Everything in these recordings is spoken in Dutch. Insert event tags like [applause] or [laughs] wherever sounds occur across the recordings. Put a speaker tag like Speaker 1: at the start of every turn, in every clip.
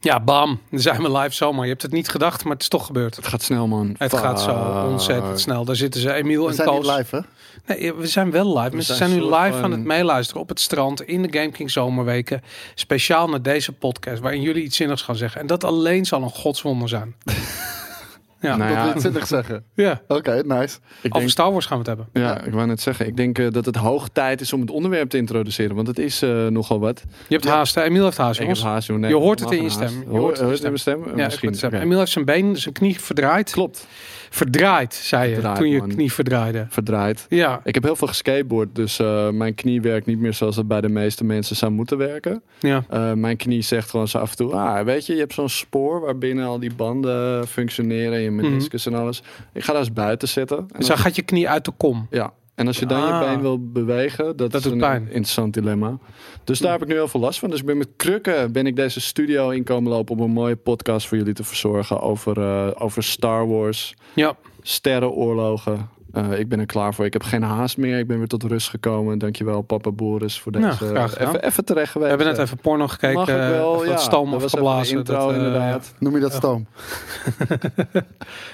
Speaker 1: Ja, bam. Dan zijn we live zomaar. Je hebt het niet gedacht, maar het is toch gebeurd.
Speaker 2: Het gaat snel, man.
Speaker 1: Het gaat zo ontzettend snel. Daar zitten ze, Emiel
Speaker 3: We
Speaker 1: en
Speaker 3: zijn niet
Speaker 1: Koos.
Speaker 3: live, hè?
Speaker 2: Nou
Speaker 1: Nee, we zijn wel live. Mensen zijn,
Speaker 2: zijn
Speaker 1: nu
Speaker 2: soort
Speaker 1: live
Speaker 2: van-
Speaker 1: aan het meeluisteren op het strand in de Game King Zomerweken. Speciaal naar deze podcast, waarin jullie iets zinnigs gaan zeggen. En dat alleen zal een godswonder zijn.
Speaker 2: [laughs]
Speaker 1: ja.
Speaker 2: Nou
Speaker 3: Dat wil
Speaker 2: ja,
Speaker 3: ik het zinnig zeggen.
Speaker 1: ja.
Speaker 3: [laughs] Oké, nice.
Speaker 2: ik
Speaker 1: Over
Speaker 2: denk,
Speaker 1: Star Wars gaan we het hebben.
Speaker 2: ja, ik wou net zeggen. Ik denk eh, dat het hoog tijd is om het onderwerp te introduceren. Want het is eh, nogal wat.
Speaker 1: Je hebt haast. hè? Emiel heeft haast,
Speaker 2: Ik heb
Speaker 1: jongens.
Speaker 2: haast, joh. Nee,
Speaker 1: Je hoort het
Speaker 2: mag
Speaker 1: in je
Speaker 2: haast.
Speaker 1: stem. Je
Speaker 2: Hoor-
Speaker 1: hoort het in je
Speaker 2: in mijn stem? Eh,
Speaker 1: Ja, ik
Speaker 2: Misschien.
Speaker 1: moet het zeggen.
Speaker 2: Oké.
Speaker 1: Emiel heeft zijn been, zijn knie verdraaid.
Speaker 2: Klopt.
Speaker 1: Verdraaid, zei je
Speaker 2: Verdraaid,
Speaker 1: toen je
Speaker 2: man.
Speaker 1: knie verdraaide.
Speaker 2: Verdraaid.
Speaker 1: Ja,
Speaker 2: Ik heb heel veel geskateboard, dus eh, mijn knie werkt niet meer zoals het bij de meeste mensen zou moeten werken.
Speaker 1: ja.
Speaker 2: Eh, mijn knie zegt gewoon zo af en toe, ah, weet je, je hebt zo'n spoor waarbinnen al die banden functioneren, je
Speaker 1: Mhm.
Speaker 2: meniscus en alles. Ik ga daar eens buiten zitten. En
Speaker 1: Dus dan
Speaker 2: als-
Speaker 1: gaat je knie uit de kom.
Speaker 2: ja. En als je dan
Speaker 1: Ah.
Speaker 2: je been wil bewegen, dat,
Speaker 1: Dat
Speaker 2: is
Speaker 1: doet
Speaker 2: een
Speaker 1: pijn.
Speaker 2: interessant dilemma. Dus daar heb ik nu heel veel last van. Dus ik ben met krukken ben ik deze studio in komen lopen om een mooie podcast voor jullie te verzorgen over, eh, over Star Wars,
Speaker 1: Ja,
Speaker 2: sterrenoorlogen. Eh, ik ben er klaar voor. Ik heb geen haast meer. Ik ben weer tot rust gekomen. Dankjewel, papa Boris, voor
Speaker 1: Nou,
Speaker 2: deze.
Speaker 1: graag gedaan.
Speaker 2: even, even terecht geweest.
Speaker 1: we hebben net even porno gekeken.
Speaker 2: Mag ik
Speaker 1: eh,
Speaker 2: wel,
Speaker 1: of wat
Speaker 2: ja.
Speaker 1: stoom
Speaker 2: Dat was
Speaker 1: afgeblazen.
Speaker 2: even de intro,
Speaker 1: dat, eh,
Speaker 2: inderdaad.
Speaker 3: Noem je dat stoom?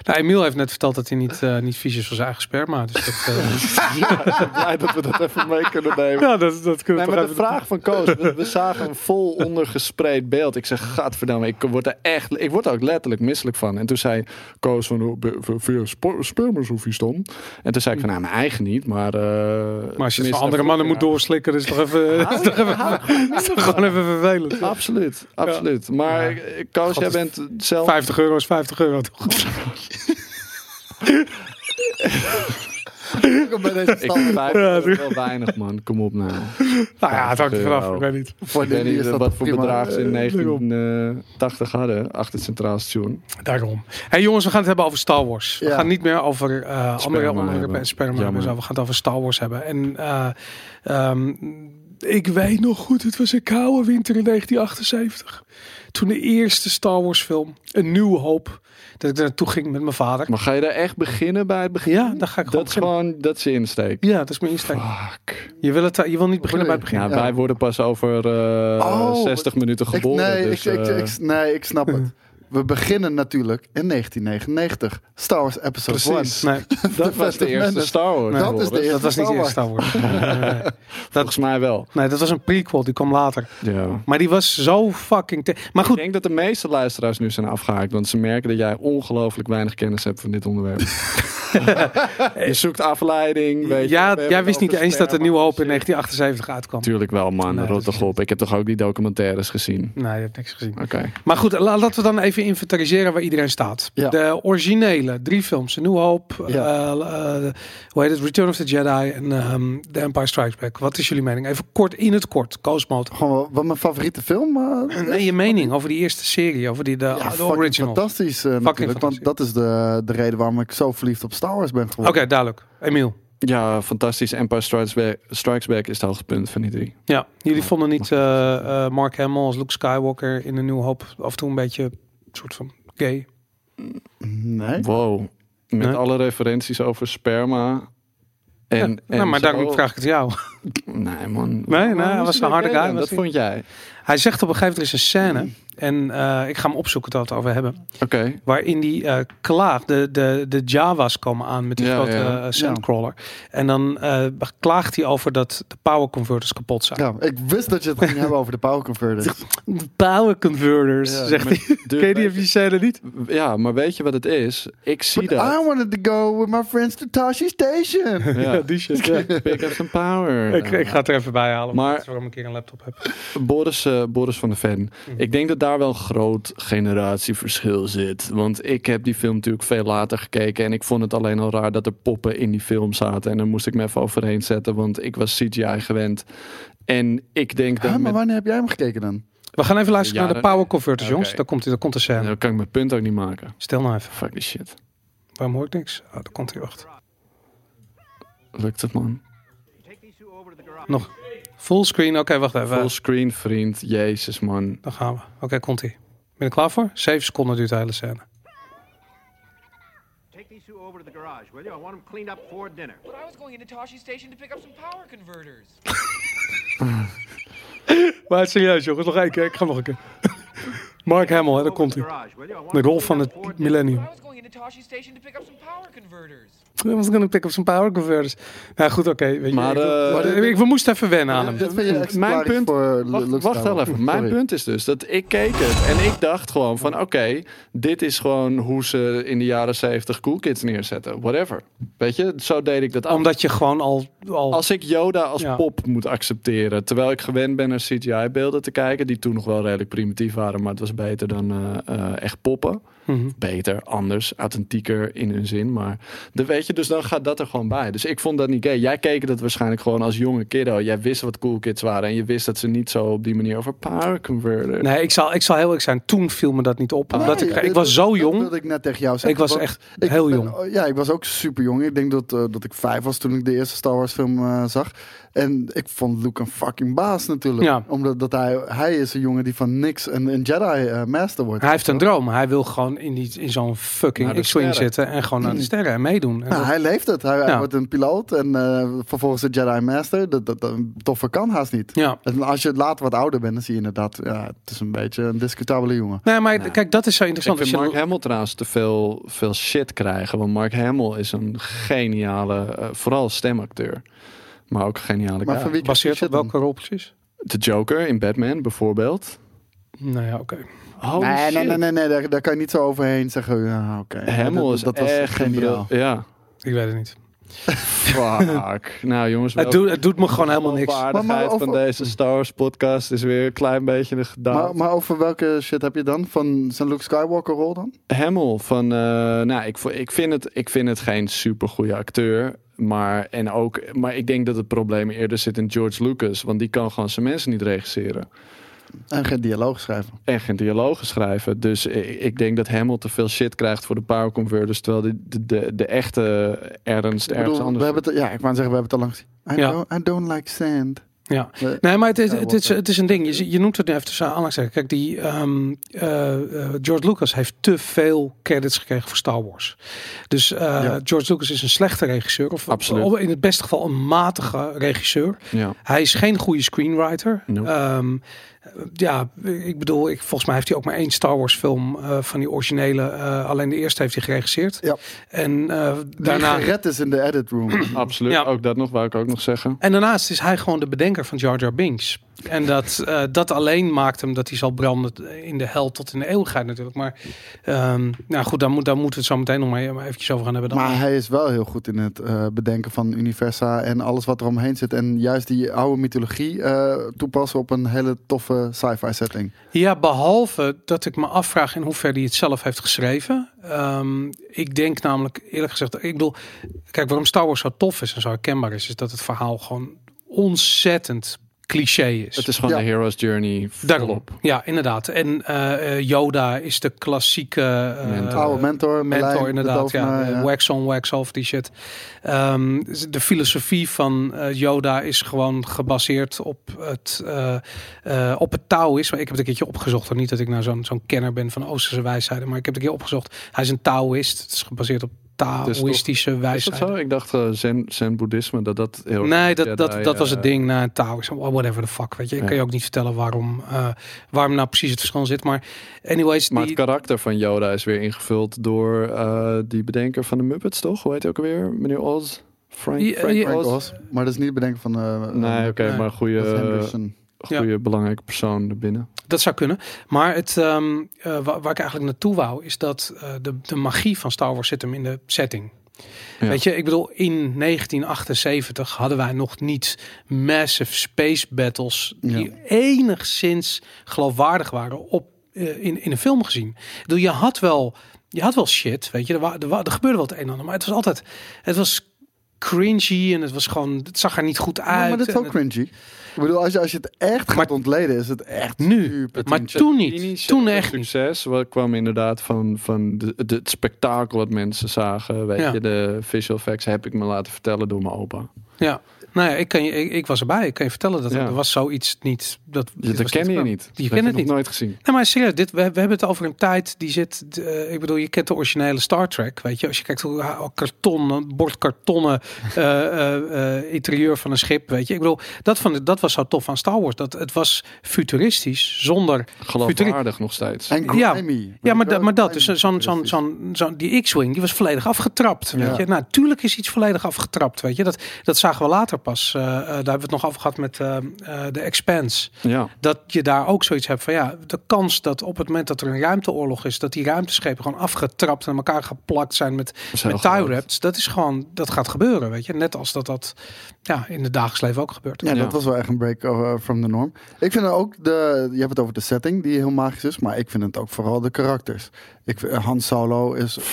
Speaker 1: Nou, Emiel heeft net verteld dat hij niet, eh, niet vies is van zijn eigen sperma. Dus dat,
Speaker 2: [laughs]
Speaker 1: eh,
Speaker 2: Blij dat we dat even mee kunnen nemen.
Speaker 1: ja, dat, dat kunnen
Speaker 2: Nee,
Speaker 1: we
Speaker 2: maar
Speaker 1: toch
Speaker 2: de
Speaker 1: even...
Speaker 2: vraag van Koos, we, we zagen een vol
Speaker 1: [laughs]
Speaker 2: ondergespreid beeld. Ik zeg, gadverdamme, ik word er echt, ik word er ook letterlijk misselijk van. En toen zei Koos van, hoe- be- be- via spo- sperma's hoe vies dan? En toen zei ik van, nou, mijn eigen niet, maar... eh,
Speaker 1: Maar als je het
Speaker 2: tenminste,
Speaker 1: van andere mannen moet doorslikken, is het toch [laughs] even, is toch even, is toch gewoon even vervelend.
Speaker 2: Absoluut, absoluut. Maar eh, Koos, jij
Speaker 1: God,
Speaker 2: bent zelf...
Speaker 1: 50 euro is 50 euro, toch?
Speaker 3: bij
Speaker 2: [laughs]
Speaker 3: [laughs] deze
Speaker 2: Ik
Speaker 3: stand.
Speaker 2: vind
Speaker 1: [laughs]
Speaker 2: vijf euro wel weinig, man. Kom op nou.
Speaker 1: Nou ja, het hangt er vanaf,
Speaker 2: euro.
Speaker 1: ik weet niet.
Speaker 3: Voor
Speaker 2: Ik weet
Speaker 3: die
Speaker 2: niet
Speaker 3: is dat
Speaker 2: wat voor
Speaker 3: prima.
Speaker 2: bedrag ze in
Speaker 1: Eh, daarom.
Speaker 2: 1980 hadden achter het Centraal Station.
Speaker 1: Daarom. hey jongens, we gaan het hebben over Star Wars. We
Speaker 3: Ja.
Speaker 1: gaan niet meer over eh, andere onderwerpen
Speaker 2: hebben.
Speaker 1: en sperma
Speaker 2: Jammer.
Speaker 1: en zo. We gaan het over Star Wars hebben. En eh, ehm, ik weet nog goed, het was een koude winter in 1978. Toen de eerste Star Wars film, Een Nieuwe Hoop, dat ik daar naartoe ging met mijn vader.
Speaker 2: Maar ga je daar echt beginnen bij het begin?
Speaker 1: Ja, daar ga ik gewoon
Speaker 2: Dat is gewoon, dat is je insteek.
Speaker 1: Ja, dat is mijn insteek.
Speaker 2: Fuck.
Speaker 1: Je wil, het, eh, je wil niet beginnen bij het begin.
Speaker 2: Nou,
Speaker 3: Ja.
Speaker 2: wij worden pas over eh,
Speaker 3: Oh,
Speaker 2: 60 minuten
Speaker 3: Ik,
Speaker 2: geboren.
Speaker 3: nee,
Speaker 2: dus,
Speaker 3: ik, ik,
Speaker 2: eh,
Speaker 3: ik- nee, ik snap het. We beginnen natuurlijk in 1999. Star Wars Episode 1.
Speaker 2: precies.
Speaker 1: Nee,
Speaker 2: Dat was de eerste
Speaker 3: Menace.
Speaker 2: Star Wars.
Speaker 3: Dat
Speaker 2: Boris.
Speaker 3: is de eerste.
Speaker 1: dat was niet
Speaker 3: Star
Speaker 1: eerst
Speaker 3: Wars.
Speaker 1: Star Wars. Nee,
Speaker 2: Volgens mij wel.
Speaker 1: nee, dat was een prequel, die kwam later.
Speaker 2: Ja.
Speaker 1: Maar die was zo fucking... te- Maar
Speaker 2: Ik
Speaker 1: goed,
Speaker 2: denk dat de meeste luisteraars nu zijn afgehaakt, want ze merken dat jij ongelooflijk weinig kennis hebt van dit
Speaker 3: [laughs]
Speaker 2: onderwerp. je zoekt afleiding. Weet je, we
Speaker 1: ja,
Speaker 2: hebben
Speaker 1: jij
Speaker 2: het
Speaker 1: wist niet
Speaker 2: over dus,
Speaker 1: eens dat er
Speaker 2: sperma.
Speaker 1: Nieuwe Hoop in 1978 uitkwam.
Speaker 2: Tuurlijk wel, man.
Speaker 1: Nee,
Speaker 2: Rot
Speaker 1: dat is
Speaker 2: toch op. Ik heb toch ook die documentaires gezien.
Speaker 1: Nee, je hebt niks gezien.
Speaker 2: Oké.
Speaker 1: Maar goed, la- laten we dan even inventariseren waar iedereen staat.
Speaker 3: Ja.
Speaker 1: De originele drie films. New Hope,
Speaker 3: Ja.
Speaker 1: eh, eh, hoe heet het? Return of the Jedi en ehm, The Empire Strikes Back. Wat is jullie mening? Even kort in het kort, Koosmoot.
Speaker 3: Gewoon wat mijn favoriete film. eh,
Speaker 1: Nee, je mening over die eerste serie, over die de,
Speaker 3: Ja,
Speaker 1: de
Speaker 3: fucking
Speaker 1: original. Oké,
Speaker 3: fantastisch eh, natuurlijk.
Speaker 1: fantastisch.
Speaker 3: Want dat is de, de reden waarom ik zo verliefd op Star Wars ben geworden.
Speaker 1: duidelijk. Emiel.
Speaker 2: Ja, fantastisch. Empire Strikes Back, Strikes Back is het hoogtepunt van die drie.
Speaker 1: Ja, jullie vonden niet eh, eh, Mark Hamill als Luke Skywalker in de New Hope af en toe een beetje soort van gay.
Speaker 3: Nee.
Speaker 2: Wow. Met
Speaker 1: Nee.
Speaker 2: alle referenties over sperma. En,
Speaker 1: Ja,
Speaker 2: en
Speaker 1: nou, maar
Speaker 2: zo-
Speaker 1: daarom vraag ik het jou.
Speaker 2: Nee, man.
Speaker 1: nee, hij
Speaker 2: Waarom
Speaker 1: was
Speaker 2: is
Speaker 1: een harde
Speaker 2: gay
Speaker 1: guy,
Speaker 2: dan?
Speaker 1: was
Speaker 2: Dat
Speaker 1: hij.
Speaker 2: vond jij.
Speaker 1: Hij zegt op een gegeven moment er is een scène.
Speaker 2: Mm.
Speaker 1: En eh, ik ga hem opzoeken dat we het over hebben.
Speaker 2: Oké.
Speaker 1: Waarin die eh klaagt. De, de, de Java's komen aan met die
Speaker 2: Ja,
Speaker 1: grote
Speaker 2: ja.
Speaker 1: eh, sandcrawler. En dan eh, klaagt hij over dat de power converters kapot zijn.
Speaker 3: Ja, ik wist dat je het ging hebben over de power
Speaker 2: [laughs]
Speaker 3: converter.
Speaker 1: De power converters,
Speaker 3: Ja,
Speaker 1: zegt
Speaker 2: maar-
Speaker 1: hij.
Speaker 2: Dude,
Speaker 1: Ken je die,
Speaker 2: weet
Speaker 1: heb je scène niet?
Speaker 2: Ja, maar weet je wat het is? Ik zie
Speaker 3: But
Speaker 1: Ah,
Speaker 2: dat.
Speaker 3: I wanted to go with my friends to Tashi
Speaker 2: [laughs]
Speaker 3: Station.
Speaker 2: Ja,
Speaker 1: die shit, ja.
Speaker 2: [laughs] Pick up some power.
Speaker 1: Ik, ik ga het er even bij halen. Maar...
Speaker 2: Maar-
Speaker 1: Dat is waarom ik hier een laptop heb.
Speaker 2: Boris, eh, Boris van de Ven.
Speaker 1: Mhm.
Speaker 2: Ik denk dat daar wel een groot generatieverschil zit. Want ik heb die film natuurlijk veel later gekeken. En ik vond het alleen al raar dat er poppen in die film zaten. En daar moest ik me even overheen zetten. Want ik was CGI gewend. En ik denk
Speaker 3: Huh,
Speaker 2: dan.
Speaker 3: maar
Speaker 2: Met...
Speaker 3: wanneer heb jij hem gekeken dan?
Speaker 1: We gaan even luisteren
Speaker 2: Ja,
Speaker 1: naar de
Speaker 2: dan-
Speaker 1: power converters,
Speaker 2: Oké.
Speaker 1: jongens. Daar komt, daar komt de scène.
Speaker 2: Nou, kan ik mijn punt ook niet maken.
Speaker 1: Stil nou even.
Speaker 2: Fuck die shit.
Speaker 1: Waarom hoor ik niks? Oh, daar komt hij. Wacht.
Speaker 2: Lukt het, man?
Speaker 1: Nog. Fullscreen. Oké, wacht even.
Speaker 2: Full screen, vriend. Jezus, man.
Speaker 1: Dan gaan we. Oké, komt ie. Ben je er klaar voor? Zeven seconden duurt de hele scène.
Speaker 4: Take these two over to the garage, will you? I want them cleaned up for dinner.
Speaker 5: But I was going into Toshi Station to pick up some power converters.
Speaker 1: Maar serieus jongens, nog één keer. Ik ga nog een keer. [laughs] Mark Hamill, hè, daar komt hij. De
Speaker 4: De
Speaker 1: rol van het millennium.
Speaker 5: I was going into Tosche Station to pick up some power converters.
Speaker 1: I was gonna pick up some power converters. Nou goed, oké. weet je,
Speaker 2: Maar,
Speaker 1: ik-
Speaker 2: eh,
Speaker 1: ik, we moesten even wennen aan hem.
Speaker 3: Dat vind je exemplarisch
Speaker 2: punt-
Speaker 3: voor
Speaker 2: Wacht, wacht wel even. Mijn punt is dus dat ik keek het en ik dacht gewoon van oké, dit is gewoon hoe ze in de jaren 70 Cool Kids neerzetten. Whatever. Weet je, zo deed ik dat al.
Speaker 1: Omdat je gewoon al... al
Speaker 2: Als ik Yoda als
Speaker 1: Ja.
Speaker 2: pop moet accepteren, terwijl ik gewend ben naar CGI-beelden te kijken, die toen nog wel redelijk primitief waren, maar het was beter dan eh, eh, echt poppen.
Speaker 1: Mhm.
Speaker 2: Beter, anders, authentieker in hun zin. Maar dan weet je, dus dan gaat dat er gewoon bij. Dus ik vond dat niet gay. Jij keek dat waarschijnlijk gewoon als jonge kiddo. Jij wist wat cool kids waren en je wist dat ze niet zo op die manier over power converter.
Speaker 1: Nee, ik zal, ik zal heel eerlijk zijn. Toen viel me dat niet op. Omdat ik, ik was zo
Speaker 3: Ah, Dat
Speaker 1: jong.
Speaker 3: wilde ik net tegen jou zeggen.
Speaker 1: Ik was
Speaker 3: want
Speaker 1: echt heel
Speaker 3: ben- oh,
Speaker 1: jong.
Speaker 3: Ja, ik was ook super jong. Ik denk dat, eh, dat ik vijf was toen ik de eerste Star Wars film eh, zag. En ik vond Luke een fucking baas natuurlijk.
Speaker 1: Ja.
Speaker 3: Omdat dat hij, hij is een jongen die van niks een, een Jedi eh, master wordt.
Speaker 1: Hij heeft een droom. Hij wil gewoon in, die, in zo'n fucking
Speaker 2: Naar de
Speaker 1: X-Wing
Speaker 2: sterren.
Speaker 1: zitten. En gewoon naar de sterren en meedoen. En
Speaker 3: Nou,
Speaker 1: dat-
Speaker 3: hij leeft het. Hij, hij
Speaker 1: Ja.
Speaker 3: wordt een piloot en eh, vervolgens een Jedi Master. Dat, dat, dat toffe kan haast niet.
Speaker 1: Ja.
Speaker 3: En als je later wat ouder bent, dan zie je inderdaad... Ja, het is een beetje een discutabele jongen.
Speaker 1: Nee, maar kijk, dat is zo
Speaker 2: Ik
Speaker 1: interessant.
Speaker 2: vind
Speaker 1: Als
Speaker 2: Mark
Speaker 1: je
Speaker 2: Hamill trouwens te veel, veel shit krijgen. Want Mark Hamill is een geniale, eh, vooral stemacteur. Maar ook een geniale
Speaker 3: Maar
Speaker 2: guy.
Speaker 3: van wie
Speaker 1: baseert
Speaker 3: shit
Speaker 1: op welke rol precies?
Speaker 2: De Joker in Batman bijvoorbeeld.
Speaker 1: Nou ja, oké.
Speaker 2: Oh
Speaker 3: dan? Nee, nee, nee, nee, nee, daar, daar kan je niet zo overheen zeggen. Ja, oké.
Speaker 2: Hamill
Speaker 3: Dat-
Speaker 2: is
Speaker 3: dat, was
Speaker 2: echt een
Speaker 3: geniaal.
Speaker 2: bril- Ja.
Speaker 1: Ik weet het niet.
Speaker 2: Fuck. [laughs] nou jongens,
Speaker 1: Het doet, het doet me gewoon helemaal
Speaker 2: De
Speaker 1: niks.
Speaker 2: waardigheid
Speaker 3: Maar- maar of-
Speaker 2: van deze Star Wars podcast is weer een klein beetje gedaan.
Speaker 3: Maar, maar over welke shit heb je dan? Van zijn Luke Skywalker rol dan?
Speaker 2: Hamill van, eh, nou, ik, vo- ik, vind het, ik vind het geen supergoeie acteur. Maar, en ook, maar ik denk dat het probleem eerder zit in George Lucas. Want die kan gewoon zijn mensen niet regisseren.
Speaker 3: En geen dialoog schrijven.
Speaker 2: En geen dialogen schrijven. Dus i- ik, denk dat Hamill te veel shit krijgt voor de power converters. Terwijl de, de, de, de echte ernst
Speaker 3: Ik
Speaker 2: ergens
Speaker 3: bedoel,
Speaker 2: anders
Speaker 3: we hebben het, ja, ik wou zeggen, we hebben het al langs. I,
Speaker 1: Ja.
Speaker 3: don't, I don't like sand. Eh,
Speaker 1: Ja.
Speaker 3: Nee.
Speaker 1: Nee, maar het is,
Speaker 3: Ja,
Speaker 1: het
Speaker 3: wordt,
Speaker 1: is,
Speaker 3: eh,
Speaker 1: het is een ding. Je, zie- je noemt het nu even tussen aanhalingstekens. Kijk, die, ehm, eh, eh, George Lucas heeft te veel credits gekregen voor Star Wars. Dus eh,
Speaker 3: Ja.
Speaker 1: George Lucas is een slechte regisseur. Of,
Speaker 2: Absoluut.
Speaker 1: of in het beste geval een matige regisseur.
Speaker 2: Ja.
Speaker 1: Hij is geen goede screenwriter.
Speaker 2: Nope.
Speaker 1: Ehm, ja, ik bedoel, ik, volgens mij heeft hij ook maar één Star Wars film eh, van die originele. eh, alleen de eerste heeft hij geregisseerd.
Speaker 3: Ja.
Speaker 1: En eh,
Speaker 3: Daarna...
Speaker 1: daarna.
Speaker 3: Die gered is in de
Speaker 1: [clears throat]
Speaker 3: edit room.
Speaker 2: Absoluut.
Speaker 1: Ja.
Speaker 2: Ook dat nog, wou ik ook nog zeggen.
Speaker 1: En daarnaast is hij gewoon de bedenker van Jar Jar Binks. En dat, eh, dat alleen maakt hem dat hij zal branden in de hel tot in de eeuwigheid natuurlijk. Maar ehm, nou goed, daar, moet, daar moeten we het zo meteen nog maar maar eventjes over gaan hebben. Dan.
Speaker 3: Maar hij is wel heel goed in het eh, bedenken van universa en alles wat er omheen zit. En juist die oude mythologie eh, toepassen op een hele toffe sci-fi setting.
Speaker 1: Ja, behalve dat ik me afvraag in hoeverre hij het zelf heeft geschreven. Ehm, ik denk namelijk, eerlijk gezegd, ik bedoel, kijk waarom Star Wars zo tof is en zo herkenbaar is, is dat het verhaal gewoon ontzettend cliché is.
Speaker 2: Het is gewoon
Speaker 3: Ja.
Speaker 2: de hero's journey.
Speaker 1: Daarop.
Speaker 2: volop.
Speaker 1: Ja, inderdaad. En eh, eh, Yoda is de klassieke eh,
Speaker 2: Mentor.
Speaker 3: oude mentor, Merlijn,
Speaker 1: mentor
Speaker 3: de
Speaker 1: inderdaad. Ja,
Speaker 3: tovenaar,
Speaker 1: Eh,
Speaker 3: ja.
Speaker 1: Wax on, wax off, die shit. Ehm, de filosofie van eh, Yoda is gewoon gebaseerd op het, eh, eh, op het Taoïsme. Maar ik heb het een keertje opgezocht. Hoor. Niet dat ik nou zo'n zo'n kenner ben van Oosterse wijsheden. Maar ik heb het een keer opgezocht. Hij is een Taoïst. Het is gebaseerd op
Speaker 2: is toch-
Speaker 1: Taoïstische
Speaker 2: Is dat zo?
Speaker 1: wijsheid.
Speaker 2: Ik dacht eh, zen, zen boeddhisme dat dat heel
Speaker 1: Nee, dat,
Speaker 2: Jedi,
Speaker 1: dat, dat was
Speaker 2: eh,
Speaker 1: het ding na een Taoïsme. Whatever the fuck, weet je. Ik
Speaker 2: Ja.
Speaker 1: kan je ook niet vertellen waarom, eh, waarom nou precies het verschil zit. Maar anyways,
Speaker 2: Maar
Speaker 1: die,
Speaker 2: het karakter van Yoda is weer ingevuld door eh, die bedenker van de Muppets, toch? Hoe heet hij ook alweer? Meneer Oz? Frank,
Speaker 1: Ja,
Speaker 2: Frank
Speaker 1: ja.
Speaker 3: Frank
Speaker 2: Oz?
Speaker 3: Oz. Maar dat is niet het bedenken van... eh,
Speaker 2: Nee, oké,
Speaker 1: Nee. eh,
Speaker 2: maar een
Speaker 3: dat is
Speaker 2: goede,
Speaker 3: Henderson.
Speaker 2: goede belangrijke persoon erbinnen.
Speaker 1: Dat zou kunnen. Maar het, ehm, eh, wa- waar, ik eigenlijk naartoe wou, is dat eh, de, de magie van Star Wars zit hem in de setting.
Speaker 2: Ja.
Speaker 1: Weet je, ik bedoel, in 1978 hadden wij nog niet massive space battles die
Speaker 3: Ja.
Speaker 1: enigszins geloofwaardig waren op, eh, in, in een film gezien. Ik bedoel, je had wel, je had wel shit, weet je, er, wa- er, wa- er gebeurde wel het een en ander, maar het was altijd, het was cringy en het was gewoon, het zag er niet goed uit.
Speaker 3: Ja, maar dit is
Speaker 1: en
Speaker 3: ook
Speaker 1: Ah, het- eh,
Speaker 3: cringy. Ik bedoel, als je, als je het echt gaat
Speaker 1: Maar-
Speaker 3: ontleden, is het echt
Speaker 1: nu,
Speaker 3: super
Speaker 1: maar
Speaker 3: cringy.
Speaker 1: toen niet, toen echt niet.
Speaker 2: succes wat kwam inderdaad van, van de, de- het spektakel wat mensen zagen. Weet
Speaker 1: Ja.
Speaker 2: je, de visual effects heb ik me laten vertellen door mijn opa.
Speaker 1: Ja. Nou ja, ik, kan je, ik, ik was erbij. Ik kan je vertellen dat
Speaker 2: Ja.
Speaker 1: er was zoiets niet. Dat, dit
Speaker 2: Dat
Speaker 1: was
Speaker 2: ken je
Speaker 1: gedaan.
Speaker 2: niet.
Speaker 1: Je
Speaker 2: Dat heb
Speaker 1: kent
Speaker 2: ik
Speaker 1: het
Speaker 2: nog
Speaker 1: niet.
Speaker 2: nooit gezien.
Speaker 1: Nee, maar serieus, dit, we, we hebben het over een tijd die zit. eh, ik bedoel, je kent de originele Star Trek. Weet je, als je kijkt hoe ah, karton, een bord
Speaker 2: [laughs]
Speaker 1: kartonnen eh, eh, eh, interieur van een schip. Weet je, ik bedoel, dat, van, dat was zo tof aan Star Wars. Dat het was futuristisch zonder.
Speaker 2: Geloofwaardig nog steeds.
Speaker 3: En
Speaker 1: Ja,
Speaker 3: grimy.
Speaker 1: Ja, maar, dat- maar dat, dus
Speaker 3: Grimy.
Speaker 1: zo'n, zo'n, zo'n, zo'n- die X-Wing, die was volledig afgetrapt.
Speaker 3: Ja.
Speaker 1: Weet je? Nou, tuurlijk is iets volledig afgetrapt, weet je. Dat, dat zagen we later pas. Eh, eh, daar hebben we het nog over gehad met eh, eh, de Expanse.
Speaker 2: Ja.
Speaker 1: Dat je daar ook zoiets hebt van, ja, de kans dat op het moment dat er een ruimteoorlog is, dat die ruimteschepen gewoon afgetrapt en aan elkaar geplakt zijn met,
Speaker 2: is heel
Speaker 1: met tie
Speaker 2: groot.
Speaker 1: wraps, dat is gewoon, dat gaat gebeuren, weet je. Net als dat dat ja, in het dagelijks leven ook gebeurt.
Speaker 3: Ja,
Speaker 2: Ja.
Speaker 3: dat was wel echt een break uh, from the norm. Ik vind ook de. Je hebt het over de setting die heel magisch is, maar ik vind het ook vooral de karakters. Ik, vind- eh, Han Solo is eh,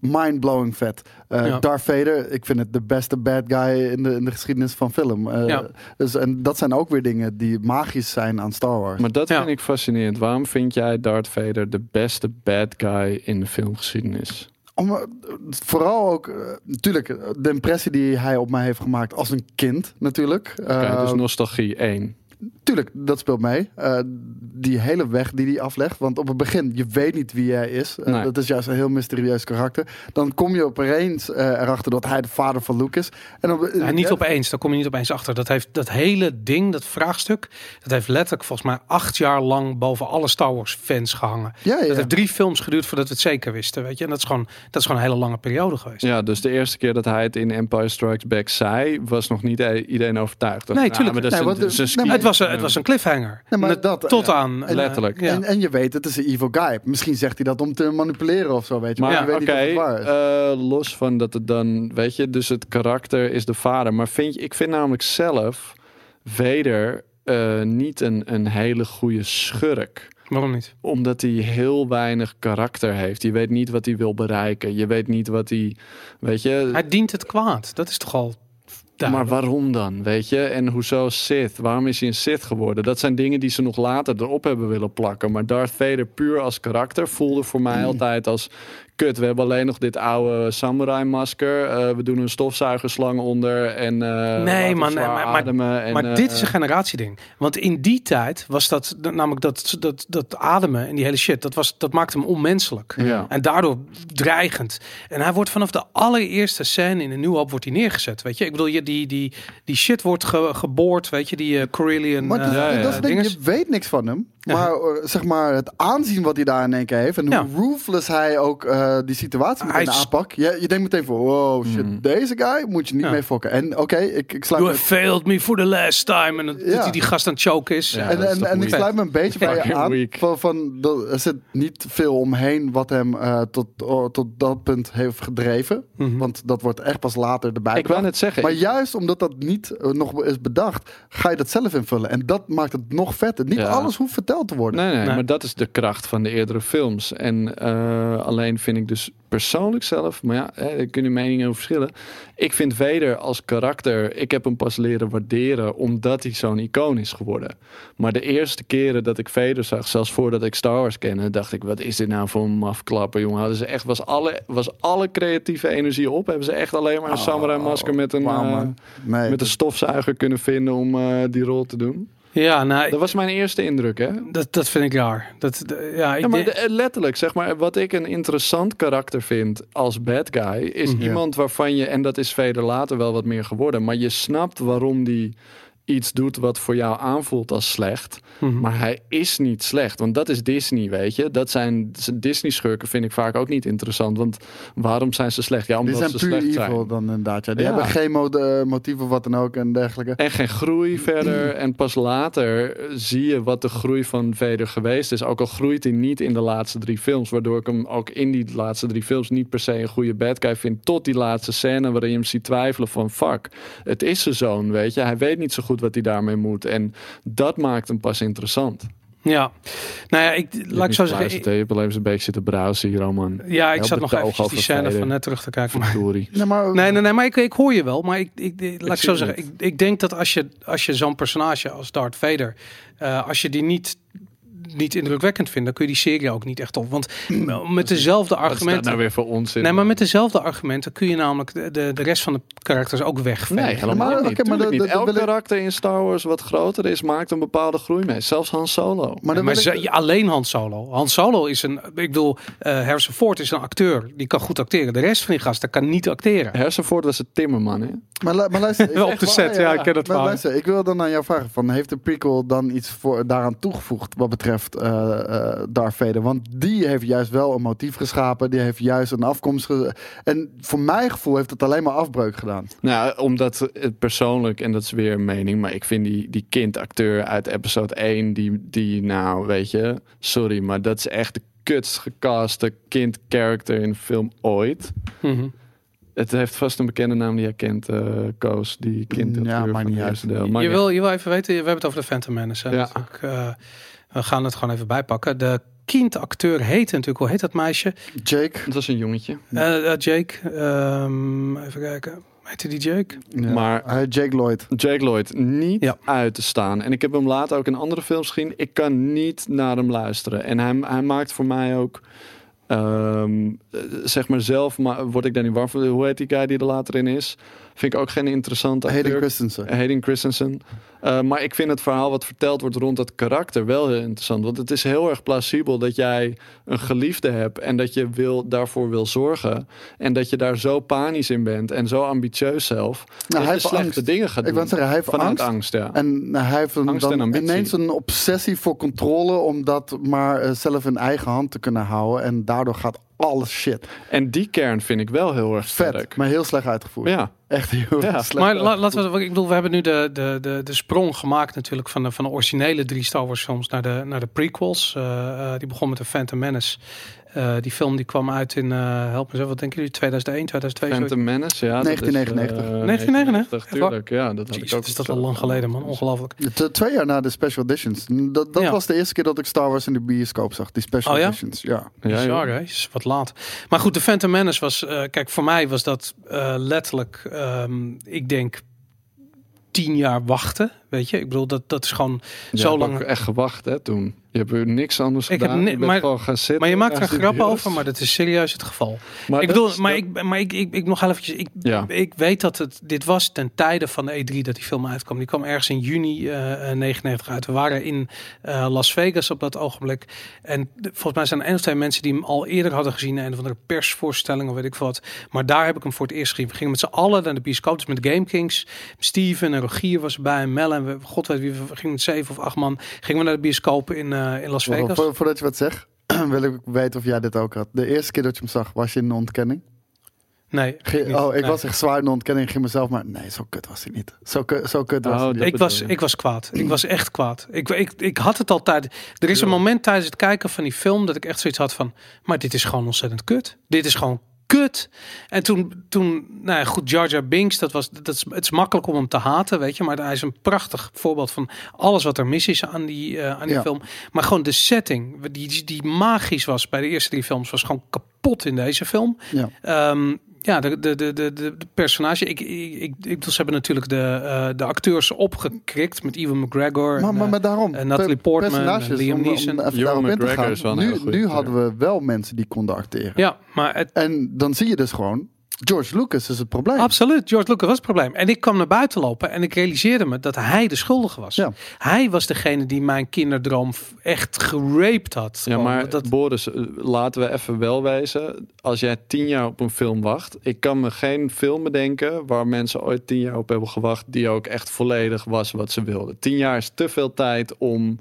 Speaker 3: mind-blowing vet. Eh,
Speaker 1: Ja.
Speaker 3: Darth Vader, ik vind het de beste bad guy in de, in de geschiedenis van film. Eh,
Speaker 1: Ja.
Speaker 3: dus, en dat zijn ook weer dingen die magisch zijn aan Star Wars.
Speaker 2: Maar dat
Speaker 1: Ja.
Speaker 2: vind ik fascinerend. Waarom vind jij Darth Vader de beste bad guy in de filmgeschiedenis?
Speaker 3: Om, eh, vooral ook, eh, natuurlijk, eh, de impressie die hij op mij heeft gemaakt als een kind, natuurlijk.
Speaker 2: Kijk,
Speaker 3: Eh,
Speaker 2: dus nostalgie één.
Speaker 3: Tuurlijk, dat speelt mee. Eh, die hele weg die hij aflegt. Want op het begin, je weet niet wie hij is. Eh,
Speaker 2: Nee.
Speaker 3: Dat is juist een heel mysterieus karakter. Dan kom je opeens eh, erachter dat hij de vader van Luke is. En op,
Speaker 1: Ja, niet opeens, daar kom je niet opeens achter. Dat, heeft, dat hele ding, dat vraagstuk, dat heeft letterlijk volgens mij acht jaar lang boven alle Star Wars fans gehangen.
Speaker 3: Ja, ja.
Speaker 1: Dat heeft drie films geduurd voordat we het zeker wisten, weet je. En dat is gewoon, dat is gewoon een hele lange periode geweest.
Speaker 2: Ja, dus de eerste keer dat hij het in Empire Strikes Back zei, was nog niet i- iedereen overtuigd.
Speaker 1: Nee, tuurlijk.
Speaker 2: maar dat is
Speaker 3: Nee,
Speaker 2: een-
Speaker 3: want de-
Speaker 2: dat is een
Speaker 3: nee,
Speaker 2: ski-
Speaker 3: maar
Speaker 1: Het was, een- het was een cliffhanger.
Speaker 3: Nee, maar
Speaker 1: Net
Speaker 3: dat-
Speaker 1: tot
Speaker 3: ja.
Speaker 1: aan... eh,
Speaker 2: Letterlijk.
Speaker 1: ja.
Speaker 3: En, en je weet, het is een evil guy. Misschien zegt hij dat om te manipuleren of zo, weet je.
Speaker 2: Maar
Speaker 3: je weet
Speaker 2: oké,
Speaker 3: niet of het waar is.
Speaker 2: eh, los van dat het dan, weet je, dus het karakter is de vader. Maar vind je, ik vind namelijk zelf Vader eh, niet een, een hele goede schurk.
Speaker 1: Waarom niet?
Speaker 2: Omdat hij heel weinig karakter heeft. Je weet niet wat hij wil bereiken. Je weet niet wat hij, weet je...
Speaker 1: Hij dient het kwaad. Dat is toch al...
Speaker 2: maar
Speaker 1: duidelijk.
Speaker 2: waarom dan, weet je? En hoezo Sith? Waarom is hij een Sith geworden? Dat zijn dingen die ze nog later erop hebben willen plakken. Maar Darth Vader puur als karakter voelde voor
Speaker 1: Mm.
Speaker 2: mij altijd als... Kut, we hebben alleen nog dit oude samurai-masker. Eh, we doen een stofzuigerslang onder en... eh, laten
Speaker 1: Nee,
Speaker 2: we
Speaker 1: man, nee,
Speaker 2: zwaar
Speaker 1: maar, maar,
Speaker 2: ademen en,
Speaker 1: maar
Speaker 2: eh,
Speaker 1: dit is een generatieding. Want in die tijd was dat dat- namelijk dat, dat, dat ademen en die hele shit, dat, was, dat maakte hem onmenselijk.
Speaker 2: Ja.
Speaker 1: En daardoor dreigend. En hij wordt vanaf de allereerste scène in een nieuw hoop wordt hij neergezet. Weet je, ik bedoel, je, die, die, die shit wordt ge- geboord, weet je, die eh Corellian.
Speaker 3: Maar het is-
Speaker 1: eh,
Speaker 2: ja, ja.
Speaker 3: dat is het ding,
Speaker 1: dinges.
Speaker 3: je weet niks van hem.
Speaker 1: Ja.
Speaker 3: Maar eh, zeg maar, het aanzien wat hij daar in één keer heeft... en hoe
Speaker 1: Ja.
Speaker 3: ruthless hij ook eh, die situatie
Speaker 1: Hij
Speaker 3: meteen
Speaker 1: is-
Speaker 3: aanpakt. Je, je denkt meteen van, wow, shit,
Speaker 2: Mm.
Speaker 3: deze guy moet je niet
Speaker 1: Ja.
Speaker 3: mee fokken. En oké, ik, ik sluit
Speaker 1: You
Speaker 3: me
Speaker 1: have failed me for the last time. En dat
Speaker 3: Ja.
Speaker 1: dat hij die gast aan het choke is.
Speaker 2: Ja.
Speaker 1: En-
Speaker 3: en, eh,
Speaker 2: dat is
Speaker 3: en,
Speaker 2: toch
Speaker 3: en ik
Speaker 2: weak.
Speaker 3: sluit me een
Speaker 2: [laughs]
Speaker 3: beetje bij je
Speaker 2: Fucking
Speaker 3: aan.
Speaker 2: weak.
Speaker 3: Van, van, dat- er zit niet veel omheen wat hem eh, tot, oh, tot dat punt heeft gedreven. Want dat wordt echt pas later erbij.
Speaker 2: Mhm. Ik wou net zeggen,
Speaker 3: Maar
Speaker 2: ik-
Speaker 3: juist omdat dat niet eh, nog is bedacht, ga je dat zelf invullen. En dat maakt het nog vetter. Niet
Speaker 2: Ja.
Speaker 3: alles hoeft verteld te worden.
Speaker 2: Nee, nee,
Speaker 1: Nee.
Speaker 2: maar dat is de kracht van de eerdere films. En eh, alleen vind ik dus persoonlijk zelf, maar ja, hè, daar kunnen meningen over verschillen. Ik vind Vader als karakter, ik heb hem pas leren waarderen omdat hij zo'n icoon is geworden. Maar de eerste keren dat ik Vader zag, zelfs voordat ik Star Wars kende, dacht ik, wat is dit nou voor een mafklapper, jongen. Hadden ze echt, was alle, was alle creatieve energie op, hebben ze echt alleen maar een samurai masker met een,
Speaker 3: Oh, wauw,
Speaker 2: eh,
Speaker 3: man. Nee,
Speaker 2: met een stofzuiger kunnen vinden om eh, die rol te doen.
Speaker 1: ja, nou,
Speaker 2: Dat was mijn eerste indruk, hè?
Speaker 1: dat, dat vind ik raar. Dat, d- ja, ik
Speaker 2: Ja, maar
Speaker 1: denk-
Speaker 2: de- eh, letterlijk, zeg maar, wat ik een interessant karakter vind als bad guy, is
Speaker 3: Mhm.
Speaker 2: iemand waarvan je, en dat is vele later wel wat meer geworden, maar je snapt waarom die iets doet wat voor jou aanvoelt als slecht,
Speaker 3: Mhm.
Speaker 2: maar hij is niet slecht, want dat is Disney, weet je. Dat zijn Disney-schurken vind ik vaak ook niet interessant, want waarom zijn ze slecht? Ja,
Speaker 3: die
Speaker 2: omdat
Speaker 3: zijn
Speaker 2: ze
Speaker 3: puur
Speaker 2: slecht
Speaker 3: evil
Speaker 2: zijn.
Speaker 3: dan inderdaad. Ja. Die
Speaker 2: Ja.
Speaker 3: hebben geen mo- eh, motieven wat dan ook en dergelijke.
Speaker 2: En geen
Speaker 1: [clears throat]
Speaker 2: groei verder. En pas later eh, zie je wat de groei van Vader geweest is. Ook al groeit hij niet in de laatste drie films. Waardoor ik hem ook in die laatste drie films niet per se een goede bad guy vind. Tot die laatste scène waarin je hem ziet twijfelen van... fuck, het is zijn zoon, weet je. Hij weet niet zo goed wat hij daarmee moet. En dat maakt hem pas interessant.
Speaker 1: ja. Nou ja, ik, laat ik zo zeggen.
Speaker 2: Je
Speaker 1: ik-
Speaker 2: hebt alleen eens een beetje zitten browsen hier, man.
Speaker 1: ja, ik
Speaker 2: Heel
Speaker 1: zat nog
Speaker 2: betoog
Speaker 1: eventjes die
Speaker 2: over
Speaker 1: scène
Speaker 2: vrede.
Speaker 1: van net terug te kijken. maar-
Speaker 2: Verdorie.
Speaker 3: Nee, maar,
Speaker 1: Nee, nee, nee, maar ik, ik hoor je wel. Maar ik, ik, ik- laat ik,
Speaker 2: zie
Speaker 1: zo
Speaker 2: het
Speaker 1: zeggen. Ik,
Speaker 2: niet.
Speaker 1: ik denk dat als je, als je zo'n personage als Darth Vader, eh, als je die niet niet indrukwekkend vindt, dan kun je die serie ook niet echt op. Want met dezelfde
Speaker 2: Wat is Nou, dat
Speaker 1: argumenten.
Speaker 2: nou weer voor onzin?
Speaker 1: Nee, maar met dezelfde argumenten kun je namelijk de, de, de rest van de karakters ook wegvegen.
Speaker 2: Nee, helemaal
Speaker 3: Maar,
Speaker 2: niet.
Speaker 3: oké, maar
Speaker 2: Tuurlijk
Speaker 3: dat-
Speaker 2: niet.
Speaker 3: dat- dat
Speaker 2: Elk
Speaker 3: wil ik-
Speaker 2: karakter in Star Wars wat groter is, maakt een bepaalde groei mee. Zelfs Han Solo.
Speaker 3: Maar, dan
Speaker 1: maar
Speaker 3: wil
Speaker 1: ze-
Speaker 3: ik-
Speaker 1: ja, alleen Han Solo. Han Solo is een, ik bedoel, eh Harrison Ford is een acteur. Die kan goed acteren. De rest van die gasten kan niet acteren.
Speaker 2: Hersenvoort was een timmerman, hè?
Speaker 3: Maar, lu- maar luister, ik-
Speaker 1: Wel op
Speaker 3: echt
Speaker 1: de
Speaker 3: waar,
Speaker 1: set, ja, ik ken dat
Speaker 3: maar
Speaker 1: verhaal.
Speaker 3: luister, ik wil dan aan jou vragen: van, heeft de prequel dan iets voor, daaraan toegevoegd wat betreft eh eh Darth Vader? Want die heeft juist wel een motief geschapen, die heeft juist een afkomst. ge- en voor mijn gevoel heeft het alleen maar afbreuk gedaan.
Speaker 2: Nou, omdat het persoonlijk, en dat is weer een mening, maar ik vind die, die kindacteur uit episode 1, die, die, nou, weet je, sorry, maar dat is echt de kutst gecaste kind-character in de film ooit.
Speaker 1: Mhm.
Speaker 2: Het heeft vast een bekende naam die jij kent, eh, Koos, die kindacteur
Speaker 3: Ja, maakt
Speaker 2: van
Speaker 3: niet
Speaker 2: het
Speaker 3: uit.
Speaker 2: eerste deel. Maakt
Speaker 1: Je
Speaker 2: niet
Speaker 1: wil, je wil even weten, we hebben het over de Phantom Menace. hè,
Speaker 2: Ja.
Speaker 1: natuurlijk. Eh, we gaan het gewoon even bijpakken. De kindacteur heette natuurlijk, hoe heet dat meisje?
Speaker 3: Jake,
Speaker 2: uit. Het was een jongetje.
Speaker 1: Eh, eh, Jake. ehm, even kijken. Heette die Jake?
Speaker 3: ja,
Speaker 2: Maar-
Speaker 3: hij heet eh, Jake Lloyd.
Speaker 2: Jake Lloyd niet
Speaker 1: Ja.
Speaker 2: uit te staan. En ik heb hem later ook in andere films gezien. Ik kan niet naar hem luisteren. En hij, hij maakt voor mij ook. ehm, eh, zeg maar zelf, maar word ik daar niet warm van. Hoe heet die guy die er later in is? Vind ik ook geen interessante acteur.
Speaker 3: Hayden
Speaker 2: [laughs]
Speaker 3: Christensen.
Speaker 2: Hayden Christensen. Eh, maar ik vind het verhaal wat verteld wordt rond dat karakter wel heel interessant. Want het is heel erg plausibel dat jij een geliefde hebt en dat je wil, daarvoor wil zorgen. En dat je daar zo panisch in bent en zo ambitieus zelf. dat
Speaker 3: Nou, hij
Speaker 2: je
Speaker 3: heeft
Speaker 2: slechte
Speaker 3: angst.
Speaker 2: dingen gaat
Speaker 3: Ik
Speaker 2: doen.
Speaker 3: wou zeggen, hij heeft
Speaker 2: Vanuit
Speaker 3: angst.
Speaker 2: angst, ja.
Speaker 3: En hij heeft een,
Speaker 2: Angst en
Speaker 3: dan
Speaker 2: ambitie.
Speaker 3: ineens een obsessie voor controle om dat maar eh, zelf in eigen hand te kunnen houden. En daardoor gaat alles shit.
Speaker 2: En die kern vind ik wel heel erg
Speaker 3: Vet,
Speaker 2: sterk.
Speaker 3: maar heel slecht uitgevoerd.
Speaker 2: Ja.
Speaker 3: Echt heel
Speaker 2: Ja.
Speaker 3: erg slecht.
Speaker 1: Maar la- laten we, ik bedoel, we hebben nu de, de, de, de sprong gemaakt natuurlijk van de, van de originele drie Star Wars films naar de, naar de prequels. Eh, eh, die begon met de Phantom Menace. Eh, die film die kwam uit in, eh, help me zo, wat denken jullie, 2001, 2002?
Speaker 2: Phantom Menace, ja. dat is, eh,
Speaker 3: 1999.
Speaker 1: 1999, echt waar?
Speaker 2: tuurlijk. Ja, dat had ik
Speaker 1: Jeez,
Speaker 2: ook
Speaker 1: wat is dat
Speaker 2: zo.
Speaker 1: al lang geleden man, ongelooflijk.
Speaker 3: T- twee jaar na de special editions. Dat, dat
Speaker 1: Ja.
Speaker 3: was de eerste keer dat ik Star Wars in de bioscoop zag. Die special
Speaker 1: Oh ja?
Speaker 3: editions. Ja.
Speaker 2: Ja, joh.
Speaker 1: Bizar, hè? Is wat laat. Maar goed, de Phantom Menace was... eh, kijk, voor mij was dat eh, letterlijk... ehm, ik denk tien jaar wachten, weet je? Ik bedoel, dat, dat is gewoon
Speaker 2: Ja,
Speaker 1: zo
Speaker 2: ik heb
Speaker 1: lang...
Speaker 2: ook echt gewacht, hè, toen. Je hebt er niks anders
Speaker 1: Ik heb
Speaker 2: gedaan.
Speaker 1: ni-
Speaker 2: Je bent
Speaker 1: maar-
Speaker 2: gewoon gaan zitten.
Speaker 1: Maar je maakt
Speaker 2: Ja,
Speaker 1: er grappen
Speaker 2: serieus.
Speaker 1: over, maar dat is serieus het geval.
Speaker 2: Maar
Speaker 1: ik
Speaker 2: dat
Speaker 1: bedoel,
Speaker 2: is-
Speaker 1: maar,
Speaker 2: dat-
Speaker 1: ik, maar ik, ik, ik nog heel eventjes... Ik,
Speaker 2: Ja.
Speaker 1: ik weet dat het, dit was ten tijde van de E3 dat die film uitkwam. Die kwam ergens in juni eh, eh 99 uit. We waren in eh, Las Vegas op dat ogenblik. En de- volgens mij zijn er één of twee mensen die hem al eerder hadden gezien. Een of andere persvoorstelling of weet ik veel wat. Maar daar heb ik hem voor het eerst gezien. We gingen met z'n allen naar de bioscoop. Dus met de Game Kings. Steven en Rogier was erbij. En Mel en we, god weet wie. We gingen met zeven of acht man. Gingen we naar de bioscoop in, eh, in Las
Speaker 3: Wacht,
Speaker 1: Vegas.
Speaker 3: Voor, voordat je wat zegt, [clears throat] wil ik weten of jij dit ook had. De eerste keer dat je hem zag, was je in de ontkenning?
Speaker 1: Nee.
Speaker 3: Ge-
Speaker 1: niet.
Speaker 3: oh, ik
Speaker 1: Nee.
Speaker 3: was echt zwaar in de ontkenning. Ik Ging mezelf maar, nee, zo kut was hij niet. Zo, ku- zo kut was
Speaker 2: Oh,
Speaker 3: hij niet.
Speaker 2: dat
Speaker 1: Ik was,
Speaker 2: bedoel je.
Speaker 1: ik was kwaad. Ik was echt kwaad. Ik, ik, ik had het altijd. Er is een moment tijdens het kijken van die film dat ik echt zoiets had van. Maar dit is gewoon ontzettend kut. Dit is gewoon kut. En toen, toen nou ja, goed, Jar Jar Binks, dat was, dat is, het is makkelijk om hem te haten, weet je. Maar hij is een prachtig voorbeeld van alles wat er mis is aan die, eh, aan die
Speaker 3: Ja.
Speaker 1: film. Maar gewoon de setting, die, die magisch was bij de eerste drie films, was gewoon kapot in deze film.
Speaker 3: Ja.
Speaker 1: Ehm, ja, de, de, de, de, de de personage. Ik, ik, ik, ik bedoel, ze hebben natuurlijk de, eh, de acteurs opgekrikt met Ewan McGregor.
Speaker 3: Maar,
Speaker 1: en,
Speaker 3: maar,
Speaker 1: eh,
Speaker 3: maar daarom.
Speaker 1: en Natalie
Speaker 3: per-
Speaker 1: Portman,
Speaker 3: personages,
Speaker 1: en Liam
Speaker 3: om- om
Speaker 1: Neeson.
Speaker 3: even
Speaker 2: Ewan
Speaker 3: daarop in te
Speaker 2: McGregor
Speaker 3: gaan.
Speaker 2: is wel een hele
Speaker 3: nu,
Speaker 2: goeie
Speaker 3: nu
Speaker 2: acteur.
Speaker 3: hadden we wel mensen die konden acteren.
Speaker 1: ja, maar het,
Speaker 3: En dan zie je dus gewoon, George Lucas is het probleem.
Speaker 1: absoluut. George Lucas was het probleem. En ik kwam naar buiten lopen en ik realiseerde me dat hij de schuldige was.
Speaker 3: Ja.
Speaker 1: Hij was degene die mijn kinderdroom f- echt geraped had.
Speaker 2: Ja,
Speaker 1: Gewoon,
Speaker 2: maar
Speaker 1: Oh, dat,
Speaker 2: Boris, eh, laten we even wel wijzen. Als jij tien jaar op een film wacht, ik kan me geen film bedenken waar mensen ooit tien jaar op hebben gewacht, die ook echt volledig was wat ze wilden. Tien jaar is te veel tijd om,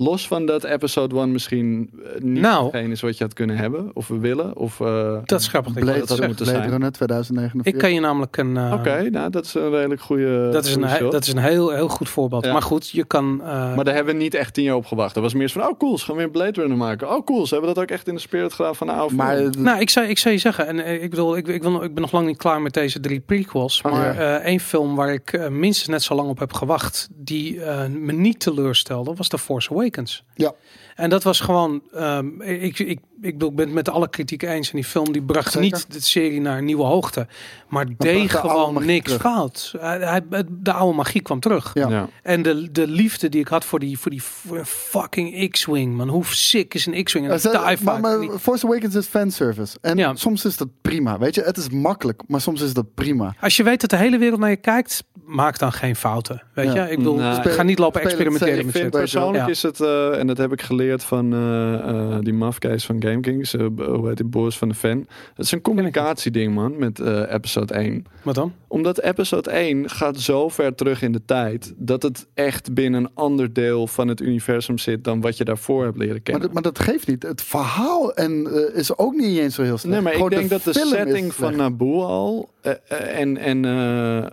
Speaker 2: los van dat episode one misschien eh, niet
Speaker 1: Nou.
Speaker 2: hetgeen is wat je had kunnen hebben of willen. Of, eh,
Speaker 1: dat is grappig. dat je
Speaker 3: Blade,
Speaker 1: dat zegt.
Speaker 2: moeten zijn.
Speaker 3: Blade Runner 2049.
Speaker 1: Ik kan je namelijk een. eh,
Speaker 2: Oké, nou dat is een redelijk goede.
Speaker 1: Dat is, een,
Speaker 2: goede
Speaker 1: he-
Speaker 2: shot.
Speaker 1: dat is een heel, heel goed voorbeeld.
Speaker 2: Ja.
Speaker 1: Maar goed, je kan. eh,
Speaker 2: Maar daar hebben we niet echt tien jaar op gewacht. Dat was meer zo van, oh cool, ze gaan weer een Blade Runner maken. Oh cool, ze hebben dat ook echt in de spirit gedaan van de oude film.
Speaker 3: Maar
Speaker 1: Nou, ik zou, ik zou je zeggen, en eh, ik bedoel, ik, ik, wil, ik ben nog lang niet klaar met deze drie prequels.
Speaker 3: Oh,
Speaker 1: Maar
Speaker 3: ja.
Speaker 1: eh, één film waar ik eh, minstens net zo lang op heb gewacht, die eh, me niet teleurstelde, was The Force Awakens.
Speaker 3: ja.
Speaker 1: En dat was gewoon, ehm, ik, ik, ik, bedoel, ik ben het met alle kritiek eens. En die film die bracht
Speaker 3: Zeker.
Speaker 1: niet de serie naar een nieuwe hoogte. Maar deed
Speaker 3: bracht de oude
Speaker 1: gewoon
Speaker 3: magie
Speaker 1: niks
Speaker 3: terug.
Speaker 1: fout. Hij, hij- het- de oude magie kwam terug.
Speaker 3: Ja.
Speaker 2: Ja.
Speaker 1: En de, de liefde die ik had voor die, voor die f- fucking X-Wing, man. Hoe sick is een X-Wing? En een
Speaker 3: Eh, Maar, ze-
Speaker 1: TIE
Speaker 3: maar,
Speaker 1: fighter.
Speaker 3: maar
Speaker 1: Die-
Speaker 3: Force Awakens is fanservice. En
Speaker 1: Ja.
Speaker 3: soms is dat prima. Weet je, het is makkelijk, maar soms is dat prima.
Speaker 1: Als je weet dat de hele wereld naar je kijkt, maak dan geen fouten. Weet
Speaker 3: Ja.
Speaker 1: je? Ik bedoel,
Speaker 2: Nee.
Speaker 1: ik ga niet lopen
Speaker 3: Speel het
Speaker 1: experimenteren
Speaker 3: safe.
Speaker 1: met
Speaker 2: Ik
Speaker 1: shit.
Speaker 2: vind
Speaker 3: Ik vind het wel
Speaker 2: persoonlijk
Speaker 1: zo.
Speaker 2: is het, eh, en dat heb ik geleerd van eh, eh, die mafcase van Game Kings, eh, b- hoe heet die Boris van de Fan. Het is een communicatieding, man, met eh, episode 1.
Speaker 1: Wat dan?
Speaker 2: Omdat episode 1 gaat zo ver terug in de tijd, dat het echt binnen een ander deel van het universum zit dan wat je daarvoor hebt leren
Speaker 3: Maar,
Speaker 2: kennen.
Speaker 3: dat- maar dat geeft niet. Het verhaal en, eh, is ook niet eens zo heel slecht.
Speaker 2: Nee, maar
Speaker 3: Gewoon
Speaker 2: ik denk dat de
Speaker 3: film is
Speaker 2: setting van
Speaker 3: slecht.
Speaker 2: Naboo al eh, eh, en, en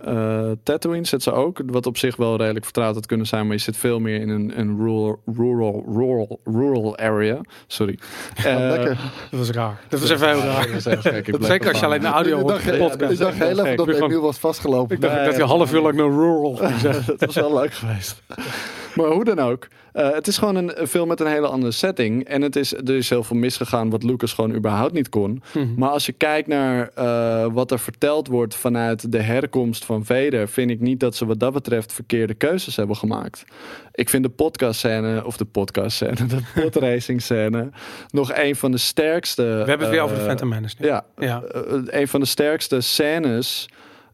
Speaker 2: eh, eh, Tatooine zit ze ook, wat op zich wel redelijk vertrouwd had kunnen zijn, maar je zit veel meer in een, een rural, rural, rural, rural area. Sorry. Eh,
Speaker 3: lekker.
Speaker 1: Dat was raar. Dat was even heel raar.
Speaker 2: dat is heel gek. Ik blijf
Speaker 1: Zeker als je
Speaker 2: ervan.
Speaker 1: alleen de audio
Speaker 3: ik
Speaker 1: hoort
Speaker 3: dacht,
Speaker 1: van de
Speaker 3: ja, ik
Speaker 1: podcast.
Speaker 3: dacht heel even dat
Speaker 1: Ik
Speaker 3: Emiel
Speaker 1: dacht-
Speaker 3: was vastgelopen.
Speaker 1: ik dacht dat je half uur lang naar rural ging zeggen. [laughs]
Speaker 2: dat was wel leuk geweest. [laughs] Maar hoe dan ook. eh, het is gewoon een, een film met een hele andere setting. En het is, er is heel veel misgegaan wat Lucas gewoon überhaupt niet kon.
Speaker 1: Mhm.
Speaker 2: Maar als je kijkt naar eh, wat er verteld wordt vanuit de herkomst van Vader... vind ik niet dat ze wat dat betreft verkeerde keuzes hebben gemaakt. Ik vind de podcast scène, of de podcast scène, [laughs] de podracing scène... nog een van de sterkste... We
Speaker 1: We hebben het weer over de Phantom Menace nu.
Speaker 2: Eh, ja,
Speaker 1: Ja.
Speaker 2: eh, eh, een van de sterkste scènes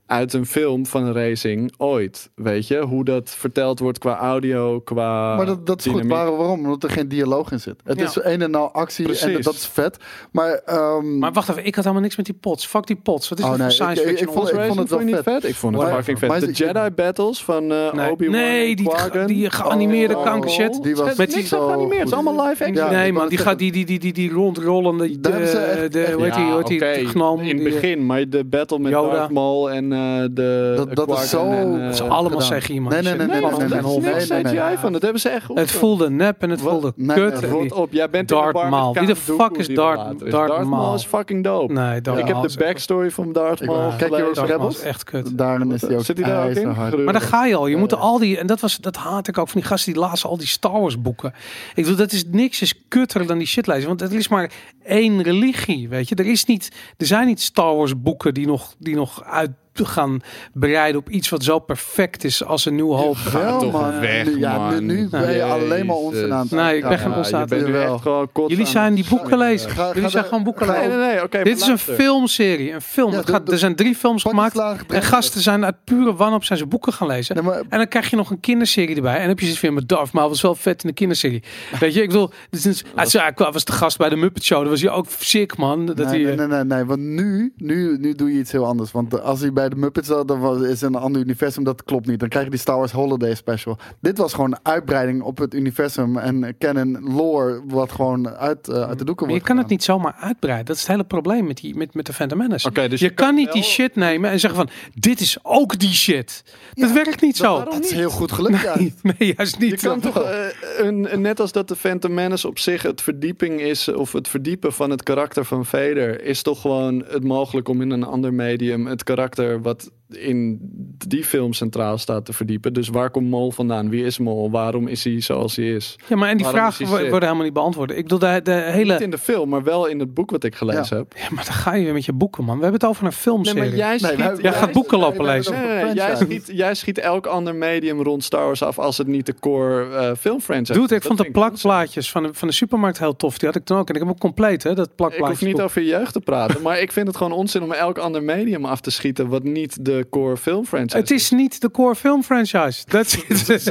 Speaker 2: uit een film van een racing ooit. Weet je, hoe dat verteld wordt qua audio, qua.
Speaker 3: Maar dat, dat is goed.
Speaker 2: dynamiek.
Speaker 3: Waar- waarom? Omdat er geen dialoog in zit. Het
Speaker 1: Ja.
Speaker 3: is een en al actie en
Speaker 2: Precies.
Speaker 3: dat is vet. Maar, ehm,
Speaker 1: Maar wacht even, ik had helemaal niks met die pots. Fuck die pots. Wat is
Speaker 3: Oh,
Speaker 1: dat
Speaker 3: nee,
Speaker 1: voor science
Speaker 3: ik- ik- ik
Speaker 1: fiction?
Speaker 3: vond-
Speaker 1: onzin?
Speaker 2: Racing
Speaker 3: het wel
Speaker 2: vond je niet
Speaker 3: vet.
Speaker 2: vet. Ik vond het
Speaker 3: Maar-
Speaker 2: fucking
Speaker 3: maar
Speaker 2: vet.
Speaker 3: is
Speaker 2: De
Speaker 3: het-
Speaker 2: Jedi battles van eh
Speaker 1: Nee,
Speaker 2: Obi-Wan.
Speaker 1: nee die,
Speaker 2: Qui-Gon.
Speaker 1: die geanimeerde
Speaker 3: Oh,
Speaker 1: kanker shit.
Speaker 3: die was
Speaker 2: Het is
Speaker 1: met
Speaker 2: niks
Speaker 3: zo
Speaker 2: aan geanimeerd. Het is
Speaker 3: goed.
Speaker 2: allemaal live action.
Speaker 3: Ja,
Speaker 1: nee,
Speaker 3: ik
Speaker 1: man,
Speaker 3: wou
Speaker 1: die,
Speaker 3: net
Speaker 1: gaat, die, die, die, die, die rondrollende.
Speaker 3: Daar hebben ze
Speaker 1: De,
Speaker 3: echt-
Speaker 1: de, hoe heet die, hoe heet die,
Speaker 2: oké,
Speaker 1: gnoom
Speaker 2: in het
Speaker 1: die, eh,
Speaker 2: begin, maar de battle met
Speaker 1: Yoda.
Speaker 2: Darth Maul en eh, de
Speaker 3: Dat- dat is
Speaker 2: Qui-Gon
Speaker 3: zo-
Speaker 2: en, eh,
Speaker 3: dat
Speaker 1: Het is
Speaker 3: eh,
Speaker 1: allemaal
Speaker 3: gedaan.
Speaker 1: zeggen iemand.
Speaker 3: Nee, nee, nee, nee,
Speaker 2: Nee,
Speaker 1: Shit.
Speaker 2: man,
Speaker 3: nee,
Speaker 2: dat is
Speaker 3: nee,
Speaker 2: niks
Speaker 3: nee, nee.
Speaker 2: CGI van. Dat hebben ze echt
Speaker 1: Het voelde nep en het
Speaker 2: Wat?
Speaker 1: voelde
Speaker 3: Nee,
Speaker 1: kut.
Speaker 3: nee,
Speaker 1: en die-
Speaker 2: Rot op, jij bent
Speaker 1: Darth
Speaker 2: in de war met
Speaker 1: Maul. Wie de
Speaker 2: Count Dooku
Speaker 1: fuck is
Speaker 2: die er
Speaker 1: Darth-
Speaker 2: later is.
Speaker 1: Darth Maul?
Speaker 2: is fucking dope.
Speaker 1: Nee, Darth
Speaker 2: ik heb
Speaker 1: Maul
Speaker 2: de
Speaker 1: is-
Speaker 2: backstory van Darth
Speaker 3: Ik
Speaker 2: Maul
Speaker 3: ben- Kijk,
Speaker 2: gelezen.
Speaker 3: jongens,
Speaker 1: Darth Maul
Speaker 3: Rebels?
Speaker 1: is echt kut.
Speaker 3: daarin is hij ook.
Speaker 2: Zit hij daar ook in?
Speaker 3: ijzerhard.
Speaker 2: Gruwelijk.
Speaker 1: Maar dan ga je al. Je moet al die. En dat, was, dat haat ik ook van die gasten die lazen al die Star Wars boeken. Ik bedoel, dat is niks is kutter dan die shitlijst. Want er is maar één religie. Weet je, er, is niet, er zijn niet Star Wars boeken die nog, die nog uit gaan breiden op iets wat zo perfect is als een nieuw hoop.
Speaker 3: Wel,
Speaker 2: toch
Speaker 3: man.
Speaker 2: weg,
Speaker 3: Nu- ja, nu- Nu
Speaker 2: man.
Speaker 3: ben je
Speaker 2: Jezus.
Speaker 3: alleen maar ons aan het
Speaker 1: Nee, ik ben
Speaker 3: uitkaken.
Speaker 1: geen ons aan
Speaker 2: je
Speaker 1: het-
Speaker 2: bent nu
Speaker 3: Jawel.
Speaker 2: echt gewoon kot
Speaker 1: eh. Jullie
Speaker 2: aan
Speaker 1: zijn
Speaker 2: het
Speaker 1: die boekenlezers.
Speaker 3: Ga- ga
Speaker 1: Jullie zijn
Speaker 3: de-
Speaker 1: gewoon
Speaker 3: ga-
Speaker 2: Nee, nee,
Speaker 1: boekenlezers.
Speaker 2: nee. Oké, maar
Speaker 1: Dit is een
Speaker 2: luister.
Speaker 1: filmserie, een film.
Speaker 3: Ja,
Speaker 1: het
Speaker 3: doe-
Speaker 1: gaat,
Speaker 3: doe-
Speaker 1: er zijn drie films
Speaker 3: pak die
Speaker 1: gemaakt.
Speaker 3: slagen,
Speaker 1: En
Speaker 3: breng
Speaker 1: gasten zijn uit pure wanhoop zijn ze boeken gaan lezen.
Speaker 3: Nee, maar-
Speaker 1: En dan krijg je nog een kinderserie erbij. En dan heb je zoiets weer met Darth Maul. was wel vet in de kinderserie. Weet je, ik bedoel... Dit is, hij zei, hij kwam- was de gast bij de Muppet Show. Dat was hij ook sick, man. Dat hij,
Speaker 3: nee, nee, nee, nee, nee, want nu, nu, nu doe je iets heel anders. Want als hij bij de Muppets zat, dan was, is een ander universum, dat klopt niet. Dan krijg je die Star Wars Holiday Special. Dit was gewoon een uitbreiding op het universum en canon lore, wat gewoon uit, eh, uit de doeken
Speaker 1: Maar je
Speaker 3: wordt
Speaker 1: kan het
Speaker 3: gedaan.
Speaker 1: niet zomaar uitbreiden. Dat is het hele probleem met, die, met, met de Phantom Menace.
Speaker 2: Oké, dus
Speaker 1: je,
Speaker 2: je
Speaker 1: kan,
Speaker 2: kan
Speaker 1: niet
Speaker 2: wel-
Speaker 1: die shit nemen en zeggen van... Dit is ook die shit. dat werkt niet zo.
Speaker 3: Dat is heel goed gelukt, ja.
Speaker 1: Nee, juist niet.
Speaker 2: Je kan toch, eh, een, een- net als dat de Phantom Menace op zich het verdieping is, of het verdiepen van het karakter van Vader, is toch gewoon het mogelijk om in een ander medium het karakter wat in die film centraal staat te verdiepen. Dus waar komt Mol vandaan? Wie is Mol? Waarom is hij zoals hij is?
Speaker 1: Ja, maar en die
Speaker 2: Waarom
Speaker 1: vragen
Speaker 2: is
Speaker 1: wo-
Speaker 2: hij shit?
Speaker 1: worden helemaal niet beantwoord. Ik bedoel, de, de hele...
Speaker 2: Niet in de film, maar wel in het boek wat ik gelezen heb.
Speaker 1: Ja, maar dan ga je weer met je boeken, man. We hebben het over een filmserie.
Speaker 3: Nee, wij-
Speaker 1: Jij
Speaker 3: wij-
Speaker 1: gaat boeken
Speaker 3: wij-
Speaker 1: lopen
Speaker 3: wij-
Speaker 1: lezen.
Speaker 2: Nee, nee, nee, jij,
Speaker 3: franchise.
Speaker 2: schiet, jij schiet elk ander medium rond Star Wars af als het niet de core eh, filmfranchise
Speaker 1: Dude, ik
Speaker 2: is. Dat
Speaker 1: vond de
Speaker 2: vind ik onzin.
Speaker 1: plakplaatjes van de, van de supermarkt heel tof. Die had ik toen ook. En ik heb hem compleet, hè, dat
Speaker 2: Ik hoef
Speaker 1: plakplaatje.
Speaker 2: niet over je jeugd te praten, maar ik vind het gewoon onzin om elk ander medium af te schieten wat niet de core filmfranchise
Speaker 1: Het is niet de core film
Speaker 2: [laughs]
Speaker 1: franchise. Dat is
Speaker 3: Dus,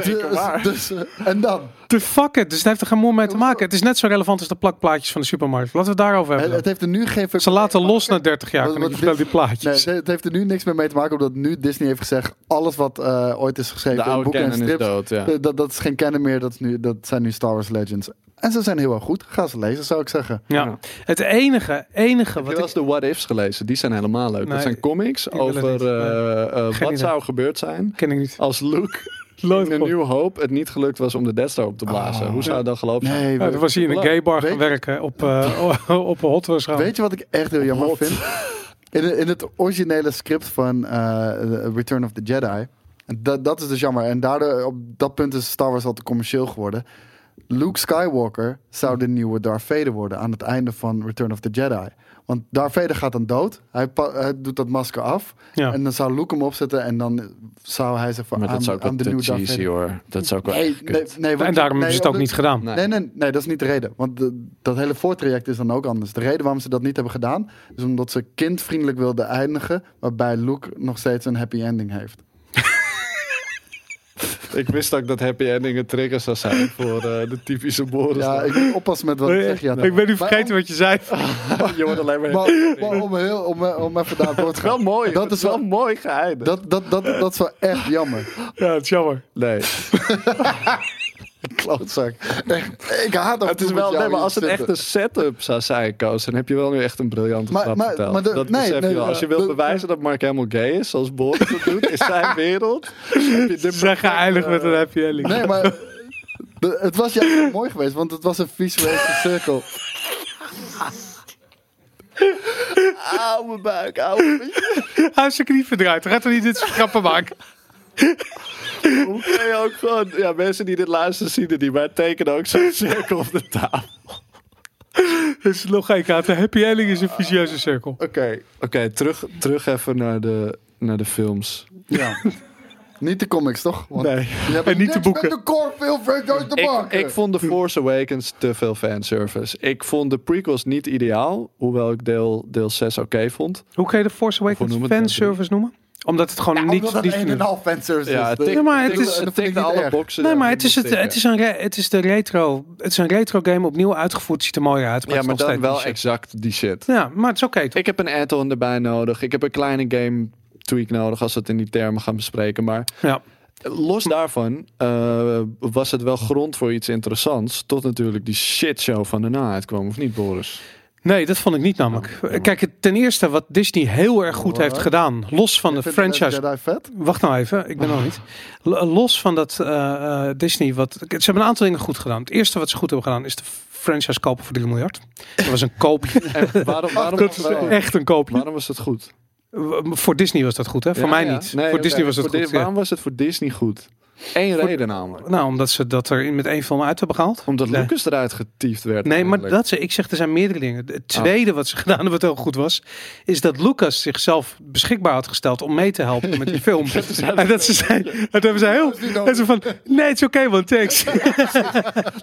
Speaker 3: dus, eh, en dan?
Speaker 1: de fuck it. Dus het heeft er geen moe mee te maken. Het is net zo relevant als de plakplaatjes van de supermarkt. Laten we het daarover
Speaker 3: Het,
Speaker 1: hebben.
Speaker 3: het heeft er nu geen...
Speaker 1: Ze laten los na 30 jaar.
Speaker 3: Wat-
Speaker 1: Kan ik je
Speaker 3: wat
Speaker 1: vertellen, die
Speaker 3: dit-
Speaker 1: plaatjes.
Speaker 3: Nee, het heeft er nu niks meer mee te maken, omdat nu Disney heeft gezegd: alles wat eh, ooit is
Speaker 2: De
Speaker 3: geschreven in
Speaker 2: oude
Speaker 3: boeken en
Speaker 2: canon is
Speaker 3: strips,
Speaker 2: dood, ja.
Speaker 3: eh, dat, dat is geen canon meer, dat, is nu, dat zijn nu Star Wars Legends. En ze zijn heel erg goed. Ga ze lezen, zou ik zeggen.
Speaker 1: ja.
Speaker 2: Ja.
Speaker 1: Het enige, enige
Speaker 2: Heb
Speaker 1: wat
Speaker 2: je wel eens
Speaker 1: ik...
Speaker 2: de what-ifs gelezen? Die zijn helemaal leuk.
Speaker 1: Nee,
Speaker 2: dat zijn comics
Speaker 1: willen
Speaker 2: over
Speaker 1: niet.
Speaker 2: eh, eh,
Speaker 1: Geen
Speaker 2: wat
Speaker 1: idee.
Speaker 2: zou gebeurd zijn
Speaker 1: Ken ik
Speaker 3: Oh,
Speaker 1: niet.
Speaker 2: als Luke
Speaker 1: Nooit
Speaker 2: in een
Speaker 1: gehoord.
Speaker 2: nieuw hoop het niet gelukt was om de Death Star op te blazen.
Speaker 1: Oh.
Speaker 2: Hoe zou het dan gelopen zijn?
Speaker 3: Nee,
Speaker 1: Ja,
Speaker 3: we-
Speaker 1: dan was hij in een gay bar gaan werken op, eh, [laughs] op een hot Wheels gaan.
Speaker 3: weet je wat ik echt heel jammer vind? In, in het originele script van eh, Return of the Jedi. en Dat, dat is dus jammer. En daardoor, op dat punt is Star Wars al te commercieel geworden. Luke Skywalker zou de nieuwe Darth Vader worden aan het einde van Return of the Jedi. Want Darth Vader gaat dan dood. Hij, pa- hij doet dat masker af.
Speaker 1: Ja.
Speaker 3: En dan zou Luke hem opzetten en dan zou hij zich voor
Speaker 2: Maar dat
Speaker 3: aan,
Speaker 2: zou ook
Speaker 3: aan
Speaker 2: wel
Speaker 3: de
Speaker 2: te
Speaker 3: nieuwe Darth
Speaker 2: cheesy
Speaker 3: Vader.
Speaker 2: hoor. Dat zou ook wel
Speaker 3: Nee,
Speaker 2: echt kut.
Speaker 3: nee, nee, want-
Speaker 1: En daarom
Speaker 3: nee,
Speaker 1: hebben ze het ook
Speaker 3: omdat-
Speaker 1: niet gedaan.
Speaker 2: Nee.
Speaker 3: Nee, nee, nee, dat is niet de reden. Want de- dat hele voortraject is dan ook anders. De reden waarom ze dat niet hebben gedaan, is omdat ze kindvriendelijk wilden eindigen, waarbij Luke nog steeds een happy ending heeft.
Speaker 2: Ik wist ook dat happy ending een trigger zou zijn [laughs] voor eh, de typische Boris.
Speaker 3: Ja, ik moet oppassen met wat ik zeg. Ja,
Speaker 1: Oh, Ik ben nu vergeten wat je zei.
Speaker 2: [laughs]
Speaker 1: [laughs]
Speaker 2: je wordt alleen maar...
Speaker 3: Maar, maar om, heel, om, eh, om even daar
Speaker 2: [laughs]
Speaker 3: door te gaan.
Speaker 2: mooi.
Speaker 3: Dat is wel
Speaker 2: mooi geëindigd.
Speaker 3: Dat, dat, dat, dat is wel echt
Speaker 2: [laughs]
Speaker 3: jammer.
Speaker 1: Ja, het is jammer.
Speaker 2: Nee.
Speaker 3: Klootzak. Echt, ik haat dat.
Speaker 2: [laughs]
Speaker 3: [laughs]
Speaker 2: Het is wel, nee, maar als het echt een setup zou zijn, Koos, dan heb je wel nu echt een briljante
Speaker 3: Maar-
Speaker 2: grap
Speaker 3: maar-
Speaker 2: verteld.
Speaker 3: maar de-
Speaker 2: dat
Speaker 3: nee,
Speaker 2: besef
Speaker 3: nee,
Speaker 2: je wel. Als je
Speaker 3: eh,
Speaker 2: wilt
Speaker 3: de-
Speaker 2: bewijzen dat Mark Hamill gay is, zoals Boris dat
Speaker 3: [laughs]
Speaker 2: doet, in zijn wereld, heb je dit
Speaker 1: Ze gaan eindigen met een happy ending.
Speaker 3: Nee, maar de- het was juist wel mooi geweest, want het was een visuele cirkel.
Speaker 2: oude buik, oude
Speaker 1: Hij heeft zijn knie verdraaid. Hij gaat er niet dit soort grappen [laughs] maken.
Speaker 2: Hoe kun je ook gewoon... Ja, mensen die dit luisteren zien het niet, maar tekenen ook zo'n cirkel op de tafel.
Speaker 1: Dat is logica. Het happy ending is een vicieuze cirkel.
Speaker 2: Oké, oké, terug, terug even naar de, naar de films.
Speaker 3: Ja. [laughs] Niet de comics, toch? Want
Speaker 2: Nee.
Speaker 3: je hebt
Speaker 1: En niet de
Speaker 3: niks
Speaker 1: boeken.
Speaker 3: Met de core veel uit te
Speaker 2: Ik,
Speaker 3: maken.
Speaker 2: ik vond The Force Awakens te veel fanservice. Ik vond de prequels niet ideaal, hoewel ik deel, deel 6 oké vond.
Speaker 1: Hoe kan je de Force Awakens
Speaker 2: Hoe noemen we het? nou,
Speaker 1: fanservice noemen? Omdat het gewoon
Speaker 3: Ja,
Speaker 1: niet...
Speaker 3: Nou, omdat dat
Speaker 1: niet
Speaker 3: een en
Speaker 1: vernieuwd-
Speaker 3: een half fanservice
Speaker 2: Ja,
Speaker 3: is.
Speaker 2: het
Speaker 3: Dat-
Speaker 2: tikt-
Speaker 1: Ja, maar het
Speaker 2: tikt-
Speaker 1: is-
Speaker 2: het
Speaker 3: dat vind ik
Speaker 2: tikt
Speaker 3: niet
Speaker 2: alle
Speaker 3: erg.
Speaker 2: boxen.
Speaker 1: Nee,
Speaker 2: die
Speaker 1: maar
Speaker 2: erin
Speaker 1: het is, het,
Speaker 2: stikken.
Speaker 1: het, is een re- het is de retro. Het is een retro game opnieuw uitgevoerd. Ziet er mooier uit. Maar
Speaker 2: Ja,
Speaker 1: het
Speaker 2: maar
Speaker 1: is nog
Speaker 2: dan
Speaker 1: steeds
Speaker 2: wel
Speaker 1: die shit.
Speaker 2: exact die shit.
Speaker 1: Ja, maar het is oké toch?
Speaker 2: Ik heb een add-on erbij nodig. Ik heb een kleine game tweak nodig als we het in die termen gaan bespreken. Maar
Speaker 1: Ja.
Speaker 2: los daarvan eh, was het wel grond voor iets interessants. Tot natuurlijk die shitshow van daarna uitkwam, of niet, Boris?
Speaker 1: Nee, dat vond ik niet namelijk. Kijk, het- ten eerste wat Disney heel erg goed
Speaker 3: Hoor.
Speaker 1: heeft gedaan. Los van de
Speaker 3: Vind je Last
Speaker 1: franchise
Speaker 3: Jedi vet?
Speaker 1: Wacht nou even, ik ben nog
Speaker 2: [laughs]
Speaker 1: niet. L- Los van dat eh, eh, Disney, wat, ze hebben een aantal dingen goed gedaan. Het eerste wat ze goed hebben gedaan is de franchise kopen voor 3 miljard. Dat was een
Speaker 2: [laughs]
Speaker 1: koopje.
Speaker 2: En waarom, waarom,
Speaker 3: dat is
Speaker 1: [laughs]
Speaker 2: waarom-
Speaker 1: Echt een koopje.
Speaker 2: waarom was dat goed?
Speaker 1: W- Voor Disney was dat goed, hè? Eh, Voor
Speaker 2: Ja,
Speaker 1: mij
Speaker 2: ja.
Speaker 1: niet.
Speaker 2: Nee,
Speaker 1: voor
Speaker 2: oké.
Speaker 1: Disney was dat
Speaker 2: Voor Di-
Speaker 1: goed. ja.
Speaker 2: Waarom was het voor Disney goed? Eén reden namelijk.
Speaker 1: Nou, omdat ze dat er in- met één film uit hebben gehaald.
Speaker 2: Omdat
Speaker 1: Nee.
Speaker 2: Lucas eruit getiefd werd.
Speaker 1: Nee, maar
Speaker 2: eigenlijk.
Speaker 1: dat ze, ik zeg, er zijn meerdere dingen. Het tweede wat ze [laughs] gedaan hebben, wat heel goed was, is dat Lucas zichzelf beschikbaar had gesteld om mee te helpen met die film. en dat ze zei, dat hebben ze heel, en ze van, nee, het is oké, want thanks.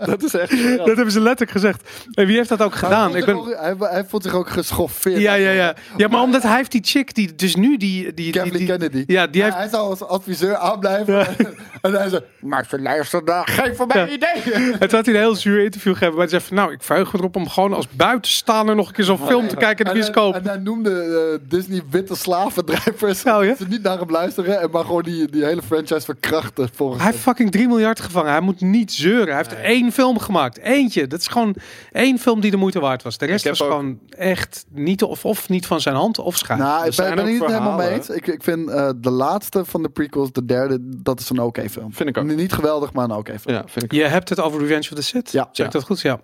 Speaker 2: dat is echt... briljant.
Speaker 1: Dat hebben ze letterlijk gezegd. En wie heeft dat ook gedaan?
Speaker 3: Hij
Speaker 1: Ik
Speaker 3: voelt
Speaker 1: ben...
Speaker 3: zich ook- hij, hij voelt zich ook geschoffeerd.
Speaker 1: Ja, ja, ja. Ja, maar omdat hij heeft die chick die dus nu die... die, die,
Speaker 3: Kathleen
Speaker 1: die-
Speaker 3: Kennedy.
Speaker 1: Ja, die heeft...
Speaker 3: Hij zou als adviseur aanblijven. [laughs] en hij zei, maar ze luisteren daar. Geef voor mij
Speaker 1: Ja.
Speaker 3: ideeën.
Speaker 1: Het had hij een heel zuur interview gegeven. Maar hij zei van, nou, ik verheug me erop om gewoon als buitenstaander nog een keer zo'n film te kijken in
Speaker 3: En
Speaker 1: de
Speaker 3: hij,
Speaker 1: bioscoop.
Speaker 3: en hij noemde eh, Disney witte slavendrijvers.
Speaker 1: Nou, ja.
Speaker 3: Dat Ze niet naar hem luisteren, en maar gewoon die, die hele franchise verkrachten. Volgens
Speaker 1: Hij heeft fucking 3 miljard gevangen. Hij moet niet zeuren. Hij heeft één film gemaakt. Eentje. Dat is gewoon één film die de moeite waard was. De rest
Speaker 2: heb
Speaker 1: was
Speaker 2: ook-
Speaker 1: gewoon echt niet of, of niet van zijn hand of schaam.
Speaker 3: Nou, ik ben,
Speaker 2: Ah, zijn
Speaker 3: ik ben
Speaker 2: ook
Speaker 3: het niet helemaal mee
Speaker 2: verhalen.
Speaker 3: eens. Ik, ik vind eh, de laatste van de prequels, de derde, dat is een oké film.
Speaker 2: Vind ik ook.
Speaker 3: Niet geweldig, maar een oké film.
Speaker 2: Ja, vind ik
Speaker 1: Je hebt het over Revenge of the Sith.
Speaker 3: Ja.
Speaker 1: Zeg ik
Speaker 2: Ja.
Speaker 1: dat goed? Ja.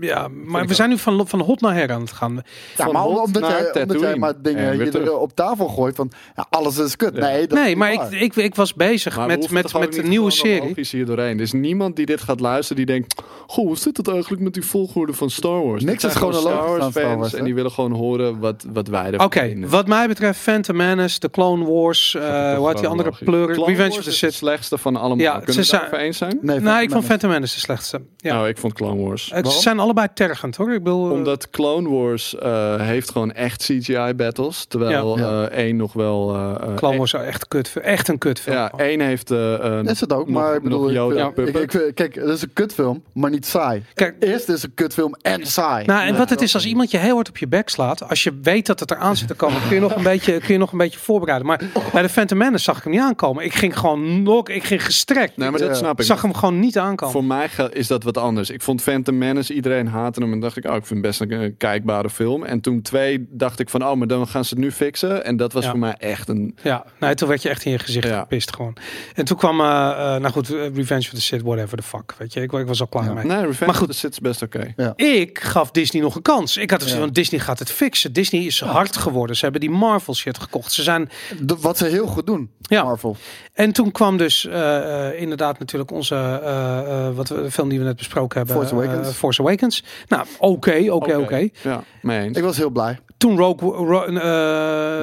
Speaker 1: Ja, maar
Speaker 2: ik
Speaker 1: we
Speaker 2: ook.
Speaker 1: zijn nu van, van hot naar her aan het gaan.
Speaker 3: Ja,
Speaker 2: Van
Speaker 3: maar om-
Speaker 2: hot
Speaker 3: omdat
Speaker 2: naar
Speaker 3: jij, omdat jij
Speaker 2: Tatooine.
Speaker 3: maar dingen
Speaker 2: En weer
Speaker 3: hier
Speaker 2: terug.
Speaker 3: op tafel gooit van ja, alles is kut. Nee, dat is
Speaker 1: Nee,
Speaker 3: niet
Speaker 1: maar ik,
Speaker 3: waar.
Speaker 1: ik, ik was bezig
Speaker 2: Maar we
Speaker 1: met,
Speaker 2: hoeven
Speaker 1: met,
Speaker 2: toch ook
Speaker 1: met de
Speaker 2: niet
Speaker 1: nieuwe
Speaker 2: gewoon
Speaker 1: serie.
Speaker 2: logisch hier doorheen. Er is niemand die dit gaat luisteren die denkt... Goh, hoe zit het eigenlijk met die volgorde van Star Wars?
Speaker 3: Niks
Speaker 2: Dit zijn
Speaker 3: is
Speaker 2: gewoon
Speaker 3: chronologisch
Speaker 2: Star Wars
Speaker 3: aan Star
Speaker 2: fans
Speaker 3: Wars, hè?
Speaker 2: en die willen gewoon horen wat, wat wij ervan
Speaker 1: Oké,
Speaker 2: vinden.
Speaker 1: wat mij betreft Phantom Menace, The Clone Wars, eh,
Speaker 2: Toch
Speaker 1: hoe heet die andere
Speaker 2: chronologisch.
Speaker 1: pleuren?
Speaker 2: Clone
Speaker 1: Revenge
Speaker 2: Wars
Speaker 1: of the
Speaker 2: is het
Speaker 1: Sith.
Speaker 2: slechtste van allemaal.
Speaker 1: Ja,
Speaker 2: Kunnen
Speaker 1: ze
Speaker 2: we
Speaker 1: zijn-
Speaker 2: daarover eens zijn?
Speaker 3: Nee,
Speaker 1: Nou, ik vond
Speaker 3: Menace.
Speaker 1: Phantom Menace de slechtste. Ja.
Speaker 2: Nou, ik vond Clone Wars.
Speaker 1: Eh, ze
Speaker 3: waarom?
Speaker 1: zijn allebei tergend hoor. Ik bedoel, eh,
Speaker 2: Omdat Clone Wars eh, heeft gewoon echt CGI battles. Terwijl
Speaker 3: Ja. Ja.
Speaker 2: eh, één nog wel... eh, eh,
Speaker 1: Clone Wars is echt, kut, echt een kutfilm.
Speaker 2: Ja, één heeft... eh, eh,
Speaker 3: is het ook,
Speaker 2: nog-
Speaker 3: maar
Speaker 2: nog
Speaker 3: ik bedoel, ik-
Speaker 2: Yoda
Speaker 3: ik- ik,
Speaker 2: puppet.
Speaker 3: ik- kijk, het is een kutfilm, maar niet saai.
Speaker 1: Kijk,
Speaker 3: Eerst is een kutfilm en saai.
Speaker 1: nou, en wat het is, als iemand je heel hard op je bek slaat, als je weet dat het eraan zit te komen, kun je nog een beetje, kun je nog een beetje voorbereiden. Maar bij de Phantom Menace zag ik hem niet aankomen. Ik ging gewoon nog, ik ging gestrekt.
Speaker 2: Nee, maar
Speaker 1: ik
Speaker 2: dat
Speaker 3: Ja.
Speaker 2: snap ik.
Speaker 1: zag hem gewoon niet aankomen.
Speaker 2: Voor mij ge- is dat wat anders. Ik vond Phantom Menace is iedereen haatte hem. En dacht ik, oh, ik vind het best een, eh, kijkbare film. En toen twee dacht ik van, oh, maar dan gaan ze het nu fixen. En dat was
Speaker 1: Ja.
Speaker 2: voor mij echt een...
Speaker 1: Ja, nou, toen werd je echt in je gezicht
Speaker 2: Ja.
Speaker 1: gepist gewoon. En toen kwam, eh eh, nou goed, eh, Revenge of the Sith, whatever the fuck. Weet je, ik, ik was al klaar mee.
Speaker 2: Nee, Revenge
Speaker 1: Maar
Speaker 2: maar
Speaker 1: goed.
Speaker 2: goed, of the Sith is best oké.
Speaker 1: Ik gaf Disney nog een kans. Ik had zoiets van, Disney gaat het fixen. Disney is hard geworden. Ze hebben die Marvel shit gekocht. Ze zijn...
Speaker 3: De- wat ze heel goed doen,
Speaker 1: Ja.
Speaker 3: Marvel.
Speaker 1: En toen kwam dus eh, eh, inderdaad natuurlijk onze eh, eh, wat we, de film die we net besproken hebben.
Speaker 3: Force Awakens.
Speaker 1: eh, Force Awakens. Nou, oké, oké, oké.
Speaker 2: Ja, mee eens.
Speaker 3: Ik was heel blij.
Speaker 1: Toen Rogue, Ro- eh,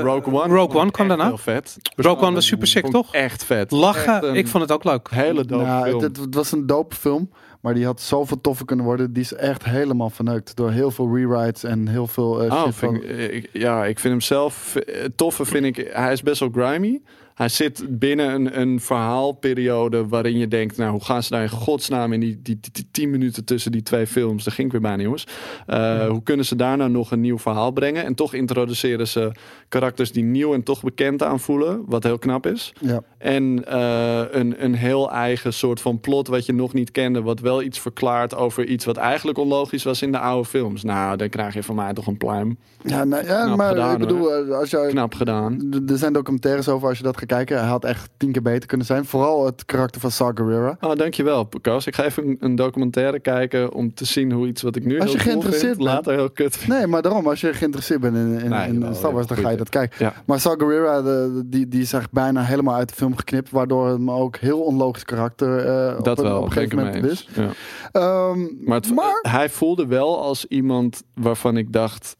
Speaker 2: Rogue One. vond
Speaker 1: Rogue One
Speaker 2: ik
Speaker 1: kwam
Speaker 2: echt
Speaker 1: daarna.
Speaker 2: Heel vet.
Speaker 1: Rogue One was super sick,
Speaker 2: Vond ik
Speaker 1: toch?
Speaker 2: Echt vet.
Speaker 1: Lachen.
Speaker 2: Echt een
Speaker 1: Ik vond het ook leuk.
Speaker 2: Hele dope
Speaker 3: Nou,
Speaker 2: film.
Speaker 3: het, het- het was een dope film, maar die had zoveel toffer kunnen worden. Die is echt helemaal verneukt door heel veel rewrites en heel veel eh,
Speaker 2: Oh,
Speaker 3: shit
Speaker 2: vind
Speaker 3: van...
Speaker 2: ik, ik- ja, ik vind hem zelf eh, toffe. Vind ik, hij is best wel grimy. Hij zit binnen een, een verhaalperiode waarin je denkt: nou, hoe gaan ze daar in godsnaam in die, die, die, die tien minuten tussen die twee films? Dat ging ik weer bijna, jongens. Eh, Hoe kunnen ze daarna nog een nieuw verhaal brengen? En toch introduceren ze karakters die nieuw en toch bekend aanvoelen, wat heel knap is.
Speaker 3: Ja.
Speaker 2: En eh, een, een heel eigen soort van plot wat je nog niet kende. Wat wel iets verklaart over iets wat eigenlijk onlogisch was in de oude films. Nou, dan krijg je van mij toch een pluim.
Speaker 3: Ja, nou, ja
Speaker 2: Knap
Speaker 3: maar
Speaker 2: gedaan,
Speaker 3: ik bedoel, eh, als jij,
Speaker 2: Knap gedaan.
Speaker 3: d- er zijn documentaires over als je dat gaat kijken. Hij had echt tien keer beter kunnen zijn. Vooral het karakter van Saw Gerrera.
Speaker 2: Oh, dankjewel, Koos. Ik ga even een, een documentaire kijken om te zien hoe iets wat ik nu
Speaker 3: Als
Speaker 2: heel
Speaker 3: je
Speaker 2: cool
Speaker 3: geïnteresseerd
Speaker 2: vind,
Speaker 3: bent.
Speaker 2: later heel kut vind.
Speaker 3: Nee, maar daarom, als je geïnteresseerd bent in, in,
Speaker 2: Nee,
Speaker 3: in
Speaker 2: wel,
Speaker 3: Star Wars, dan
Speaker 2: goeie
Speaker 3: ga je dat
Speaker 2: tip.
Speaker 3: kijken.
Speaker 2: Ja.
Speaker 3: Maar Saw Gerrera, de- de- die, die is echt bijna helemaal uit de film geknipt. Waardoor hem ook heel onlogisch karakter eh, op,
Speaker 2: Dat
Speaker 3: een,
Speaker 2: wel,
Speaker 3: op een
Speaker 2: denk
Speaker 3: gegeven
Speaker 2: ik mee
Speaker 3: moment
Speaker 2: eens.
Speaker 3: is.
Speaker 2: Ja.
Speaker 3: Ehm,
Speaker 2: Maar, het- hij voelde wel als iemand waarvan ik dacht...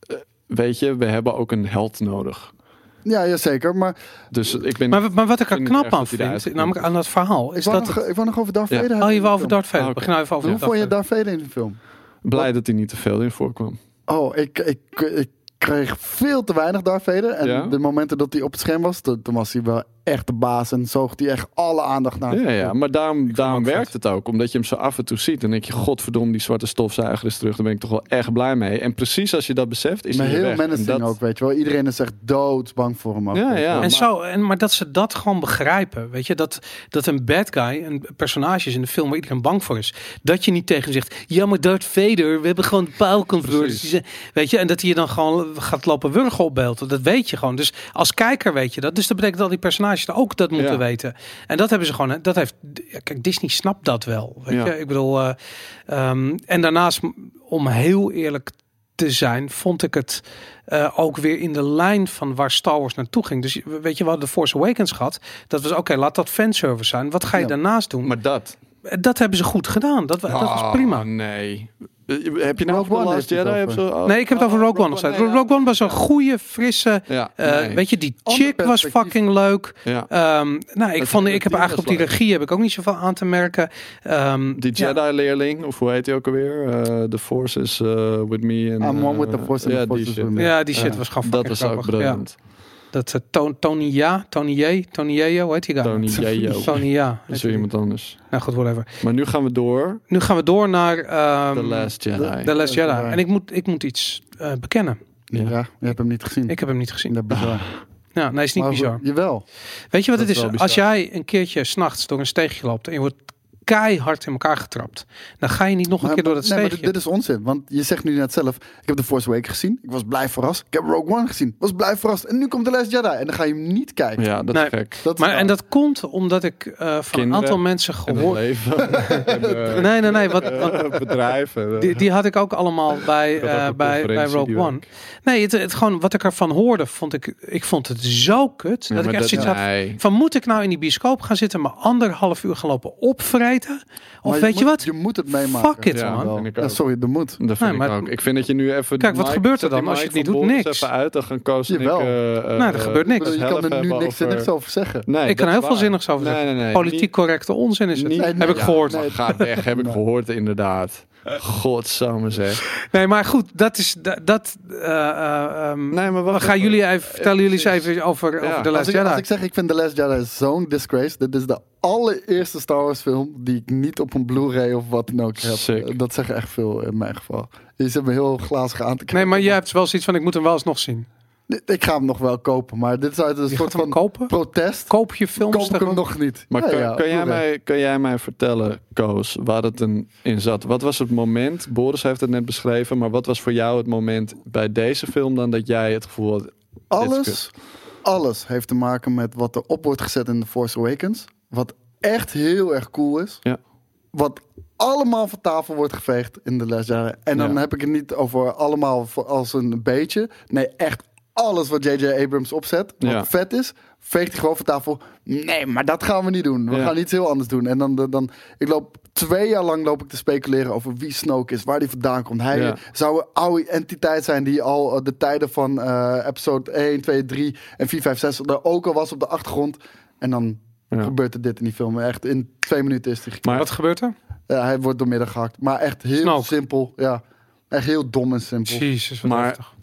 Speaker 2: eh, Weet je, we hebben ook een held nodig.
Speaker 3: ja, ja, zeker. Maar
Speaker 2: Dus ik ben...
Speaker 1: Maar, maar wat ik er
Speaker 2: Vind ik
Speaker 1: knap
Speaker 2: erg dat
Speaker 1: aan
Speaker 2: hij eruit
Speaker 1: vind,
Speaker 2: komt.
Speaker 1: namelijk aan dat verhaal,
Speaker 3: ik
Speaker 1: is
Speaker 3: wou,
Speaker 1: dat...
Speaker 3: nog, ik wou nog over Darth
Speaker 2: Ja.
Speaker 3: Vader hebben
Speaker 1: Oh, je
Speaker 3: in de
Speaker 1: wou over
Speaker 3: film.
Speaker 1: Darth Vader.
Speaker 2: Ah, oké.
Speaker 1: Begin nou even over
Speaker 3: Hoe
Speaker 1: Darth
Speaker 3: vond je
Speaker 1: Vader.
Speaker 3: Darth Vader in de film?
Speaker 2: blij dat hij niet te veel in voorkwam.
Speaker 3: Oh, ik, ik, ik kreeg veel te weinig Darth Vader. En
Speaker 2: Ja?
Speaker 3: de momenten dat hij op het scherm was, toen, toen was hij wel echt de baas. En zoog hij echt alle aandacht naar.
Speaker 2: Ja, ja, maar daarom, daarom
Speaker 1: hem ook
Speaker 2: werkt het ook. Omdat je hem zo af en toe ziet. Dan denk je, godverdomme, die zwarte stofzuiger is terug. Daar ben ik toch wel echt blij mee. En precies als je dat beseft, is
Speaker 3: maar
Speaker 2: hij weer
Speaker 3: heel
Speaker 2: weg. En
Speaker 3: menacing
Speaker 2: dat-
Speaker 3: ook, weet je wel. Iedereen is echt doodsbang voor hem ook.
Speaker 2: Ja,
Speaker 3: weet je
Speaker 2: ja.
Speaker 3: wel.
Speaker 1: En
Speaker 2: Maar-
Speaker 1: zo, en, maar dat ze dat gewoon begrijpen. Weet je, dat, dat een bad guy, een personage is in de film waar iedereen bang voor is. Dat je niet tegen hem zegt, ja maar Darth Vader, we hebben gewoon power converters.
Speaker 2: Precies.
Speaker 1: Die zijn- Weet je, en dat hij je dan gewoon gaat lopen wurgen op beeld. Dat weet je gewoon. Dus als kijker weet je dat. Dus dat betekent dat die personages er ook dat moeten
Speaker 2: Ja.
Speaker 1: weten. En dat hebben ze gewoon, hè, dat heeft, ja, kijk Disney snapt dat wel. Weet
Speaker 2: Ja.
Speaker 1: je, ik bedoel, eh, ehm, en daarnaast, m- om heel eerlijk te zijn, vond ik het eh, ook weer in de lijn van waar Star Wars naartoe ging. Dus je- weet je, we hadden The Force Awakens gehad. Dat was oké, laat dat fanservice zijn. Wat ga je
Speaker 3: Ja.
Speaker 1: daarnaast doen? Eh,
Speaker 2: Maar dat...
Speaker 1: dat hebben ze goed gedaan. Dat, wa- dat was prima.
Speaker 2: Oh, nee. Eh, Heb je nou
Speaker 3: Rogue
Speaker 2: over The
Speaker 3: One
Speaker 2: Last
Speaker 3: heeft hij
Speaker 2: Jedi?
Speaker 3: het
Speaker 2: Heb
Speaker 3: over.
Speaker 2: je zo- oh,
Speaker 1: Nee, ik heb het over
Speaker 2: oh,
Speaker 1: Rogue One nog steeds.
Speaker 2: nee, ja.
Speaker 1: Rogue One was een goede, frisse...
Speaker 2: Ja,
Speaker 1: eh,
Speaker 2: nee.
Speaker 1: Weet je, die
Speaker 3: Ander
Speaker 1: chick was
Speaker 3: perspectief.
Speaker 1: fucking leuk.
Speaker 2: Ja.
Speaker 1: Ehm, nou, ik,
Speaker 2: Het-
Speaker 1: vond, ik heb
Speaker 2: het team
Speaker 1: eigenlijk op
Speaker 2: was
Speaker 1: die
Speaker 2: leuk.
Speaker 1: regie heb ik ook niet zoveel aan te merken. Ehm,
Speaker 2: Die
Speaker 1: ja.
Speaker 2: Jedi-leerling, of hoe heet hij ook alweer? Eh, the Force is eh, with me. And,
Speaker 3: I'm one with the
Speaker 2: eh,
Speaker 3: Force and
Speaker 2: ja,
Speaker 3: the Force
Speaker 2: die
Speaker 3: is
Speaker 2: shit.
Speaker 3: with me.
Speaker 1: Ja, die shit was gewoon
Speaker 2: Dat
Speaker 1: fucking
Speaker 2: was ook
Speaker 1: Oh, grappig. Ja.
Speaker 2: briljant.
Speaker 1: Dat eh, Ton- Tony Ja, Tony J, Tony J, hoe heet die guy?
Speaker 2: Tony J.O.
Speaker 1: [laughs] Tony Ja.
Speaker 2: Dat is weer iemand anders.
Speaker 1: Nou goed, whatever.
Speaker 2: Maar nu gaan we door.
Speaker 1: Nu gaan we door naar ehm,
Speaker 2: The Last Jedi. Hm.
Speaker 1: The Last Jedi.
Speaker 3: Ja.
Speaker 1: En ik moet, ik moet iets eh, bekennen.
Speaker 3: Ja. je hebt hem niet gezien.
Speaker 1: Ik heb hem niet gezien.
Speaker 3: Dat is bizar.
Speaker 1: Ja, nee, is niet
Speaker 3: Maar goed,
Speaker 1: bizar.
Speaker 3: Jawel.
Speaker 1: Weet je wat het
Speaker 2: is
Speaker 1: is?
Speaker 2: wel
Speaker 1: Als
Speaker 2: bizar.
Speaker 1: jij een keertje s'nachts door een steegje loopt en je wordt keihard in elkaar getrapt, dan ga je niet nog een
Speaker 3: Maar-
Speaker 1: keer door dat
Speaker 3: nee, maar
Speaker 1: steegje.
Speaker 3: dit, dit is onzin. Want je zegt nu net zelf, ik heb The Force Awakens gezien. Ik was blij verrast. Ik heb Rogue One gezien. was blij verrast. En nu komt The Last Jedi. En dan ga je hem niet kijken.
Speaker 2: Ja, dat
Speaker 1: Nee.
Speaker 2: is gek.
Speaker 3: Dat is
Speaker 1: maar,
Speaker 3: raar.
Speaker 1: en dat komt omdat ik eh, van een
Speaker 2: Kinderen
Speaker 1: aantal mensen
Speaker 2: En het
Speaker 1: gehoord... [laughs]
Speaker 2: leven. en, eh,
Speaker 1: Nee, nee, nee. Wat,
Speaker 2: [laughs] eh, bedrijven.
Speaker 1: Die, die had ik ook allemaal bij,
Speaker 2: Dat had
Speaker 1: eh,
Speaker 2: een
Speaker 1: bij, bij
Speaker 2: conferentie
Speaker 1: Rogue
Speaker 2: die
Speaker 1: One. Nee, het, het gewoon wat ik ervan hoorde, vond ik, ik vond het zo kut.
Speaker 2: Ja,
Speaker 1: dat ik
Speaker 2: maar
Speaker 1: echt
Speaker 2: dat-
Speaker 1: zoiets
Speaker 2: nee.
Speaker 1: had van, moet ik nou in die bioscoop gaan zitten, maar anderhalf uur gaan lopen opvreten? Of
Speaker 3: Maar
Speaker 1: weet je
Speaker 3: moet-
Speaker 1: wat?
Speaker 3: Je moet het meemaken.
Speaker 1: Fuck it,
Speaker 2: Ja,
Speaker 1: man.
Speaker 2: dat
Speaker 3: Wel.
Speaker 2: vind ik
Speaker 3: Ja,
Speaker 2: ook.
Speaker 3: sorry, de moet.
Speaker 2: Dat vind
Speaker 1: Nee,
Speaker 2: ik
Speaker 1: maar-
Speaker 2: ook. Ik vind dat je nu even...
Speaker 1: Kijk,
Speaker 2: die
Speaker 1: wat
Speaker 2: mic-
Speaker 1: gebeurt er
Speaker 2: zet die
Speaker 1: dan als je
Speaker 2: mic
Speaker 1: het niet
Speaker 2: van
Speaker 1: doet?
Speaker 2: Boris
Speaker 1: Niks.
Speaker 2: even uit, dan eh, gaan Koos en ik...
Speaker 3: Jawel.
Speaker 1: Nee, er gebeurt niks.
Speaker 3: Ik bedoel, Dus je kan er nu niks zinnigs over zeggen.
Speaker 1: ik kan er heel veel zinnigs over
Speaker 2: Nee,
Speaker 1: zeggen.
Speaker 2: nee, nee.
Speaker 1: Politiek correcte onzin is het.
Speaker 2: niet-
Speaker 1: heb ik
Speaker 2: Ja,
Speaker 1: gehoord.
Speaker 2: Niet, ga weg, heb ik gehoord inderdaad. Godsamme zeg.
Speaker 1: Nee, maar goed, dat is... Dat, dat, eh, eh, ehm,
Speaker 2: Nee, maar
Speaker 1: we
Speaker 2: wacht
Speaker 1: gaan
Speaker 2: even.
Speaker 1: jullie even, vertellen jullie eens
Speaker 2: precies.
Speaker 1: even over,
Speaker 2: Ja,
Speaker 1: over de
Speaker 3: eh, Als
Speaker 1: Last
Speaker 3: ik, als
Speaker 1: Jedi.
Speaker 3: ik zeg, ik vind The Last Jedi zo'n disgrace. Dit is de allereerste Star Wars film die ik niet op een Blu-ray of wat dan ook heb. Eh,
Speaker 2: Sick.
Speaker 3: Dat zegt echt veel in mijn geval. Je zit me heel glazig aan te kijken.
Speaker 1: Nee, maar jij hebt wel zoiets van, ik moet hem wel eens nog zien.
Speaker 3: Ik ga hem nog wel kopen, maar dit is uit een
Speaker 1: Je
Speaker 3: soort
Speaker 1: gaat hem
Speaker 3: van
Speaker 1: kopen?
Speaker 3: protest.
Speaker 1: Koop je films
Speaker 3: Koop ik hem
Speaker 1: gewoon?
Speaker 3: nog niet.
Speaker 2: Maar
Speaker 3: Ja,
Speaker 2: kun,
Speaker 3: ja,
Speaker 2: kun jij
Speaker 3: Blu-ray.
Speaker 2: mij, kun jij mij vertellen, Koos, waar het een, in zat? Wat was het moment? Boris heeft het net beschreven, maar wat was voor jou het moment bij deze film dan dat jij het gevoel had? dit is kut?
Speaker 3: Alles, alles heeft te maken met wat erop wordt gezet in The Force Awakens. Wat echt heel erg cool is.
Speaker 2: Ja.
Speaker 3: Wat allemaal van tafel wordt geveegd in de Last Jedi. En dan
Speaker 2: Ja.
Speaker 3: heb ik het niet over allemaal voor als een beetje. Nee, echt alles wat J.J. Abrams opzet, wat
Speaker 2: Ja.
Speaker 3: vet is, veegt hij gewoon van tafel. Nee, maar dat gaan we niet doen. We
Speaker 2: Ja.
Speaker 3: gaan iets heel anders doen. En dan, dan, dan- ik loop twee jaar lang loop ik te speculeren over wie Snoke is, waar die vandaan komt. Hij
Speaker 2: Ja.
Speaker 3: zou een oude entiteit zijn die al eh, de tijden van eh, episode 1, 2, 3 en 4, 5, 6 er ook al was op de achtergrond. En dan
Speaker 2: Ja.
Speaker 3: gebeurt er dit in die film. Echt in twee minuten is hij gek-
Speaker 2: Maar
Speaker 1: Wat gebeurt er?
Speaker 3: eh, hij wordt doormidden gehakt. Maar echt heel
Speaker 1: Snoke.
Speaker 3: simpel. Ja. Echt heel dom en simpel.
Speaker 1: Jezus, wat
Speaker 2: Maar-
Speaker 1: heftig.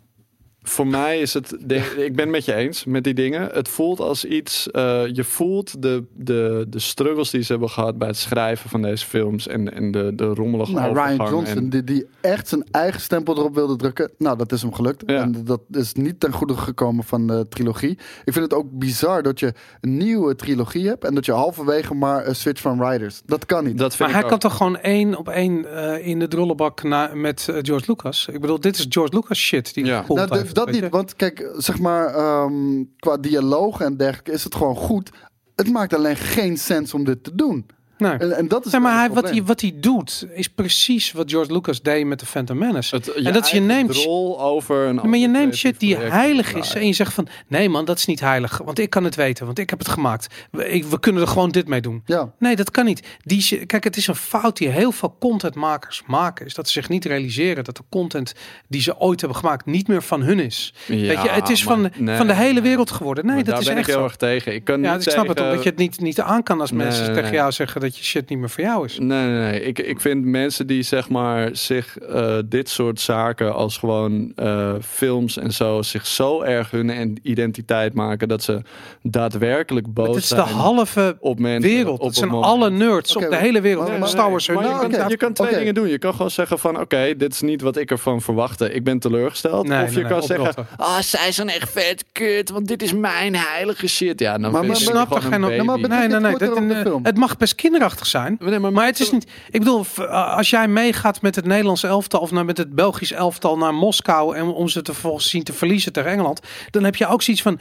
Speaker 2: voor mij is het.
Speaker 3: [laughs]
Speaker 2: de- ik ben het met je eens met die dingen. Het voelt als iets. eh, je voelt de, de, de struggles die ze hebben gehad bij het schrijven van deze films. En, en de, de rommelige
Speaker 3: Nou, Ryan
Speaker 2: overgang.
Speaker 3: Johnson,
Speaker 2: en-
Speaker 3: die, die echt zijn eigen stempel erop wilde drukken. Nou, dat is hem gelukt.
Speaker 2: Ja.
Speaker 3: En dat is niet ten goede gekomen van de trilogie. Ik vind het ook bizar dat je een nieuwe trilogie hebt... en dat je halverwege maar een switch van Riders. Dat kan niet.
Speaker 2: dat vind
Speaker 1: Maar hij
Speaker 2: ik
Speaker 1: kan
Speaker 2: ook.
Speaker 1: toch gewoon één op één eh, in de drollenbak na, met eh, George Lucas? Ik bedoel, dit is George Lucas shit die
Speaker 2: Ja.
Speaker 1: hij gepoeld
Speaker 3: Nou, dat-
Speaker 1: heeft,
Speaker 3: dat
Speaker 1: weet
Speaker 3: niet.
Speaker 1: je.
Speaker 3: Want kijk, zeg maar, ehm, qua dialoog en dergelijke is het gewoon goed. Het maakt alleen geen sens om dit te doen.
Speaker 1: Nee.
Speaker 3: En, en dat is
Speaker 1: Nee, maar
Speaker 3: het
Speaker 1: hij, wat,
Speaker 3: probleem.
Speaker 1: hij, wat hij doet is precies wat George Lucas deed met de Phantom Menace.
Speaker 2: Het-
Speaker 1: en dat is je
Speaker 2: eigen
Speaker 1: neemt.
Speaker 2: drol over een.
Speaker 1: Maar je
Speaker 2: ander
Speaker 1: neemt shit
Speaker 2: creatief
Speaker 1: die
Speaker 2: project
Speaker 1: heilig is
Speaker 2: draaien.
Speaker 1: en je zegt van nee man, dat is niet heilig, want ik kan het weten, want ik heb het gemaakt. We, ik- we kunnen er gewoon dit mee doen.
Speaker 3: Ja.
Speaker 1: Nee, dat kan niet. Die, shi- kijk, het is een fout die heel veel contentmakers maken, is dat ze zich niet realiseren dat de content die ze ooit hebben gemaakt niet meer van hun is.
Speaker 2: Ja,
Speaker 1: Weet je, het is van,
Speaker 2: maar nee,
Speaker 1: van de hele
Speaker 2: nee.
Speaker 1: wereld geworden. Nee,
Speaker 2: Maar
Speaker 1: dat
Speaker 2: daar
Speaker 1: is
Speaker 2: ben
Speaker 1: echt
Speaker 2: ik heel
Speaker 1: zo.
Speaker 2: erg tegen. Ik kan
Speaker 1: Ja,
Speaker 2: niet
Speaker 1: ik snap het
Speaker 2: tegen-
Speaker 1: omdat je het niet, niet aan kan als
Speaker 2: Nee,
Speaker 1: mensen
Speaker 2: nee,
Speaker 1: tegen
Speaker 2: nee.
Speaker 1: jou zeggen dat je shit niet meer voor jou is.
Speaker 2: Nee, nee, nee. Ik, ik vind mensen die zeg maar zich eh, dit soort zaken als gewoon eh, films en zo, zich zo erg hun en- identiteit maken dat ze daadwerkelijk boos
Speaker 1: Het is de
Speaker 2: zijn
Speaker 1: halve
Speaker 2: op mensen.
Speaker 1: wereld.
Speaker 2: op
Speaker 1: Het zijn
Speaker 2: een moment.
Speaker 1: alle nerds
Speaker 3: Oké,
Speaker 1: op de hele wereld.
Speaker 3: maar-
Speaker 1: En
Speaker 3: maar-
Speaker 1: Star Wars hun
Speaker 2: Maar je,
Speaker 3: Nou,
Speaker 2: kan,
Speaker 3: oké.
Speaker 2: je kan twee
Speaker 3: Oké.
Speaker 2: dingen doen. Je kan gewoon zeggen van oké, dit is niet wat ik ervan verwachtte. Ik ben teleurgesteld.
Speaker 1: Nee,
Speaker 2: of je
Speaker 1: nee, nee,
Speaker 2: kan zeggen,
Speaker 1: oprotten.
Speaker 2: ah, zij zijn echt vet kut, want dit is mijn heilige shit. Ja, dan
Speaker 3: Maar-
Speaker 2: vind
Speaker 3: maar-
Speaker 2: je
Speaker 3: maar-
Speaker 2: gewoon
Speaker 1: snap er
Speaker 2: een
Speaker 1: geen op. Nou,
Speaker 2: baby.
Speaker 1: Nee,
Speaker 3: maar betekent
Speaker 1: nee, nee.
Speaker 3: het
Speaker 1: dat
Speaker 3: ook
Speaker 1: een,
Speaker 3: de film?
Speaker 1: het mag best kinderachtig zijn.
Speaker 2: Nee, maar-
Speaker 1: maar, het is niet. Ik bedoel, v- eh, als jij meegaat met het Nederlands elftal of naar, met het Belgisch elftal naar Moskou en om ze te volgens zien te verliezen tegen Engeland, dan heb je ook zoiets van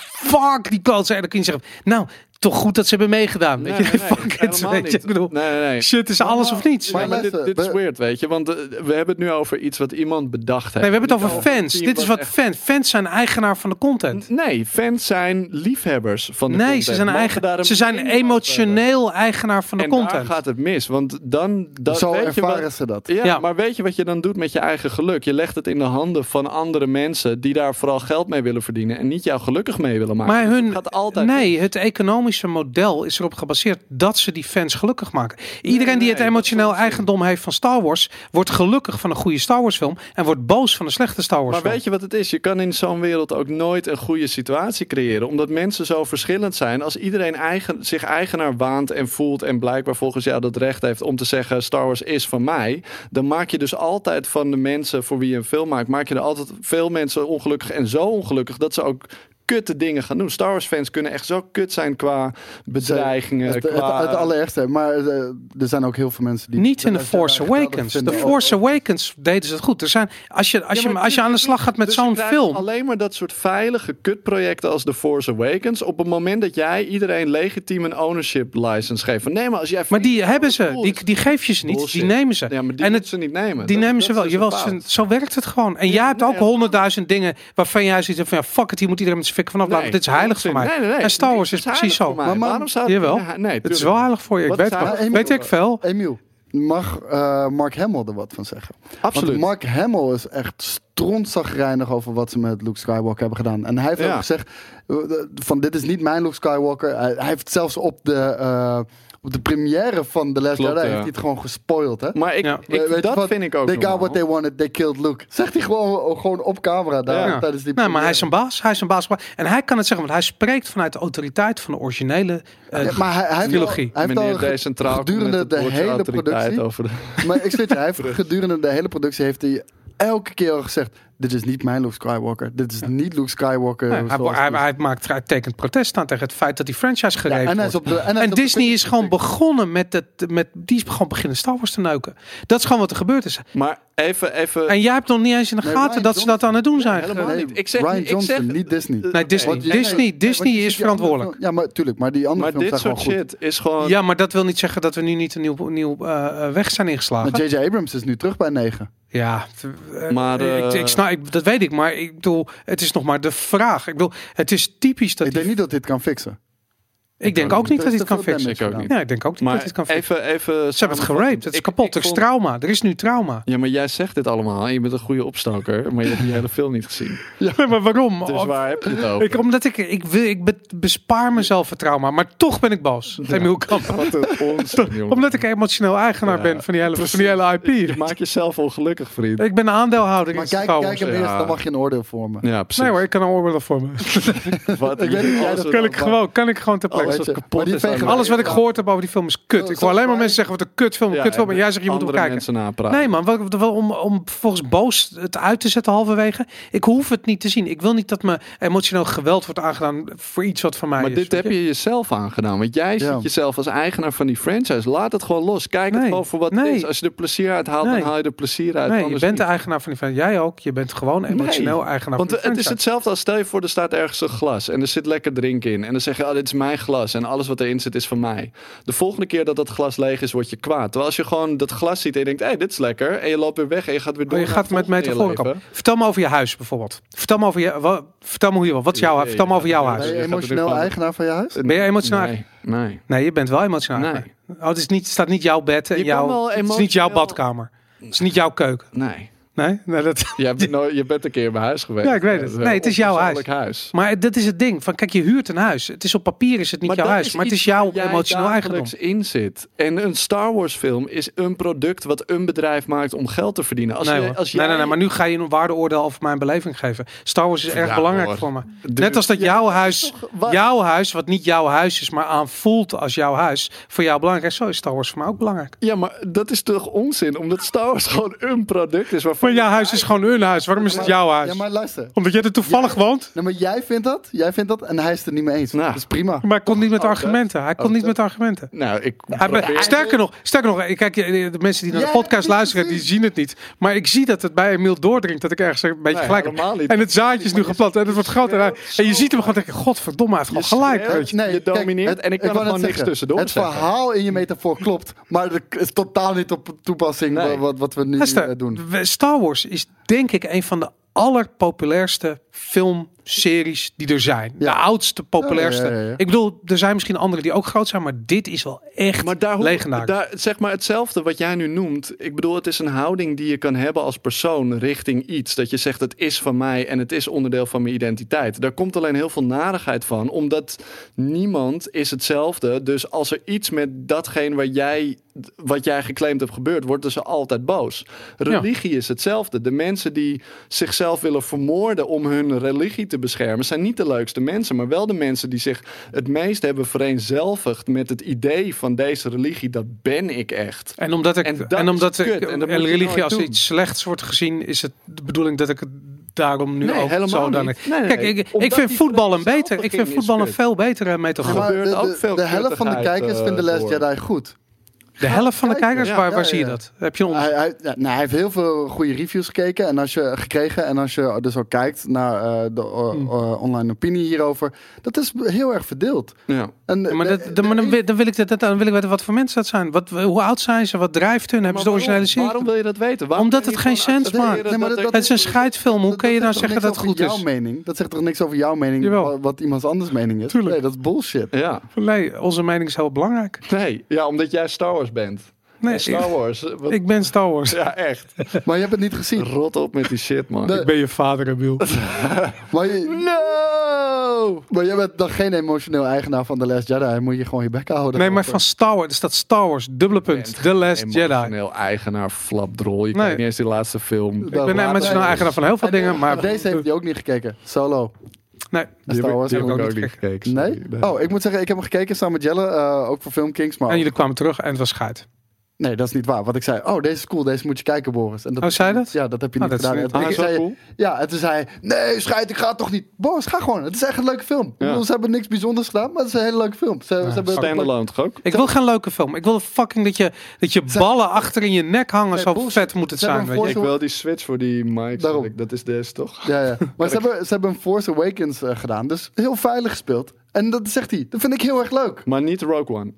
Speaker 1: fuck die kansen. En dan kun je zeggen, nou, toch goed dat ze hebben meegedaan.
Speaker 2: Nee,
Speaker 1: weet je,
Speaker 2: nee,
Speaker 1: [laughs]
Speaker 2: nee,
Speaker 1: fuck it,
Speaker 2: helemaal
Speaker 1: weet je.
Speaker 2: niet.
Speaker 1: Ik bedoel,
Speaker 2: Nee, nee, nee.
Speaker 1: shit is alles of niets.
Speaker 3: Maar
Speaker 2: Ja, maar dit,
Speaker 3: luister,
Speaker 2: dit is
Speaker 3: we-
Speaker 2: weird, weet je. Want eh, we hebben het nu over iets wat iemand bedacht heeft.
Speaker 1: Nee, we hebben het
Speaker 2: Niet
Speaker 1: over fans.
Speaker 2: team
Speaker 1: Dit is wat
Speaker 2: echt-
Speaker 1: fans. Fans zijn eigenaar van de content.
Speaker 2: Nee, fans zijn liefhebbers van de
Speaker 1: Nee,
Speaker 2: content.
Speaker 1: ze zijn,
Speaker 2: Mogen daar
Speaker 1: eigen,
Speaker 2: een
Speaker 1: ze zijn
Speaker 2: mening over hebben.
Speaker 1: emotioneel eigenaar van de
Speaker 2: en
Speaker 1: content.
Speaker 2: daar gaat het mis. Want dan... Dat,
Speaker 3: Zo
Speaker 2: weet je wat-
Speaker 3: ervaren ze dat.
Speaker 2: ja,
Speaker 1: Ja.
Speaker 2: maar weet je wat je dan doet met je eigen geluk? Je legt het in de handen van andere mensen die daar vooral geld mee willen verdienen en niet jou gelukkig mee willen maken.
Speaker 1: Maar
Speaker 2: Dus het
Speaker 1: hun,
Speaker 2: gaat altijd
Speaker 1: nee, het economische model is erop gebaseerd dat ze die fans gelukkig maken. Iedereen die het
Speaker 2: nee,
Speaker 1: emotioneel
Speaker 2: dat is onzin.
Speaker 1: eigendom heeft van Star Wars, wordt gelukkig van een goede Star Wars film en wordt boos van een slechte Star Wars
Speaker 2: Maar
Speaker 1: film.
Speaker 2: weet je wat het is? Je kan in zo'n wereld ook nooit een goede situatie creëren. Omdat mensen zo verschillend zijn. Als iedereen eigen, zich eigenaar waant en voelt. en blijkbaar volgens jou dat recht heeft om te zeggen: Star Wars is van mij. dan maak je dus altijd van de mensen voor wie je een film maakt. maak je er altijd veel mensen ongelukkig en zo ongelukkig dat ze ook. Kutte dingen gaan doen. Star Wars fans kunnen echt zo kut zijn qua bedreigingen.
Speaker 3: Het, het,
Speaker 2: qua...
Speaker 3: het allerergste. Maar eh, er zijn ook heel veel mensen die...
Speaker 1: Niet in The
Speaker 3: dat-
Speaker 1: Force
Speaker 3: dat- dat
Speaker 1: Awakens.
Speaker 3: vinden
Speaker 1: The
Speaker 3: ook-
Speaker 1: Force Awakens deden ze het goed. Er zijn, als, je, als,
Speaker 2: Ja,
Speaker 1: je,
Speaker 2: maar
Speaker 1: als je
Speaker 2: dit-
Speaker 1: aan de slag gaat met
Speaker 2: dus je
Speaker 1: zo'n
Speaker 2: krijgt
Speaker 1: film.
Speaker 2: Alleen maar dat soort veilige kutprojecten als The Force Awakens. Op het moment dat jij iedereen legitiem een ownership license geeft. Van, nee, maar als jij.
Speaker 1: Maar die hebben ze.
Speaker 2: Cool is-
Speaker 1: Die, die geef je ze niet.
Speaker 2: Bullshit.
Speaker 1: Die nemen ze.
Speaker 2: Ja, maar die
Speaker 1: en
Speaker 2: moeten
Speaker 1: het,
Speaker 2: ze niet nemen.
Speaker 1: Die
Speaker 2: Dat-
Speaker 1: nemen ze
Speaker 2: dat
Speaker 1: wel.
Speaker 2: is
Speaker 1: Jawel,
Speaker 2: een
Speaker 1: ze-
Speaker 2: fout.
Speaker 1: zo werkt het gewoon. En jij hebt
Speaker 2: nee,
Speaker 1: ook
Speaker 2: helemaal.
Speaker 1: honderdduizend dingen waarvan jij zoiets hebt van ja, fuck het, hier moet iedereen met zijn fikken vanaf
Speaker 2: Nee,
Speaker 1: blijven. Dit is heilig voor mij.
Speaker 2: Nee, nee, nee.
Speaker 1: En Star Wars
Speaker 2: Niks
Speaker 1: is precies
Speaker 2: heilig
Speaker 1: zo.
Speaker 2: voor mij.
Speaker 1: Maar
Speaker 3: Maar-
Speaker 2: Waarom zou
Speaker 1: Jawel.
Speaker 2: Nee, nee,
Speaker 1: het is
Speaker 2: tuurlijk.
Speaker 1: wel heilig voor je. Ik
Speaker 2: Wat
Speaker 1: weet,
Speaker 2: zou-
Speaker 1: wel.
Speaker 3: Hey,
Speaker 1: weet
Speaker 3: Miel,
Speaker 1: ik veel.
Speaker 3: Oh, Emiel, mag eh, Mark Hamill er wat van zeggen?
Speaker 2: Absoluut.
Speaker 3: Want Mark Hamill is echt strontzagrijnig over wat ze met Luke Skywalker hebben gedaan. En hij heeft
Speaker 2: Ja.
Speaker 3: ook gezegd eh, van dit is niet mijn Luke Skywalker. Hij, hij heeft zelfs op de, eh, op de première van The Last
Speaker 2: Klopt,
Speaker 3: Jedi
Speaker 2: ja.
Speaker 3: heeft hij het gewoon gespoild. Hè?
Speaker 2: Maar ik,
Speaker 1: Ja.
Speaker 2: ik-
Speaker 3: Eh, weet je
Speaker 2: dat
Speaker 3: wat?
Speaker 2: vind ik ook.
Speaker 3: They got
Speaker 2: normaal.
Speaker 3: what they wanted, they killed Luke. Zegt hij gewoon, gewoon op camera daar
Speaker 2: Ja.
Speaker 3: tijdens die
Speaker 1: Nee, maar hij
Speaker 3: première.
Speaker 1: is een baas. Hij is een baas. En hij kan het zeggen, want hij spreekt vanuit de autoriteit van de originele eh,
Speaker 3: Ja, maar hij, hij heeft al-
Speaker 1: trilogie.
Speaker 3: hij heeft al
Speaker 2: Meneer
Speaker 3: ge-
Speaker 2: decentraal komt met
Speaker 3: gedurende
Speaker 2: het
Speaker 3: de
Speaker 2: woordje
Speaker 3: hele
Speaker 2: autoriteit
Speaker 3: productie
Speaker 2: Over de...
Speaker 3: Maar ik zit je, hij heeft gedurende de hele productie heeft hij elke keer al gezegd: dit is niet mijn Luke Skywalker. Dit is niet Luke Skywalker.
Speaker 1: Nee, hij,
Speaker 3: zoals-
Speaker 1: hij, hij maakt, hij tekent protest aan tegen het feit dat die franchise
Speaker 3: Ja,
Speaker 1: gereed
Speaker 3: hij
Speaker 1: wordt.
Speaker 3: is op de- en hij is
Speaker 1: En
Speaker 3: op de-
Speaker 1: Disney is gewoon begonnen met het, met, die is gewoon beginnen Star Wars te neuken. Dat is gewoon wat er gebeurd is.
Speaker 2: Maar even, even...
Speaker 1: En jij hebt nog niet eens in de
Speaker 3: Nee,
Speaker 1: gaten
Speaker 3: Ryan
Speaker 1: dat ze dat
Speaker 3: Johnson.
Speaker 1: aan het doen zijn.
Speaker 2: helemaal
Speaker 3: Nee,
Speaker 2: niet. Ik zeg
Speaker 3: Ryan
Speaker 2: niet- ik
Speaker 3: Johnson,
Speaker 2: zeg-
Speaker 3: niet Disney.
Speaker 2: Eh,
Speaker 1: nee, Disney.
Speaker 3: Want jij-
Speaker 1: Disney,
Speaker 3: nee, want
Speaker 1: Disney
Speaker 3: je ziet
Speaker 1: is
Speaker 3: die andere
Speaker 1: verantwoordelijk.
Speaker 3: film- Ja, maar tuurlijk. Maar die andere
Speaker 2: maar
Speaker 3: films
Speaker 2: dit
Speaker 3: zijn
Speaker 2: soort
Speaker 3: gewoon goed.
Speaker 2: shit is gewoon...
Speaker 1: Ja, maar dat wil niet zeggen dat we nu niet een nieuw, nieuw eh, eh, weg zijn ingeslagen.
Speaker 3: Maar J.J. Abrams is nu terug bij 9.
Speaker 1: Ja, eh,
Speaker 2: Maar, eh,
Speaker 1: ik, ik, snap, ik- dat weet ik, maar ik bedoel, het is nog maar de vraag. Ik bedoel, het is typisch dat.
Speaker 3: Ik
Speaker 1: die-
Speaker 3: denk niet dat dit kan fixen.
Speaker 1: ik denk ook niet dat hij
Speaker 3: Er is
Speaker 1: het
Speaker 3: te
Speaker 1: kan
Speaker 3: veel
Speaker 1: fixen.
Speaker 2: Ik
Speaker 3: damage
Speaker 2: ook
Speaker 3: gedaan.
Speaker 2: niet.
Speaker 1: Ja, ik denk ook niet dat hij
Speaker 2: maar
Speaker 1: het kan fixen.
Speaker 2: even, even...
Speaker 1: Ze hebben het geraped, het is
Speaker 2: Ik- ik
Speaker 1: kapot, er is
Speaker 2: vond-
Speaker 1: trauma. Er is nu trauma.
Speaker 2: Ja, maar jij zegt dit allemaal. en Je bent een goede opstoker, maar je hebt die hele film niet gezien.
Speaker 1: Ja, [laughs] maar waarom?
Speaker 2: Dus
Speaker 1: Oh,
Speaker 2: waar heb je het over?
Speaker 1: Ik, omdat ik, ik, wil, ik be- bespaar mezelf het trauma, maar toch ben ik boos. Emiel Kamp.
Speaker 2: Wat een
Speaker 1: [laughs]
Speaker 2: onzin, jongen.
Speaker 1: Omdat ik emotioneel eigenaar
Speaker 2: Hm. Ja,
Speaker 1: ben van die hele, van die hele
Speaker 2: Je
Speaker 1: IP.
Speaker 2: maakt jezelf ongelukkig, vriend.
Speaker 1: Ik ben aandeelhouder
Speaker 3: Maar
Speaker 1: in
Speaker 3: kijk,
Speaker 1: Star Wars.
Speaker 3: kijk hem eerst,
Speaker 2: ja.
Speaker 3: dan mag je een oordeel vormen.
Speaker 2: Ja, precies.
Speaker 1: Nee hoor, ik kan een oordeel voor me.
Speaker 2: Wat,
Speaker 3: Ik weet niet of jij dat
Speaker 1: kan, ik gewoon, kan ik gewoon ter
Speaker 2: Alles
Speaker 1: plekke.
Speaker 2: wat
Speaker 3: je,
Speaker 2: kapot
Speaker 3: maar die
Speaker 2: is aan
Speaker 3: vegen-
Speaker 2: mij.
Speaker 1: Alles wat ik gehoord heb over die film is kut. Ik hoor alleen maar mensen zeggen wat een kutfilm, een
Speaker 2: Ja,
Speaker 1: kutfilm. En jij zegt je moet hem
Speaker 2: andere
Speaker 1: kijken.
Speaker 2: mensen napraten.
Speaker 1: Nee man, wat, wat- om, om volgens boos het uit te zetten halverwege. Ik hoef het niet te zien. Ik wil niet dat me emotioneel geweld wordt aangedaan voor iets wat van mij
Speaker 2: maar
Speaker 1: is.
Speaker 2: dit
Speaker 1: weet
Speaker 2: heb je jezelf aangedaan. Want jij
Speaker 3: Ja.
Speaker 2: ziet jezelf als eigenaar van die franchise. Laat het gewoon los. Kijk het
Speaker 1: Nee.
Speaker 2: gewoon voor wat
Speaker 1: Nee.
Speaker 2: het is. Als je er plezier uit haalt,
Speaker 1: Nee.
Speaker 2: dan haal je er plezier uit.
Speaker 1: Nee, je
Speaker 2: Anders
Speaker 1: bent de
Speaker 2: niet.
Speaker 1: eigenaar van die fan. Jij ook. Je bent gewoon emotioneel
Speaker 2: Nee.
Speaker 1: eigenaar
Speaker 2: Want
Speaker 1: van die
Speaker 2: het is
Speaker 1: franchise.
Speaker 2: hetzelfde als stel je voor, er staat ergens een glas en er zit lekker drink in. En dan zeg je, oh, dit is mijn glas en alles wat erin zit is van mij. De volgende keer dat dat glas leeg is, word je kwaad. Terwijl als je gewoon dat glas ziet en je denkt, hé, hey, dit is lekker. En je loopt weer weg en je gaat weer door.
Speaker 1: Maar Oh, je
Speaker 2: naar
Speaker 1: gaat
Speaker 2: het
Speaker 1: met
Speaker 2: volgende in je
Speaker 1: metaforen komen.
Speaker 2: leven.
Speaker 1: Vertel me over je huis bijvoorbeeld. Vertel me over je. wa- vertel me hoe je. Wat is jouw huis? Vertel me over jouw
Speaker 2: Nee.
Speaker 3: Ben
Speaker 1: huis.
Speaker 3: je
Speaker 2: Je gaat er nu
Speaker 3: emotioneel
Speaker 2: gewoon-
Speaker 3: eigenaar van je huis?
Speaker 1: Ben je emotioneel?
Speaker 2: Nee, nee.
Speaker 1: Nee, je bent wel emotioneel.
Speaker 2: Nee.
Speaker 1: eigenaar. Oh, het is niet, het staat niet jouw bed en
Speaker 2: Je kan wel
Speaker 1: jouw. Het is niet jouw
Speaker 2: emotioneel-
Speaker 1: badkamer. Het is niet jouw keuken.
Speaker 2: nee.
Speaker 1: Nee, nee
Speaker 2: [laughs]
Speaker 1: dat.
Speaker 2: Je bent, nooit- je bent een keer in mijn huis geweest.
Speaker 1: Ja, ik weet het.
Speaker 2: Dat is
Speaker 1: Nee,
Speaker 2: een
Speaker 1: het is jouw
Speaker 2: onpersoonlijk huis.
Speaker 1: Maar dat is het ding. Van kijk, je huurt een huis. Het is op papier is het niet jouw
Speaker 2: dat
Speaker 1: huis, maar het is
Speaker 2: iets
Speaker 1: jouw
Speaker 2: waar jij
Speaker 1: emotioneel eigendom.
Speaker 2: dagelijks in zit. En een Star Wars film is een product wat een bedrijf maakt om geld te verdienen. Als
Speaker 1: nee,
Speaker 2: je,
Speaker 1: hoor.
Speaker 2: als
Speaker 1: nee,
Speaker 2: jij-
Speaker 1: nee, nee, maar nu ga je een waardeoordeel over mijn beleving geven. Star Wars is erg
Speaker 2: Ja,
Speaker 1: belangrijk
Speaker 2: hoor.
Speaker 1: voor me.
Speaker 2: Dude.
Speaker 1: Net als dat jouw huis,
Speaker 2: wat-
Speaker 1: jouw huis, wat niet jouw huis is, maar aanvoelt als jouw huis, voor jou belangrijk is. Zo is Star Wars voor mij ook belangrijk.
Speaker 2: Ja, maar dat is toch onzin? Omdat Star
Speaker 1: [laughs]
Speaker 2: Wars gewoon een product is waarvan...
Speaker 1: Maar jouw huis is gewoon hun huis. Waarom is het jouw huis?
Speaker 3: Ja, maar luister.
Speaker 1: Omdat jij er toevallig woont?
Speaker 3: Nou, maar jij vindt dat, jij vindt dat en hij is het er niet mee eens.
Speaker 2: Nou.
Speaker 3: Dat is prima.
Speaker 1: Maar hij kon niet
Speaker 2: Oh,
Speaker 1: met argumenten. Hij kon niet met argumenten.
Speaker 2: Nou, ik...
Speaker 1: Hij be- sterker nog, sterker nog, ik kijk, de mensen die naar de
Speaker 3: Jij hebt
Speaker 1: podcast
Speaker 3: het
Speaker 1: luisteren, die
Speaker 3: gezien.
Speaker 1: zien het niet. Maar ik zie dat het bij Emil doordringt dat ik ergens een beetje
Speaker 2: Nee,
Speaker 1: gelijk
Speaker 2: helemaal
Speaker 1: heb.
Speaker 2: niet.
Speaker 1: En het zaadje is nu geplant en het wordt groter. En, hij- en je ziet hem gewoon denken, godverdomme, hij heeft gewoon gelijk.
Speaker 2: schreeuwt.
Speaker 1: weet je.
Speaker 2: je domineert en ik kan er
Speaker 3: wou net
Speaker 2: gewoon niks tussendoor
Speaker 3: Het
Speaker 2: zeggen.
Speaker 3: verhaal in je metafoor klopt, maar het is totaal niet op toepassing
Speaker 2: Nee.
Speaker 3: wa- wat, wat we nu
Speaker 1: Luister,
Speaker 3: eh, doen.
Speaker 1: we- Star Wars is denk ik een van de allerpopulairste filmseries die er zijn.
Speaker 3: Ja.
Speaker 1: De oudste, populairste.
Speaker 3: Ja,
Speaker 2: Oh,
Speaker 3: ja, ja, ja.
Speaker 1: Ik bedoel, er zijn misschien andere die ook groot zijn, maar dit is wel echt
Speaker 2: Maar daar, hoe-
Speaker 1: legendarisch.
Speaker 2: daar, zeg maar hetzelfde wat jij nu noemt. Ik bedoel, het is een houding die je kan hebben als persoon richting iets. Dat je zegt, het is van mij en het is onderdeel van mijn identiteit. Daar komt alleen heel veel narigheid van. Omdat niemand is hetzelfde. Dus als er iets met datgene waar jij, wat jij geclaimd hebt gebeurd, worden ze altijd boos. Religie is hetzelfde. De mensen die zichzelf willen vermoorden om hun religie te beschermen, zijn niet de leukste mensen. Maar wel de mensen die zich het meest hebben vereenzelvigd met het idee van deze religie. Dat ben ik echt.
Speaker 1: En omdat ik
Speaker 2: En
Speaker 1: en,
Speaker 2: dat is
Speaker 1: omdat ik,
Speaker 2: kut, en dat
Speaker 1: en
Speaker 2: moet je
Speaker 1: religie
Speaker 2: nooit
Speaker 1: als
Speaker 2: doen.
Speaker 1: iets slechts wordt gezien, is het de bedoeling dat ik het daarom nu
Speaker 2: Nee,
Speaker 1: ook
Speaker 2: helemaal
Speaker 1: zo dan.
Speaker 2: niet. Nee, nee,
Speaker 1: Kijk,
Speaker 2: nee.
Speaker 1: ik, ik
Speaker 2: Omdat
Speaker 1: vind
Speaker 2: die
Speaker 1: voetbal een
Speaker 2: vlees
Speaker 1: beter. Ik vind
Speaker 2: zelfverging is
Speaker 1: voetbal een
Speaker 2: kut.
Speaker 1: veel betere metafoor.
Speaker 2: Maar- gebeurt
Speaker 3: de,
Speaker 2: ook
Speaker 3: de-
Speaker 2: veel
Speaker 3: de helft van de
Speaker 2: kuttigheid,
Speaker 3: kijkers vindt The
Speaker 2: eh,
Speaker 3: Last
Speaker 2: door.
Speaker 3: Jedi goed.
Speaker 1: de helft van de
Speaker 3: kijken.
Speaker 1: kijkers,
Speaker 2: Ja,
Speaker 1: waar, waar
Speaker 3: ja,
Speaker 1: zie je
Speaker 3: ja.
Speaker 1: dat? Heb je een onderzoek?
Speaker 3: Hij, hij, ja, nou, hij heeft heel veel goede reviews gekeken en als je, eh, gekregen. En als je dus ook kijkt naar eh, de eh,
Speaker 2: Hmm.
Speaker 3: eh, online opinie hierover, dat is heel erg verdeeld.
Speaker 2: Ja.
Speaker 3: En,
Speaker 1: Maar,
Speaker 3: de-
Speaker 1: dat, dan, maar dan, wil- dan wil ik dat, dan wil ik weten wat voor mensen dat zijn. Wat, hoe oud zijn ze? Wat drijft hun? Hebben ze de originele
Speaker 2: waarom,
Speaker 1: serie?
Speaker 2: waarom wil je dat weten? Waarom
Speaker 1: Omdat
Speaker 2: wil je
Speaker 1: het geen
Speaker 2: gewoon
Speaker 1: cent
Speaker 2: accepteren
Speaker 1: maakt.
Speaker 3: Nee, maar
Speaker 2: dat
Speaker 3: dat-
Speaker 2: er-
Speaker 1: Het is een scheidfilm. Hoe kun je nou
Speaker 3: zegt toch
Speaker 1: zeggen dat het
Speaker 3: niks
Speaker 1: goed
Speaker 3: over
Speaker 1: is?
Speaker 3: jouw mening? Dat zegt toch niks over jouw mening,
Speaker 1: Jawel.
Speaker 3: wa- wat iemand anders mening is?
Speaker 1: Tuurlijk.
Speaker 3: Nee, dat is
Speaker 1: [laughs]
Speaker 3: bullshit.
Speaker 2: Ja.
Speaker 1: Nee, onze mening is heel belangrijk.
Speaker 2: Nee, ja, omdat jij Star Wars bent.
Speaker 1: Nee,
Speaker 2: Star
Speaker 1: ik,
Speaker 2: Wars. eh, wat-
Speaker 1: ik ben Star Wars.
Speaker 2: Ja, echt.
Speaker 3: Maar je hebt het niet gezien.
Speaker 2: Rot op met die shit, man.
Speaker 3: Nee.
Speaker 1: Ik ben je vader, Emiel.
Speaker 3: Maar, je,
Speaker 2: No!
Speaker 3: maar jij bent dan geen emotioneel eigenaar van The Last Jedi. Moet je gewoon je bek houden.
Speaker 1: Nee, maar van Star Wars. Er staat Star Wars, dubbele punt. The Last Jedi.
Speaker 2: Emotioneel eigenaar, flapdrol. Je
Speaker 1: Nee.
Speaker 2: kijkt niet eens die laatste film.
Speaker 3: Dat-
Speaker 1: Ik ben
Speaker 3: Laat
Speaker 1: emotioneel
Speaker 2: nou
Speaker 3: mij
Speaker 1: eigenaar van heel veel dingen, maar...
Speaker 3: Deze heeft hij ook niet gekeken. Solo.
Speaker 1: Nee,
Speaker 3: Die Star Wars
Speaker 1: heb
Speaker 3: heb
Speaker 1: ik ook
Speaker 3: ik
Speaker 1: niet gekeken.
Speaker 2: gekeken.
Speaker 3: Nee?
Speaker 2: sorry.
Speaker 3: Oh, ik moet zeggen, ik heb hem gekeken samen met Jelle. eh, ook voor Filmkings. Maar
Speaker 1: En jullie kwamen terug en het was schijt.
Speaker 3: Nee, dat is niet waar. Wat ik zei, oh, deze is cool, deze moet je kijken, Boris. En dat,
Speaker 1: Oh, zei dat?
Speaker 3: Ja, dat heb je
Speaker 1: Oh,
Speaker 3: niet
Speaker 1: dat is
Speaker 3: gedaan.
Speaker 1: niet-
Speaker 3: En
Speaker 2: Ah,
Speaker 3: ik
Speaker 2: is dat
Speaker 3: zei-
Speaker 2: cool?
Speaker 3: Ja, en toen zei hij, nee, schijt, ik ga het toch niet. Boris, ga gewoon. Het is echt een leuke film. Ik
Speaker 2: Ja.
Speaker 3: bedoel, ze hebben niks bijzonders gedaan, maar het is een hele leuke film. Ze, ze hebben
Speaker 2: Standalone toch ook?
Speaker 1: Ik wil geen leuke film. Ik wil fucking dat je, dat je ballen achter in je nek hangen.
Speaker 3: Nee,
Speaker 1: Zo
Speaker 3: bullshit.
Speaker 1: vet moet het
Speaker 3: Ze hebben
Speaker 1: zijn.
Speaker 3: een
Speaker 1: Weet je.
Speaker 2: Ik wil die switch voor die mic.
Speaker 3: Daarom.
Speaker 2: wil ik. Dat is des toch?
Speaker 3: Ja, ja. Maar ze hebben, ze hebben een Force Awakens eh, gedaan, dus heel veilig gespeeld. En dat zegt hij, dat vind ik heel erg leuk.
Speaker 2: Maar niet Rogue One.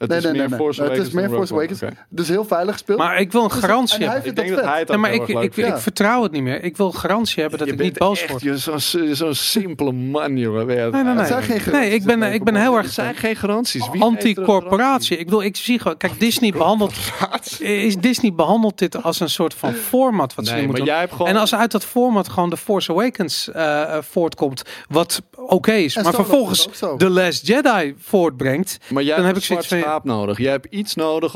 Speaker 2: Het
Speaker 3: Nee,
Speaker 2: is
Speaker 3: nee, nee,
Speaker 2: meer
Speaker 3: nee.
Speaker 2: Force
Speaker 3: het
Speaker 2: Awakens.
Speaker 3: is meer
Speaker 2: dan
Speaker 3: Force
Speaker 2: Rogue
Speaker 3: Awakens.
Speaker 2: One. Oké.
Speaker 3: Dus heel veilig gespeeld.
Speaker 1: Maar ik wil een
Speaker 3: Dus-
Speaker 1: garantie
Speaker 3: en hij
Speaker 1: hebben.
Speaker 3: vindt
Speaker 2: Ik denk dat
Speaker 3: dat vet.
Speaker 2: hij het
Speaker 1: Nee,
Speaker 2: ook
Speaker 1: maar
Speaker 2: heel
Speaker 1: ik,
Speaker 2: erg leuk
Speaker 1: ik,
Speaker 2: vindt.
Speaker 1: ik
Speaker 3: Ja.
Speaker 1: vertrouw het niet meer. Ik wil garantie hebben dat
Speaker 2: Je
Speaker 1: ik niet
Speaker 2: bent
Speaker 1: boos
Speaker 2: echt
Speaker 1: word.
Speaker 2: joh, zo'n zo'n simpele man, joh.
Speaker 1: Nee, nee, nee.
Speaker 3: Het zijn geen
Speaker 1: nee, ik
Speaker 3: garanties,
Speaker 1: ben,
Speaker 3: het
Speaker 1: ik ben heel erg
Speaker 2: zijn geen garanties. Wie
Speaker 1: anti-corporatie. Ik bedoel, ik zie gewoon... Kijk, Disney behandelt, is, Disney behandelt dit als een soort van format wat ze
Speaker 2: Nee,
Speaker 1: nu
Speaker 2: maar
Speaker 1: moeten
Speaker 2: jij
Speaker 1: doen.
Speaker 2: hebt gewoon-
Speaker 1: En als uit dat format gewoon de Force Awakens eh, eh, voortkomt, wat oké is,
Speaker 3: En
Speaker 1: maar
Speaker 3: Solo
Speaker 1: vervolgens
Speaker 3: is ook zo.
Speaker 1: The Last Jedi voortbrengt,
Speaker 2: Maar jij
Speaker 1: dan heb ik
Speaker 2: hebt een zwart
Speaker 1: zoiets van...
Speaker 2: schaap nodig. Jij hebt iets nodig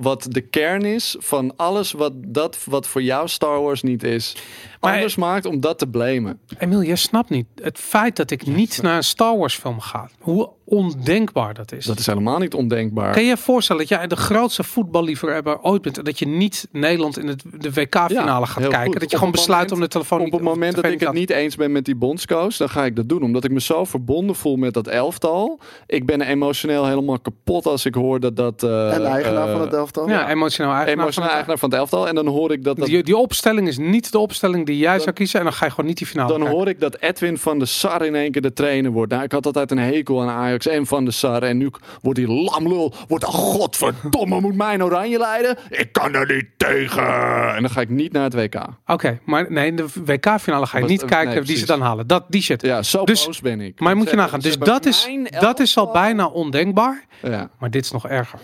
Speaker 2: wat de kern is van alles wat, dat, wat voor jou Star Wars niet is.
Speaker 1: Maar-
Speaker 2: Anders maakt om dat te blamen. Dus
Speaker 1: Emiel, jij snapt niet. Het feit dat ik niet naar een Star Wars film ga, hoe ondenkbaar dat is.
Speaker 2: Dat is helemaal niet ondenkbaar.
Speaker 1: Kan je je voorstellen dat jij de grootste voetballiefhebber ooit bent en dat je niet Nederland in het, de WK-finale
Speaker 2: Ja,
Speaker 1: gaat
Speaker 2: heel
Speaker 1: kijken?
Speaker 2: goed.
Speaker 1: Dat
Speaker 2: Op
Speaker 1: je gewoon
Speaker 2: het
Speaker 1: besluit
Speaker 2: moment-
Speaker 1: om de telefoon
Speaker 2: Op het
Speaker 1: of de
Speaker 2: moment dat
Speaker 1: tv
Speaker 2: ik het
Speaker 1: aan-
Speaker 2: niet eens ben met die bondscoach, dan ga ik dat doen. Omdat ik me zo verbonden voel met dat elftal. Ik ben emotioneel helemaal kapot als ik hoor dat dat... eh,
Speaker 3: En de eigenaar
Speaker 2: eh,
Speaker 3: van het elftal.
Speaker 1: Oh, Ja, emotioneel eigenlijk.
Speaker 2: Emotioneel eigenaar van het elftal. En dan hoor ik dat... dat
Speaker 1: Die, die opstelling is niet de opstelling die jij zou kiezen en dan ga je gewoon niet die finale
Speaker 2: dan
Speaker 1: kijken.
Speaker 2: hoor ik dat Edwin van der Sar in één keer de trainer wordt. Nou, ik had altijd een hekel aan Ajax en van der Sar. En nu k- wordt die lamlul, wordt een godverdomme, moet mijn oranje leiden? Ik kan er niet tegen. En dan ga ik niet naar het WK.
Speaker 1: Oké, maar nee, in de WK-finale ga je
Speaker 2: Was-
Speaker 1: niet
Speaker 2: eh,
Speaker 1: kijken
Speaker 2: nee,
Speaker 1: die ze
Speaker 2: precies.
Speaker 1: dan halen. Dat, die shit.
Speaker 2: Ja, zo
Speaker 1: Dus-
Speaker 2: boos ben ik.
Speaker 1: Maar je moet je
Speaker 2: Ze-
Speaker 1: nagaan.
Speaker 2: ze
Speaker 1: Dus
Speaker 2: hebben
Speaker 1: dat is,
Speaker 2: mijn
Speaker 1: dat is al
Speaker 2: elftal-
Speaker 1: bijna ondenkbaar.
Speaker 2: Ja,
Speaker 1: Maar dit is nog erger.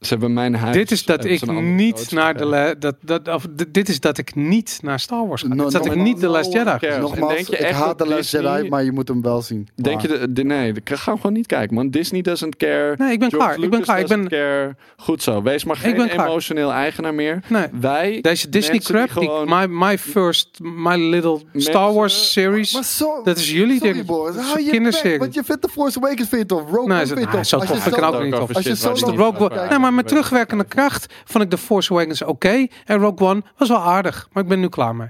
Speaker 2: ze hebben mijn huis.
Speaker 1: dit is dat
Speaker 2: hebben ze
Speaker 1: ik
Speaker 2: een andere
Speaker 1: niet
Speaker 2: coach
Speaker 1: naar de.
Speaker 2: gegeven.
Speaker 1: la- Dat, dat, of, d- dit is dat ik niet naar Star Wars ga.
Speaker 3: No-
Speaker 1: Dit is dat ik
Speaker 3: no-
Speaker 1: niet de Last Jedi. ga.
Speaker 2: Kerst. En
Speaker 3: Nogmaals,
Speaker 2: dus denk je
Speaker 3: ik
Speaker 2: echt
Speaker 3: haat
Speaker 2: dat
Speaker 3: de Last
Speaker 2: Disney-
Speaker 3: Jedi, maar je moet hem wel zien.
Speaker 2: Denk je,
Speaker 3: Maar-
Speaker 2: de, de- nee, ik ga gewoon niet kijken, man. Disney doesn't care.
Speaker 1: Nee, ik ben
Speaker 2: George
Speaker 1: klaar. Ik ben
Speaker 2: Lucas
Speaker 1: klaar. Ik
Speaker 2: doesn't care. Goed zo. Wees maar geen
Speaker 1: ben klaar.
Speaker 2: emotioneel eigenaar meer.
Speaker 1: Nee.
Speaker 2: Wij,
Speaker 1: Deze Disney
Speaker 2: mensen
Speaker 1: crap,
Speaker 2: die
Speaker 1: die-
Speaker 2: gewoon-
Speaker 1: my, my first, my little
Speaker 2: Mensen-
Speaker 1: Star Wars series.
Speaker 3: Maar zo,
Speaker 1: Dat is jullie
Speaker 3: sorry,
Speaker 1: ding.
Speaker 3: Boris,
Speaker 1: Dat is
Speaker 3: hou
Speaker 1: een
Speaker 3: je
Speaker 1: kinderserie.
Speaker 3: bek, Want je vindt The Force Awakens vind je tof. Rogue
Speaker 1: Nee,
Speaker 3: One
Speaker 1: ze-
Speaker 3: vind je
Speaker 1: ah,
Speaker 3: tof.
Speaker 1: zo
Speaker 3: Als je
Speaker 1: tof vind ik
Speaker 3: zo-
Speaker 1: ook niet
Speaker 2: over
Speaker 1: tof.
Speaker 2: shit
Speaker 3: Als je
Speaker 2: waar
Speaker 3: zo
Speaker 2: die
Speaker 3: lang-
Speaker 2: niet
Speaker 1: Rogue
Speaker 2: over
Speaker 1: One. Nee,
Speaker 2: praten.
Speaker 1: maar met terugwerkende kracht vond ik The Force Awakens oké. En Rogue One was wel aardig. Maar ik ben nu klaar mee.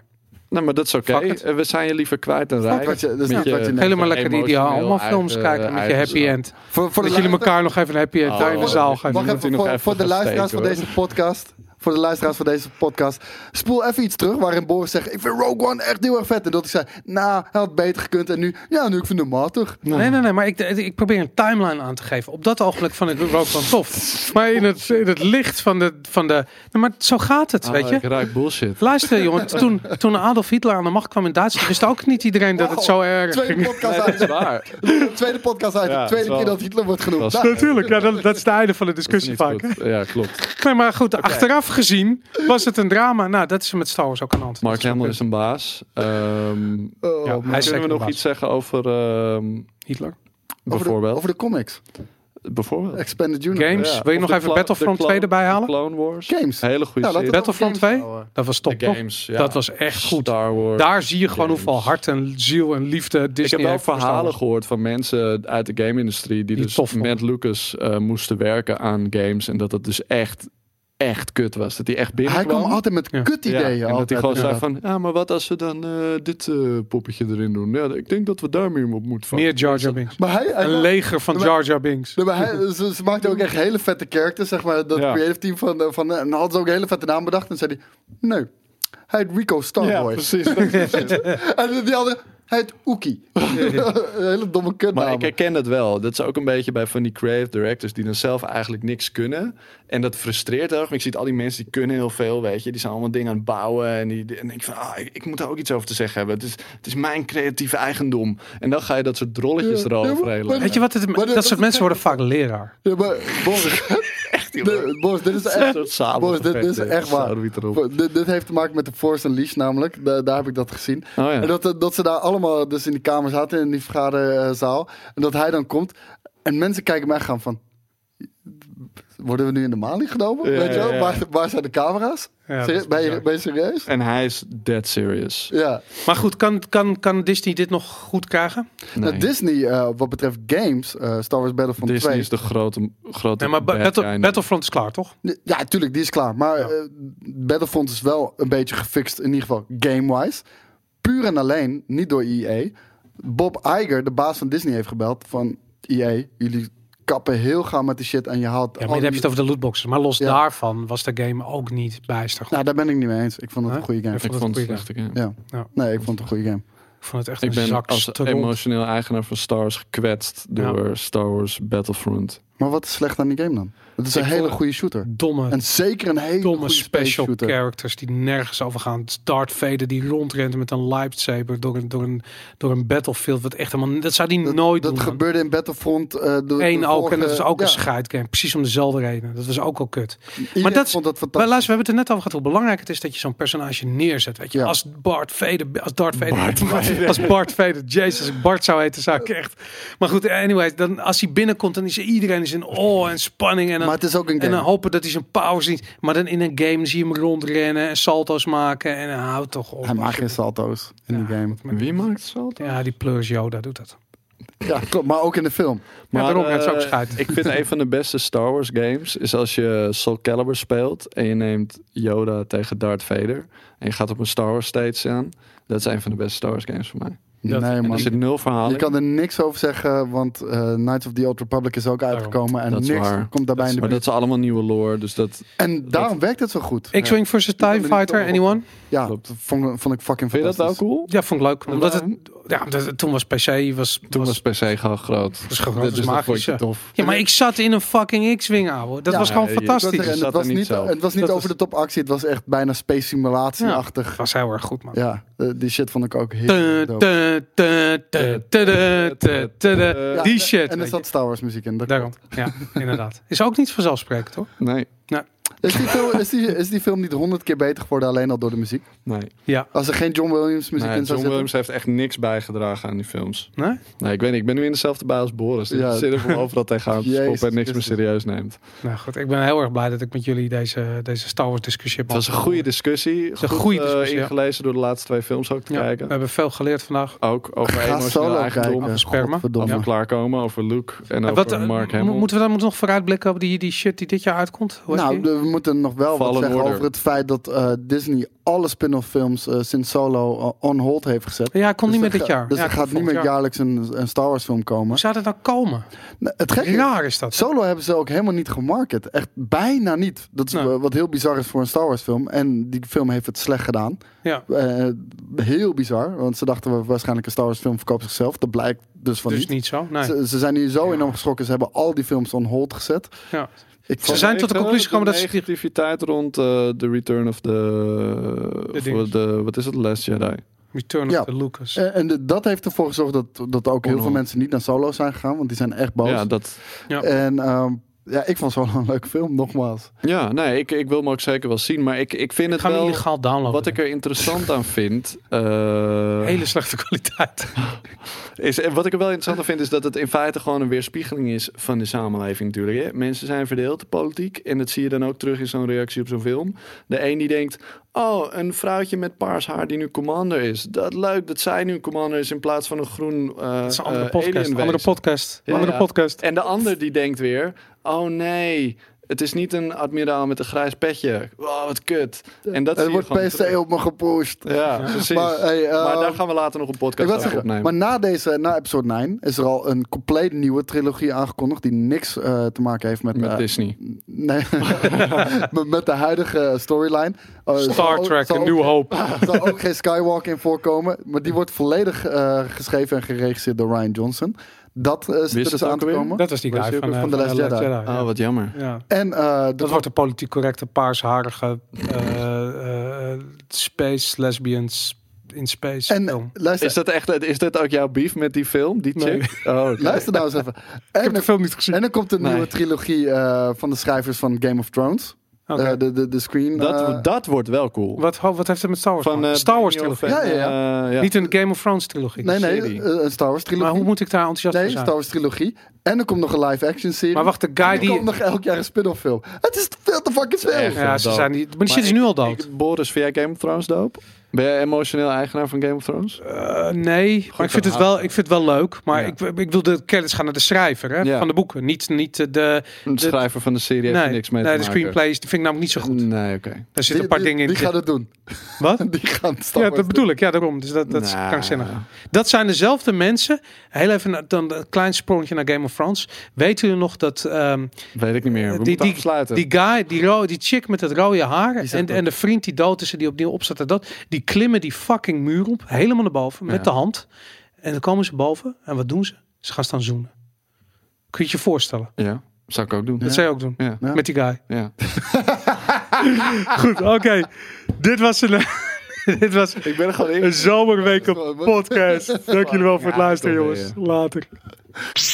Speaker 2: Nou, maar dat is oké.
Speaker 1: Fuck it.
Speaker 2: Eh, We zijn je liever kwijt dan rijk.
Speaker 3: wat je- dat is niet wat je net-
Speaker 1: Helemaal lekker die, die
Speaker 2: emotioneel
Speaker 1: allemaal films
Speaker 3: eh,
Speaker 2: eigen-
Speaker 1: kijken
Speaker 2: eh,
Speaker 1: met je
Speaker 2: eigen
Speaker 1: happy
Speaker 2: zak.
Speaker 1: end.
Speaker 3: Voor, voor
Speaker 1: Dat jullie
Speaker 3: luister-
Speaker 1: elkaar nog even een happy end
Speaker 2: Oh,
Speaker 1: daar in de
Speaker 2: wacht
Speaker 1: zaal gaan
Speaker 3: Wacht
Speaker 1: doen.
Speaker 2: moet hij
Speaker 3: even,
Speaker 2: nog
Speaker 3: voor,
Speaker 2: even
Speaker 3: voor de
Speaker 2: gaan
Speaker 3: luisteraars van
Speaker 2: steken,
Speaker 3: deze podcast. Voor de luisteraars van deze podcast. Spoel even iets terug waarin Boris zegt: Ik vind Rogue One echt heel erg vet. En dat ik zei: Nou, hij had beter gekund. En nu, ja, nu ik vind hem matig.
Speaker 1: Nee, nee, nee, maar ik, ik probeer een timeline aan te geven. Op dat ogenblik vond ik Rogue One tof. Maar in het, in het licht van de... Van de nou, maar zo gaat het, weet
Speaker 2: Ah,
Speaker 1: je.
Speaker 2: Ik
Speaker 1: [laughs]
Speaker 2: ruik bullshit.
Speaker 1: Luister jongen, toen, toen Adolf Hitler aan de macht kwam in Duitsland... wist ook niet iedereen dat het zo erg
Speaker 3: Tweede
Speaker 1: ging.
Speaker 3: podcast
Speaker 2: Nee, dat
Speaker 3: uit.
Speaker 2: is waar. Dat
Speaker 3: Tweede podcast uit.
Speaker 2: Ja,
Speaker 3: tweede
Speaker 2: dat is
Speaker 3: keer
Speaker 2: wel-
Speaker 3: dat Hitler wordt genoemd.
Speaker 2: dat is-
Speaker 3: Nou,
Speaker 1: Natuurlijk, ja, dat, dat is het einde van de
Speaker 2: is
Speaker 1: discussie
Speaker 2: niet
Speaker 1: vaak.
Speaker 2: goed. Ja, klopt.
Speaker 1: hè. Nee, maar goed, achteraf gezien was het een drama. Nou, dat is er met Star Wars ook aan de hand.
Speaker 2: Mark Hamill is een baas. Ehm
Speaker 3: oh,
Speaker 1: Ja,
Speaker 3: man.
Speaker 1: hij is
Speaker 2: kunnen
Speaker 1: zeker
Speaker 2: we nog
Speaker 1: een
Speaker 2: iets zeggen over... ehm,
Speaker 1: eh, Hitler.
Speaker 3: over, de,
Speaker 2: bijvoorbeeld?
Speaker 3: over de comics.
Speaker 2: bijvoorbeeld.
Speaker 3: Expanded Universe.
Speaker 1: Games, wil je
Speaker 2: Of
Speaker 1: nog
Speaker 2: de
Speaker 1: even
Speaker 2: Clo-
Speaker 1: Battlefront
Speaker 2: de
Speaker 1: 2
Speaker 2: Clo-
Speaker 1: erbij halen?
Speaker 2: Clone Wars.
Speaker 3: Games.
Speaker 2: Hele goede
Speaker 3: Ja, laat
Speaker 2: serie.
Speaker 3: het-
Speaker 1: Battlefront
Speaker 3: games
Speaker 1: 2,
Speaker 3: houden.
Speaker 1: dat was top
Speaker 2: De
Speaker 1: toch?
Speaker 2: games, ja.
Speaker 1: Dat was echt goed.
Speaker 2: Star Wars.
Speaker 1: Daar zie je gewoon
Speaker 2: Games.
Speaker 1: hoeveel hart en ziel en liefde
Speaker 2: ik
Speaker 1: Disney
Speaker 2: heb wel
Speaker 1: heeft voor Star
Speaker 2: verhalen
Speaker 1: Wars.
Speaker 2: gehoord van mensen uit de game-industrie die,
Speaker 1: Die
Speaker 2: dus
Speaker 1: tof vonden.
Speaker 2: met Lucas eh, moesten werken aan games en dat het dus echt, echt kut was. Dat hij echt
Speaker 3: Hij
Speaker 2: binnenkwam.
Speaker 3: kwam altijd met
Speaker 1: Ja.
Speaker 3: kut ideeën.
Speaker 2: Ja, en dat hij
Speaker 3: altijd,
Speaker 2: gewoon
Speaker 3: ja.
Speaker 2: zei van, ja, maar wat als we dan eh, dit eh, poppetje erin doen? Ja, ik denk dat we daar meer op moeten van.
Speaker 1: Meer Jar Jar Binks.
Speaker 3: Maar hij, hij
Speaker 1: Een leger van
Speaker 3: Maar-
Speaker 1: Jar Jar Binks.
Speaker 3: Nee, maar hij- ze, ze maakte ook echt hele vette characters, zeg maar. Dat
Speaker 2: Ja.
Speaker 3: creative team van, eh, van... eh, En hadden ze ook een hele vette naam bedacht. En zei hij... Nee, hij heet Rico
Speaker 2: ja,
Speaker 3: Starboy.
Speaker 2: precies. dat is precies.
Speaker 3: [laughs] en die andere... Hij heet Oekie. [laughs] een hele domme kutnaam.
Speaker 2: maar ik herken dat wel. Dat is ook een beetje bij van die creative directors die dan zelf eigenlijk niks kunnen. En dat frustreert erg. Ik zie al die mensen die kunnen heel veel, weet je. Die zijn allemaal dingen aan het bouwen. En, die, die- en ik van, ah, ik, ik moet daar ook iets over te zeggen hebben. Het is, het is mijn creatieve eigendom. En dan ga je dat soort drolletjes
Speaker 3: Ja, ja, maar-
Speaker 2: eroverheen. leggen.
Speaker 1: Weet je wat? Het,
Speaker 3: Maar dit-
Speaker 1: dat soort mensen worden vaak leraar.
Speaker 3: Ja, maar [laughs] Boris... de- Boris, dit is echt...
Speaker 2: soort sabelgevecht,
Speaker 3: Boris, dit, dit is
Speaker 2: hè.
Speaker 3: echt waar.
Speaker 2: Sabel wie erop.
Speaker 3: Bo- Dit, dit heeft te maken met de Force Unleashed namelijk. Da- daar heb ik dat gezien.
Speaker 2: Oh, ja.
Speaker 3: En dat, eh, dat ze daar allemaal dus in die kamer zaten, in die vergaderzaal. En dat hij dan komt. En mensen kijken mij gaan van... Worden we nu in de maling genomen?
Speaker 2: Ja,
Speaker 3: Weet je wel?
Speaker 2: ja, ja.
Speaker 3: Waar, waar zijn de camera's?
Speaker 1: Ja,
Speaker 3: Serie-
Speaker 1: dat is
Speaker 3: ben, je,
Speaker 1: bizar.
Speaker 3: ben je serieus?
Speaker 2: En hij is dead serious.
Speaker 3: Ja.
Speaker 1: Maar goed, kan, kan, kan Disney dit nog goed krijgen?
Speaker 2: Nee.
Speaker 3: Nou, Disney, eh, wat betreft games, eh, Star Wars Battlefront
Speaker 2: Disney
Speaker 3: 2.
Speaker 2: is de grote, grote
Speaker 1: Nee, maar Ba-
Speaker 2: bad
Speaker 1: Battle-
Speaker 2: guy.
Speaker 1: Battlefront is klaar, toch?
Speaker 3: Ja, tuurlijk, die is klaar. Maar
Speaker 1: Ja.
Speaker 3: eh, Battlefront is wel een beetje gefixt, in ieder geval game-wise. Puur en alleen, niet door EA. Bob Iger, de baas van Disney, heeft gebeld van EA. Jullie kappen heel gauw met die shit en je haalt...
Speaker 1: Ja, maar dan
Speaker 3: al
Speaker 1: heb je
Speaker 3: die-
Speaker 1: het over de lootboxes. Maar los
Speaker 3: Ja.
Speaker 1: daarvan was de game ook niet bijster. goed.
Speaker 3: Nou, daar ben ik niet mee eens. Ik vond het
Speaker 1: Huh?
Speaker 3: een goede game.
Speaker 1: Ik
Speaker 2: Ik
Speaker 1: vond het
Speaker 2: vond het
Speaker 1: een
Speaker 2: echt een game.
Speaker 3: Ja.
Speaker 1: Ja.
Speaker 3: Nee, ik vond het een goede game.
Speaker 1: Ik vond het echt
Speaker 2: Ik
Speaker 1: een
Speaker 2: ben
Speaker 1: zak
Speaker 2: als
Speaker 1: stront.
Speaker 2: emotioneel eigenaar van Star Wars gekwetst door Star Wars Battlefront.
Speaker 3: Maar wat is slecht aan die game dan? Het is
Speaker 1: Ik
Speaker 3: een hele
Speaker 1: vond-
Speaker 3: goede shooter.
Speaker 1: Domme,
Speaker 3: En zeker een hele
Speaker 1: domme
Speaker 3: goede
Speaker 1: special
Speaker 3: shooter.
Speaker 1: characters die nergens over gaan. Darth Vader die rondrent met een lightsaber door een, door een, door een battlefield. Wat echt helemaal, dat zou die
Speaker 3: Dat,
Speaker 1: nooit
Speaker 3: dat
Speaker 1: doen. man.
Speaker 3: gebeurde in Battlefront. eh de,
Speaker 1: Eén
Speaker 3: de
Speaker 1: ook, en
Speaker 3: vorige-
Speaker 1: dat is ook
Speaker 3: ja,
Speaker 1: een scheidgame. Precies om dezelfde reden. Dat was ook al kut.
Speaker 3: iedereen
Speaker 1: Maar dat is-
Speaker 3: vond dat fantastisch.
Speaker 1: Maar luister, we hebben het er net over gehad hoe belangrijk het is dat je zo'n personage neerzet. Weet je,
Speaker 3: Ja.
Speaker 1: als Bart Vader, als Darth Vader, [laughs] als Bart Vader, Jezus, als ik Bart zou heten, zou ik echt. Maar goed, anyway, dan als hij binnenkomt, dan is iedereen is in awe en spanning en dan,
Speaker 3: Maar het is ook een
Speaker 1: en
Speaker 3: game.
Speaker 1: dan hopen dat hij zijn powers ziet. Maar dan in een game zie je hem rondrennen en salto's maken en houd toch op.
Speaker 3: Hij maakt geen salto's in die game.
Speaker 2: Wie maakt Salt?
Speaker 1: Ja, die pleurs Yoda doet dat.
Speaker 3: Ja, klopt. Maar ook in de film.
Speaker 1: Maar daarom, het is ook
Speaker 2: eh,
Speaker 1: schijt.
Speaker 2: Ik vind een van de beste Star Wars games is als je Soul Calibur speelt en je neemt Yoda tegen Darth Vader en je gaat op een Star Wars stage aan. Dat is een van de beste Star Wars games voor mij.
Speaker 1: Dat-
Speaker 3: nee,
Speaker 2: En
Speaker 3: man.
Speaker 2: er zit nul
Speaker 3: Je
Speaker 2: verhaal in.
Speaker 3: kan er niks over zeggen, want eh, Knights of the Old Republic is ook uitgekomen. En
Speaker 2: Dat is
Speaker 3: niks
Speaker 2: waar.
Speaker 3: komt daarbij in de
Speaker 2: Maar
Speaker 3: buurt.
Speaker 2: dat is allemaal nieuwe lore, dus dat...
Speaker 3: En daarom werkt het zo goed.
Speaker 1: X-Wing versus TIE
Speaker 3: er niet
Speaker 1: Fighter,
Speaker 3: komen.
Speaker 1: anyone?
Speaker 3: Ja, dat vond, vond ik fucking
Speaker 2: Vind je dat wel
Speaker 3: fantastisch.
Speaker 2: cool?
Speaker 1: Ja, vond ik leuk. Omdat het,
Speaker 2: Waarom?
Speaker 1: ja, omdat het- toen was PC, was,
Speaker 2: Toen was PC gewoon groot.
Speaker 1: was gewoon-
Speaker 2: Dus
Speaker 1: was
Speaker 2: dat vond
Speaker 1: magisch,
Speaker 2: je
Speaker 1: ja.
Speaker 2: tof.
Speaker 1: Ja, maar ik zat in een fucking X-Wing, ouwe. Dat
Speaker 3: Ja,
Speaker 1: was gewoon
Speaker 2: nee, je-
Speaker 3: Het was,
Speaker 1: fantastisch.
Speaker 3: er- en
Speaker 2: Je zat
Speaker 3: het was
Speaker 2: er niet
Speaker 3: niet,
Speaker 2: zelf.
Speaker 3: het was niet
Speaker 1: Dat
Speaker 3: over
Speaker 1: was-
Speaker 3: de top actie. Het was echt bijna space
Speaker 1: Dat
Speaker 3: simulatie-achtig. Ja,
Speaker 1: was heel erg goed, man.
Speaker 3: eh, die shit vond ik ook heel
Speaker 1: Tu,
Speaker 3: dope.
Speaker 1: tu, tu, tu, tu, tu, tu, tu, tu.
Speaker 2: Ja,
Speaker 1: Die shit.
Speaker 3: En er
Speaker 1: weet
Speaker 3: zat
Speaker 1: je.
Speaker 3: Star Wars muziek in. dat
Speaker 1: Daarom.
Speaker 3: klopt.
Speaker 1: Ja, inderdaad. Is ook niet vanzelfsprekend, hoor.
Speaker 2: Nee,
Speaker 3: Is die, film, is, die, is die film niet honderd keer beter geworden alleen al door de muziek?
Speaker 2: nee.
Speaker 1: Ja.
Speaker 3: Als er geen John Williams muziek
Speaker 2: nee
Speaker 3: in zou
Speaker 2: John
Speaker 3: zitten?
Speaker 2: Williams heeft echt niks bijgedragen aan die films.
Speaker 1: Nee?
Speaker 2: Nee, ik weet niet. Ik ben nu in dezelfde bui als Boris. Dus
Speaker 3: Ja.
Speaker 2: Ik zit er van overal tegenaan te
Speaker 3: [laughs] Jezus
Speaker 2: schoppen en niks meer
Speaker 3: Christus.
Speaker 2: serieus neemt.
Speaker 1: Nou goed, ik ben heel erg blij dat ik met jullie deze, deze Star Wars discussie heb.
Speaker 2: Het was een goede discussie. Het
Speaker 1: een goede discussie, ja.
Speaker 2: ingelezen door de laatste twee films ook te
Speaker 1: Ja, Eh, we
Speaker 2: kijken.
Speaker 1: hebben veel geleerd vandaag.
Speaker 2: Ook over
Speaker 3: Ga
Speaker 2: emotioneel
Speaker 3: solo
Speaker 2: eigendom.
Speaker 3: kijken.
Speaker 1: sperma.
Speaker 2: Over
Speaker 3: Godverdomme.
Speaker 2: klaarkomen, over Luke en
Speaker 1: En
Speaker 2: over
Speaker 1: Wat, eh,
Speaker 2: Mark
Speaker 1: mo-
Speaker 2: Hamill.
Speaker 1: moeten we dan moeten we nog vooruitblikken op die, die shit die dit jaar uitkomt? Hoe heet
Speaker 3: Nou,
Speaker 1: die?
Speaker 3: de- we moeten nog wel
Speaker 2: Fallen
Speaker 3: wat zeggen
Speaker 2: Order.
Speaker 3: over het feit dat eh, Disney alle spin-off films eh, sinds Solo eh, on hold heeft gezet.
Speaker 1: ja, komt niet meer dit jaar.
Speaker 3: Dus
Speaker 1: ja,
Speaker 3: er gaat niet
Speaker 1: volgend
Speaker 3: meer
Speaker 1: jaar.
Speaker 3: jaarlijks een, een Star Wars film komen.
Speaker 1: Hoe zou dat nou komen?
Speaker 3: Nou, het gekke is,
Speaker 1: Raar is dat.
Speaker 3: Solo hebben ze ook helemaal niet gemarket. Echt bijna niet. Dat is
Speaker 1: Nee.
Speaker 3: eh, wat heel bizar is voor een Star Wars film. En die film heeft het slecht gedaan.
Speaker 1: Ja.
Speaker 3: Eh, heel bizar, want ze dachten wa- waarschijnlijk een Star Wars film verkoopt zichzelf. Dat blijkt dus van
Speaker 1: Dus
Speaker 3: niet.
Speaker 1: niet zo. Nee.
Speaker 3: Ze, ze zijn hier zo enorm geschrokken. Ze hebben al die films on hold gezet.
Speaker 1: Ja.
Speaker 3: Ik
Speaker 1: Ze
Speaker 3: vond-
Speaker 1: zijn tot de conclusie gekomen dat ze-
Speaker 2: De negativiteit rond eh, The Return of the... of
Speaker 1: dings.
Speaker 2: the- wat is het? Last Jedi.
Speaker 1: Return of
Speaker 3: Ja.
Speaker 1: the Lucas.
Speaker 3: Eh, en de- dat heeft ervoor gezorgd dat, dat ook heel
Speaker 2: Onhold.
Speaker 3: veel mensen niet naar Solo zijn gegaan, want die zijn echt boos.
Speaker 2: Ja, dat,
Speaker 1: Ja.
Speaker 3: En ehm, ja, ik vond Solo een leuke film, nogmaals.
Speaker 2: ja, nee, ik, ik wil hem ook zeker wel zien. Maar ik, ik vind
Speaker 1: Ik
Speaker 2: het
Speaker 1: ga hem
Speaker 2: wel...
Speaker 1: illegaal downloaden.
Speaker 2: Wat ik er interessant aan vind... eh,
Speaker 1: Hele slechte kwaliteit.
Speaker 2: Is, en wat ik er wel interessant aan vind, is dat het in feite gewoon een weerspiegeling is van de samenleving natuurlijk. Hè? Mensen zijn verdeeld, politiek. En dat zie je dan ook terug in zo'n reactie op zo'n film. De een die denkt, oh, een vrouwtje met paars haar die nu commander is. Dat leuk dat zij nu commander is in plaats van een groen eh
Speaker 1: Dat is een andere
Speaker 2: eh,
Speaker 1: podcast.
Speaker 2: alienwezen.
Speaker 1: Andere podcast.
Speaker 2: Ja,
Speaker 1: andere
Speaker 2: ja.
Speaker 1: podcast.
Speaker 2: En de ander die denkt weer, oh nee... Het is niet een admiraal met een grijs petje. Wow, wat kut. En dat
Speaker 3: er
Speaker 2: zie je
Speaker 3: wordt
Speaker 2: gewoon
Speaker 3: PC
Speaker 2: terug.
Speaker 3: op me gepusht.
Speaker 2: Ja, precies. Maar,
Speaker 3: Maar, hey, eh,
Speaker 2: daar gaan we later nog een
Speaker 3: Ik
Speaker 2: podcast
Speaker 3: wil
Speaker 2: over
Speaker 3: zeggen,
Speaker 2: opnemen.
Speaker 3: maar na deze, na episode 9, is er al een compleet nieuwe trilogie aangekondigd die niks eh, te maken heeft met,
Speaker 2: Met
Speaker 3: eh,
Speaker 2: Disney. [laughs]
Speaker 3: nee, met- met de huidige storyline. Eh, zal
Speaker 1: Star
Speaker 3: ook-
Speaker 1: Trek,
Speaker 3: zal
Speaker 1: een
Speaker 3: ook-
Speaker 1: nieuwe hoop.
Speaker 3: [laughs] Er zal ook geen Skywalk in voorkomen. Maar die wordt volledig eh, geschreven en geregisseerd door Ryan Johnson. Dat eh zit
Speaker 2: het
Speaker 3: er dus
Speaker 2: ook
Speaker 3: aan te
Speaker 2: alweer?
Speaker 3: komen.
Speaker 1: Dat was die
Speaker 2: Was
Speaker 1: guy
Speaker 2: die ook
Speaker 1: van,
Speaker 2: weer
Speaker 1: eh,
Speaker 3: van The Last Jedi?
Speaker 1: ja.
Speaker 2: Oh, wat jammer.
Speaker 1: Ja.
Speaker 3: En eh, de-
Speaker 1: Dat wordt de politiek correcte paarsharige eh, eh, space lesbians in space
Speaker 3: en
Speaker 1: film.
Speaker 3: luister,
Speaker 2: Is dat echt, is dit ook jouw beef met die film, die
Speaker 1: Nee. [laughs]
Speaker 2: chick? Oh, oké.
Speaker 3: luister nou eens even. En, er-
Speaker 1: film niet gezien.
Speaker 3: en er komt een
Speaker 2: Nee.
Speaker 3: nieuwe trilogie eh, van de schrijvers van Game of Thrones.
Speaker 1: Oké.
Speaker 3: Eh, de, de, de screen. eh,
Speaker 2: dat, dat wordt wel cool.
Speaker 1: wat, ho- wat heeft het met Star Wars? te
Speaker 2: Van
Speaker 1: maken?
Speaker 2: eh,
Speaker 1: Star Wars
Speaker 2: Daniel
Speaker 1: trilogie.
Speaker 2: Fan,
Speaker 3: Ja,
Speaker 2: eh, ja.
Speaker 1: Niet een Game of Thrones trilogie.
Speaker 3: nee, nee,
Speaker 2: serie.
Speaker 3: eh, een Star Wars trilogie.
Speaker 1: Maar hoe moet ik daar enthousiast
Speaker 3: Nee,
Speaker 1: voor zijn?
Speaker 3: Star Wars trilogie. En er komt nog een live action serie.
Speaker 1: Maar wacht, de guy
Speaker 3: er
Speaker 1: die...
Speaker 3: komt nog elk jaar een spin-off film. Het is veel te the fuck is
Speaker 2: Echt.
Speaker 3: this?
Speaker 1: Ja, ze
Speaker 2: dood.
Speaker 1: zijn die, maar die shit is nu al dood.
Speaker 2: Ik- Boris, vind jij Game of Thrones dope? Ben jij emotioneel eigenaar van Game of Thrones?
Speaker 1: Eh, nee, maar ik vind, het wel, ik vind het wel leuk. Maar
Speaker 2: Ja.
Speaker 1: ik, ik wil de credits gaan naar de schrijver hè,
Speaker 2: Ja.
Speaker 1: van de boeken. Niet, niet eh, de...
Speaker 2: Een
Speaker 1: de-
Speaker 2: schrijver van de serie heeft er
Speaker 1: nee,
Speaker 2: niks mee
Speaker 1: nee,
Speaker 2: te
Speaker 1: de
Speaker 2: maken. Mm.
Speaker 1: screenplays die vind ik namelijk niet zo goed.
Speaker 2: Nee, oké.
Speaker 1: Daar
Speaker 3: Die,
Speaker 1: zitten een paar
Speaker 3: die-
Speaker 1: dingen in.
Speaker 3: die
Speaker 1: die-
Speaker 3: gaan het doen. [laughs]
Speaker 1: Wat?
Speaker 3: Die gaan het
Speaker 1: Ja, dat bedoel ik. Ja, daarom. Dus dat, dat is
Speaker 2: Nou.
Speaker 1: krankzinnig. Dat zijn dezelfde mensen. Heel even na- dan een klein sprongetje naar Game of Thrones. Weet u nog dat ehm,
Speaker 2: Weet ik niet meer. We
Speaker 1: die,
Speaker 2: moeten
Speaker 1: die,
Speaker 2: afsluiten.
Speaker 1: die guy, die, ro- die chick met het rode haar
Speaker 3: zat
Speaker 1: en,
Speaker 3: er.
Speaker 1: en de vriend die dood is en die opnieuw opzet en dat, die klimmen die fucking muur op, helemaal naar boven, met
Speaker 2: Ja.
Speaker 1: de hand. En dan komen ze boven en wat doen ze? Ze gaan staan zoenen. Kun je je voorstellen?
Speaker 2: Ja, zou ik ook doen.
Speaker 1: Dat zou je ook doen.
Speaker 2: Ja,
Speaker 1: Met die guy. Ah,
Speaker 2: ja.
Speaker 1: Goed, oké. Dit was een... [laughs] dit was
Speaker 2: Ik ben er gewoon in.
Speaker 1: een zomerweek op
Speaker 3: Gewoon, wat-
Speaker 2: [laughs]
Speaker 1: podcast. Dank jullie wel voor het luisteren,
Speaker 2: toch
Speaker 1: jongens. Later.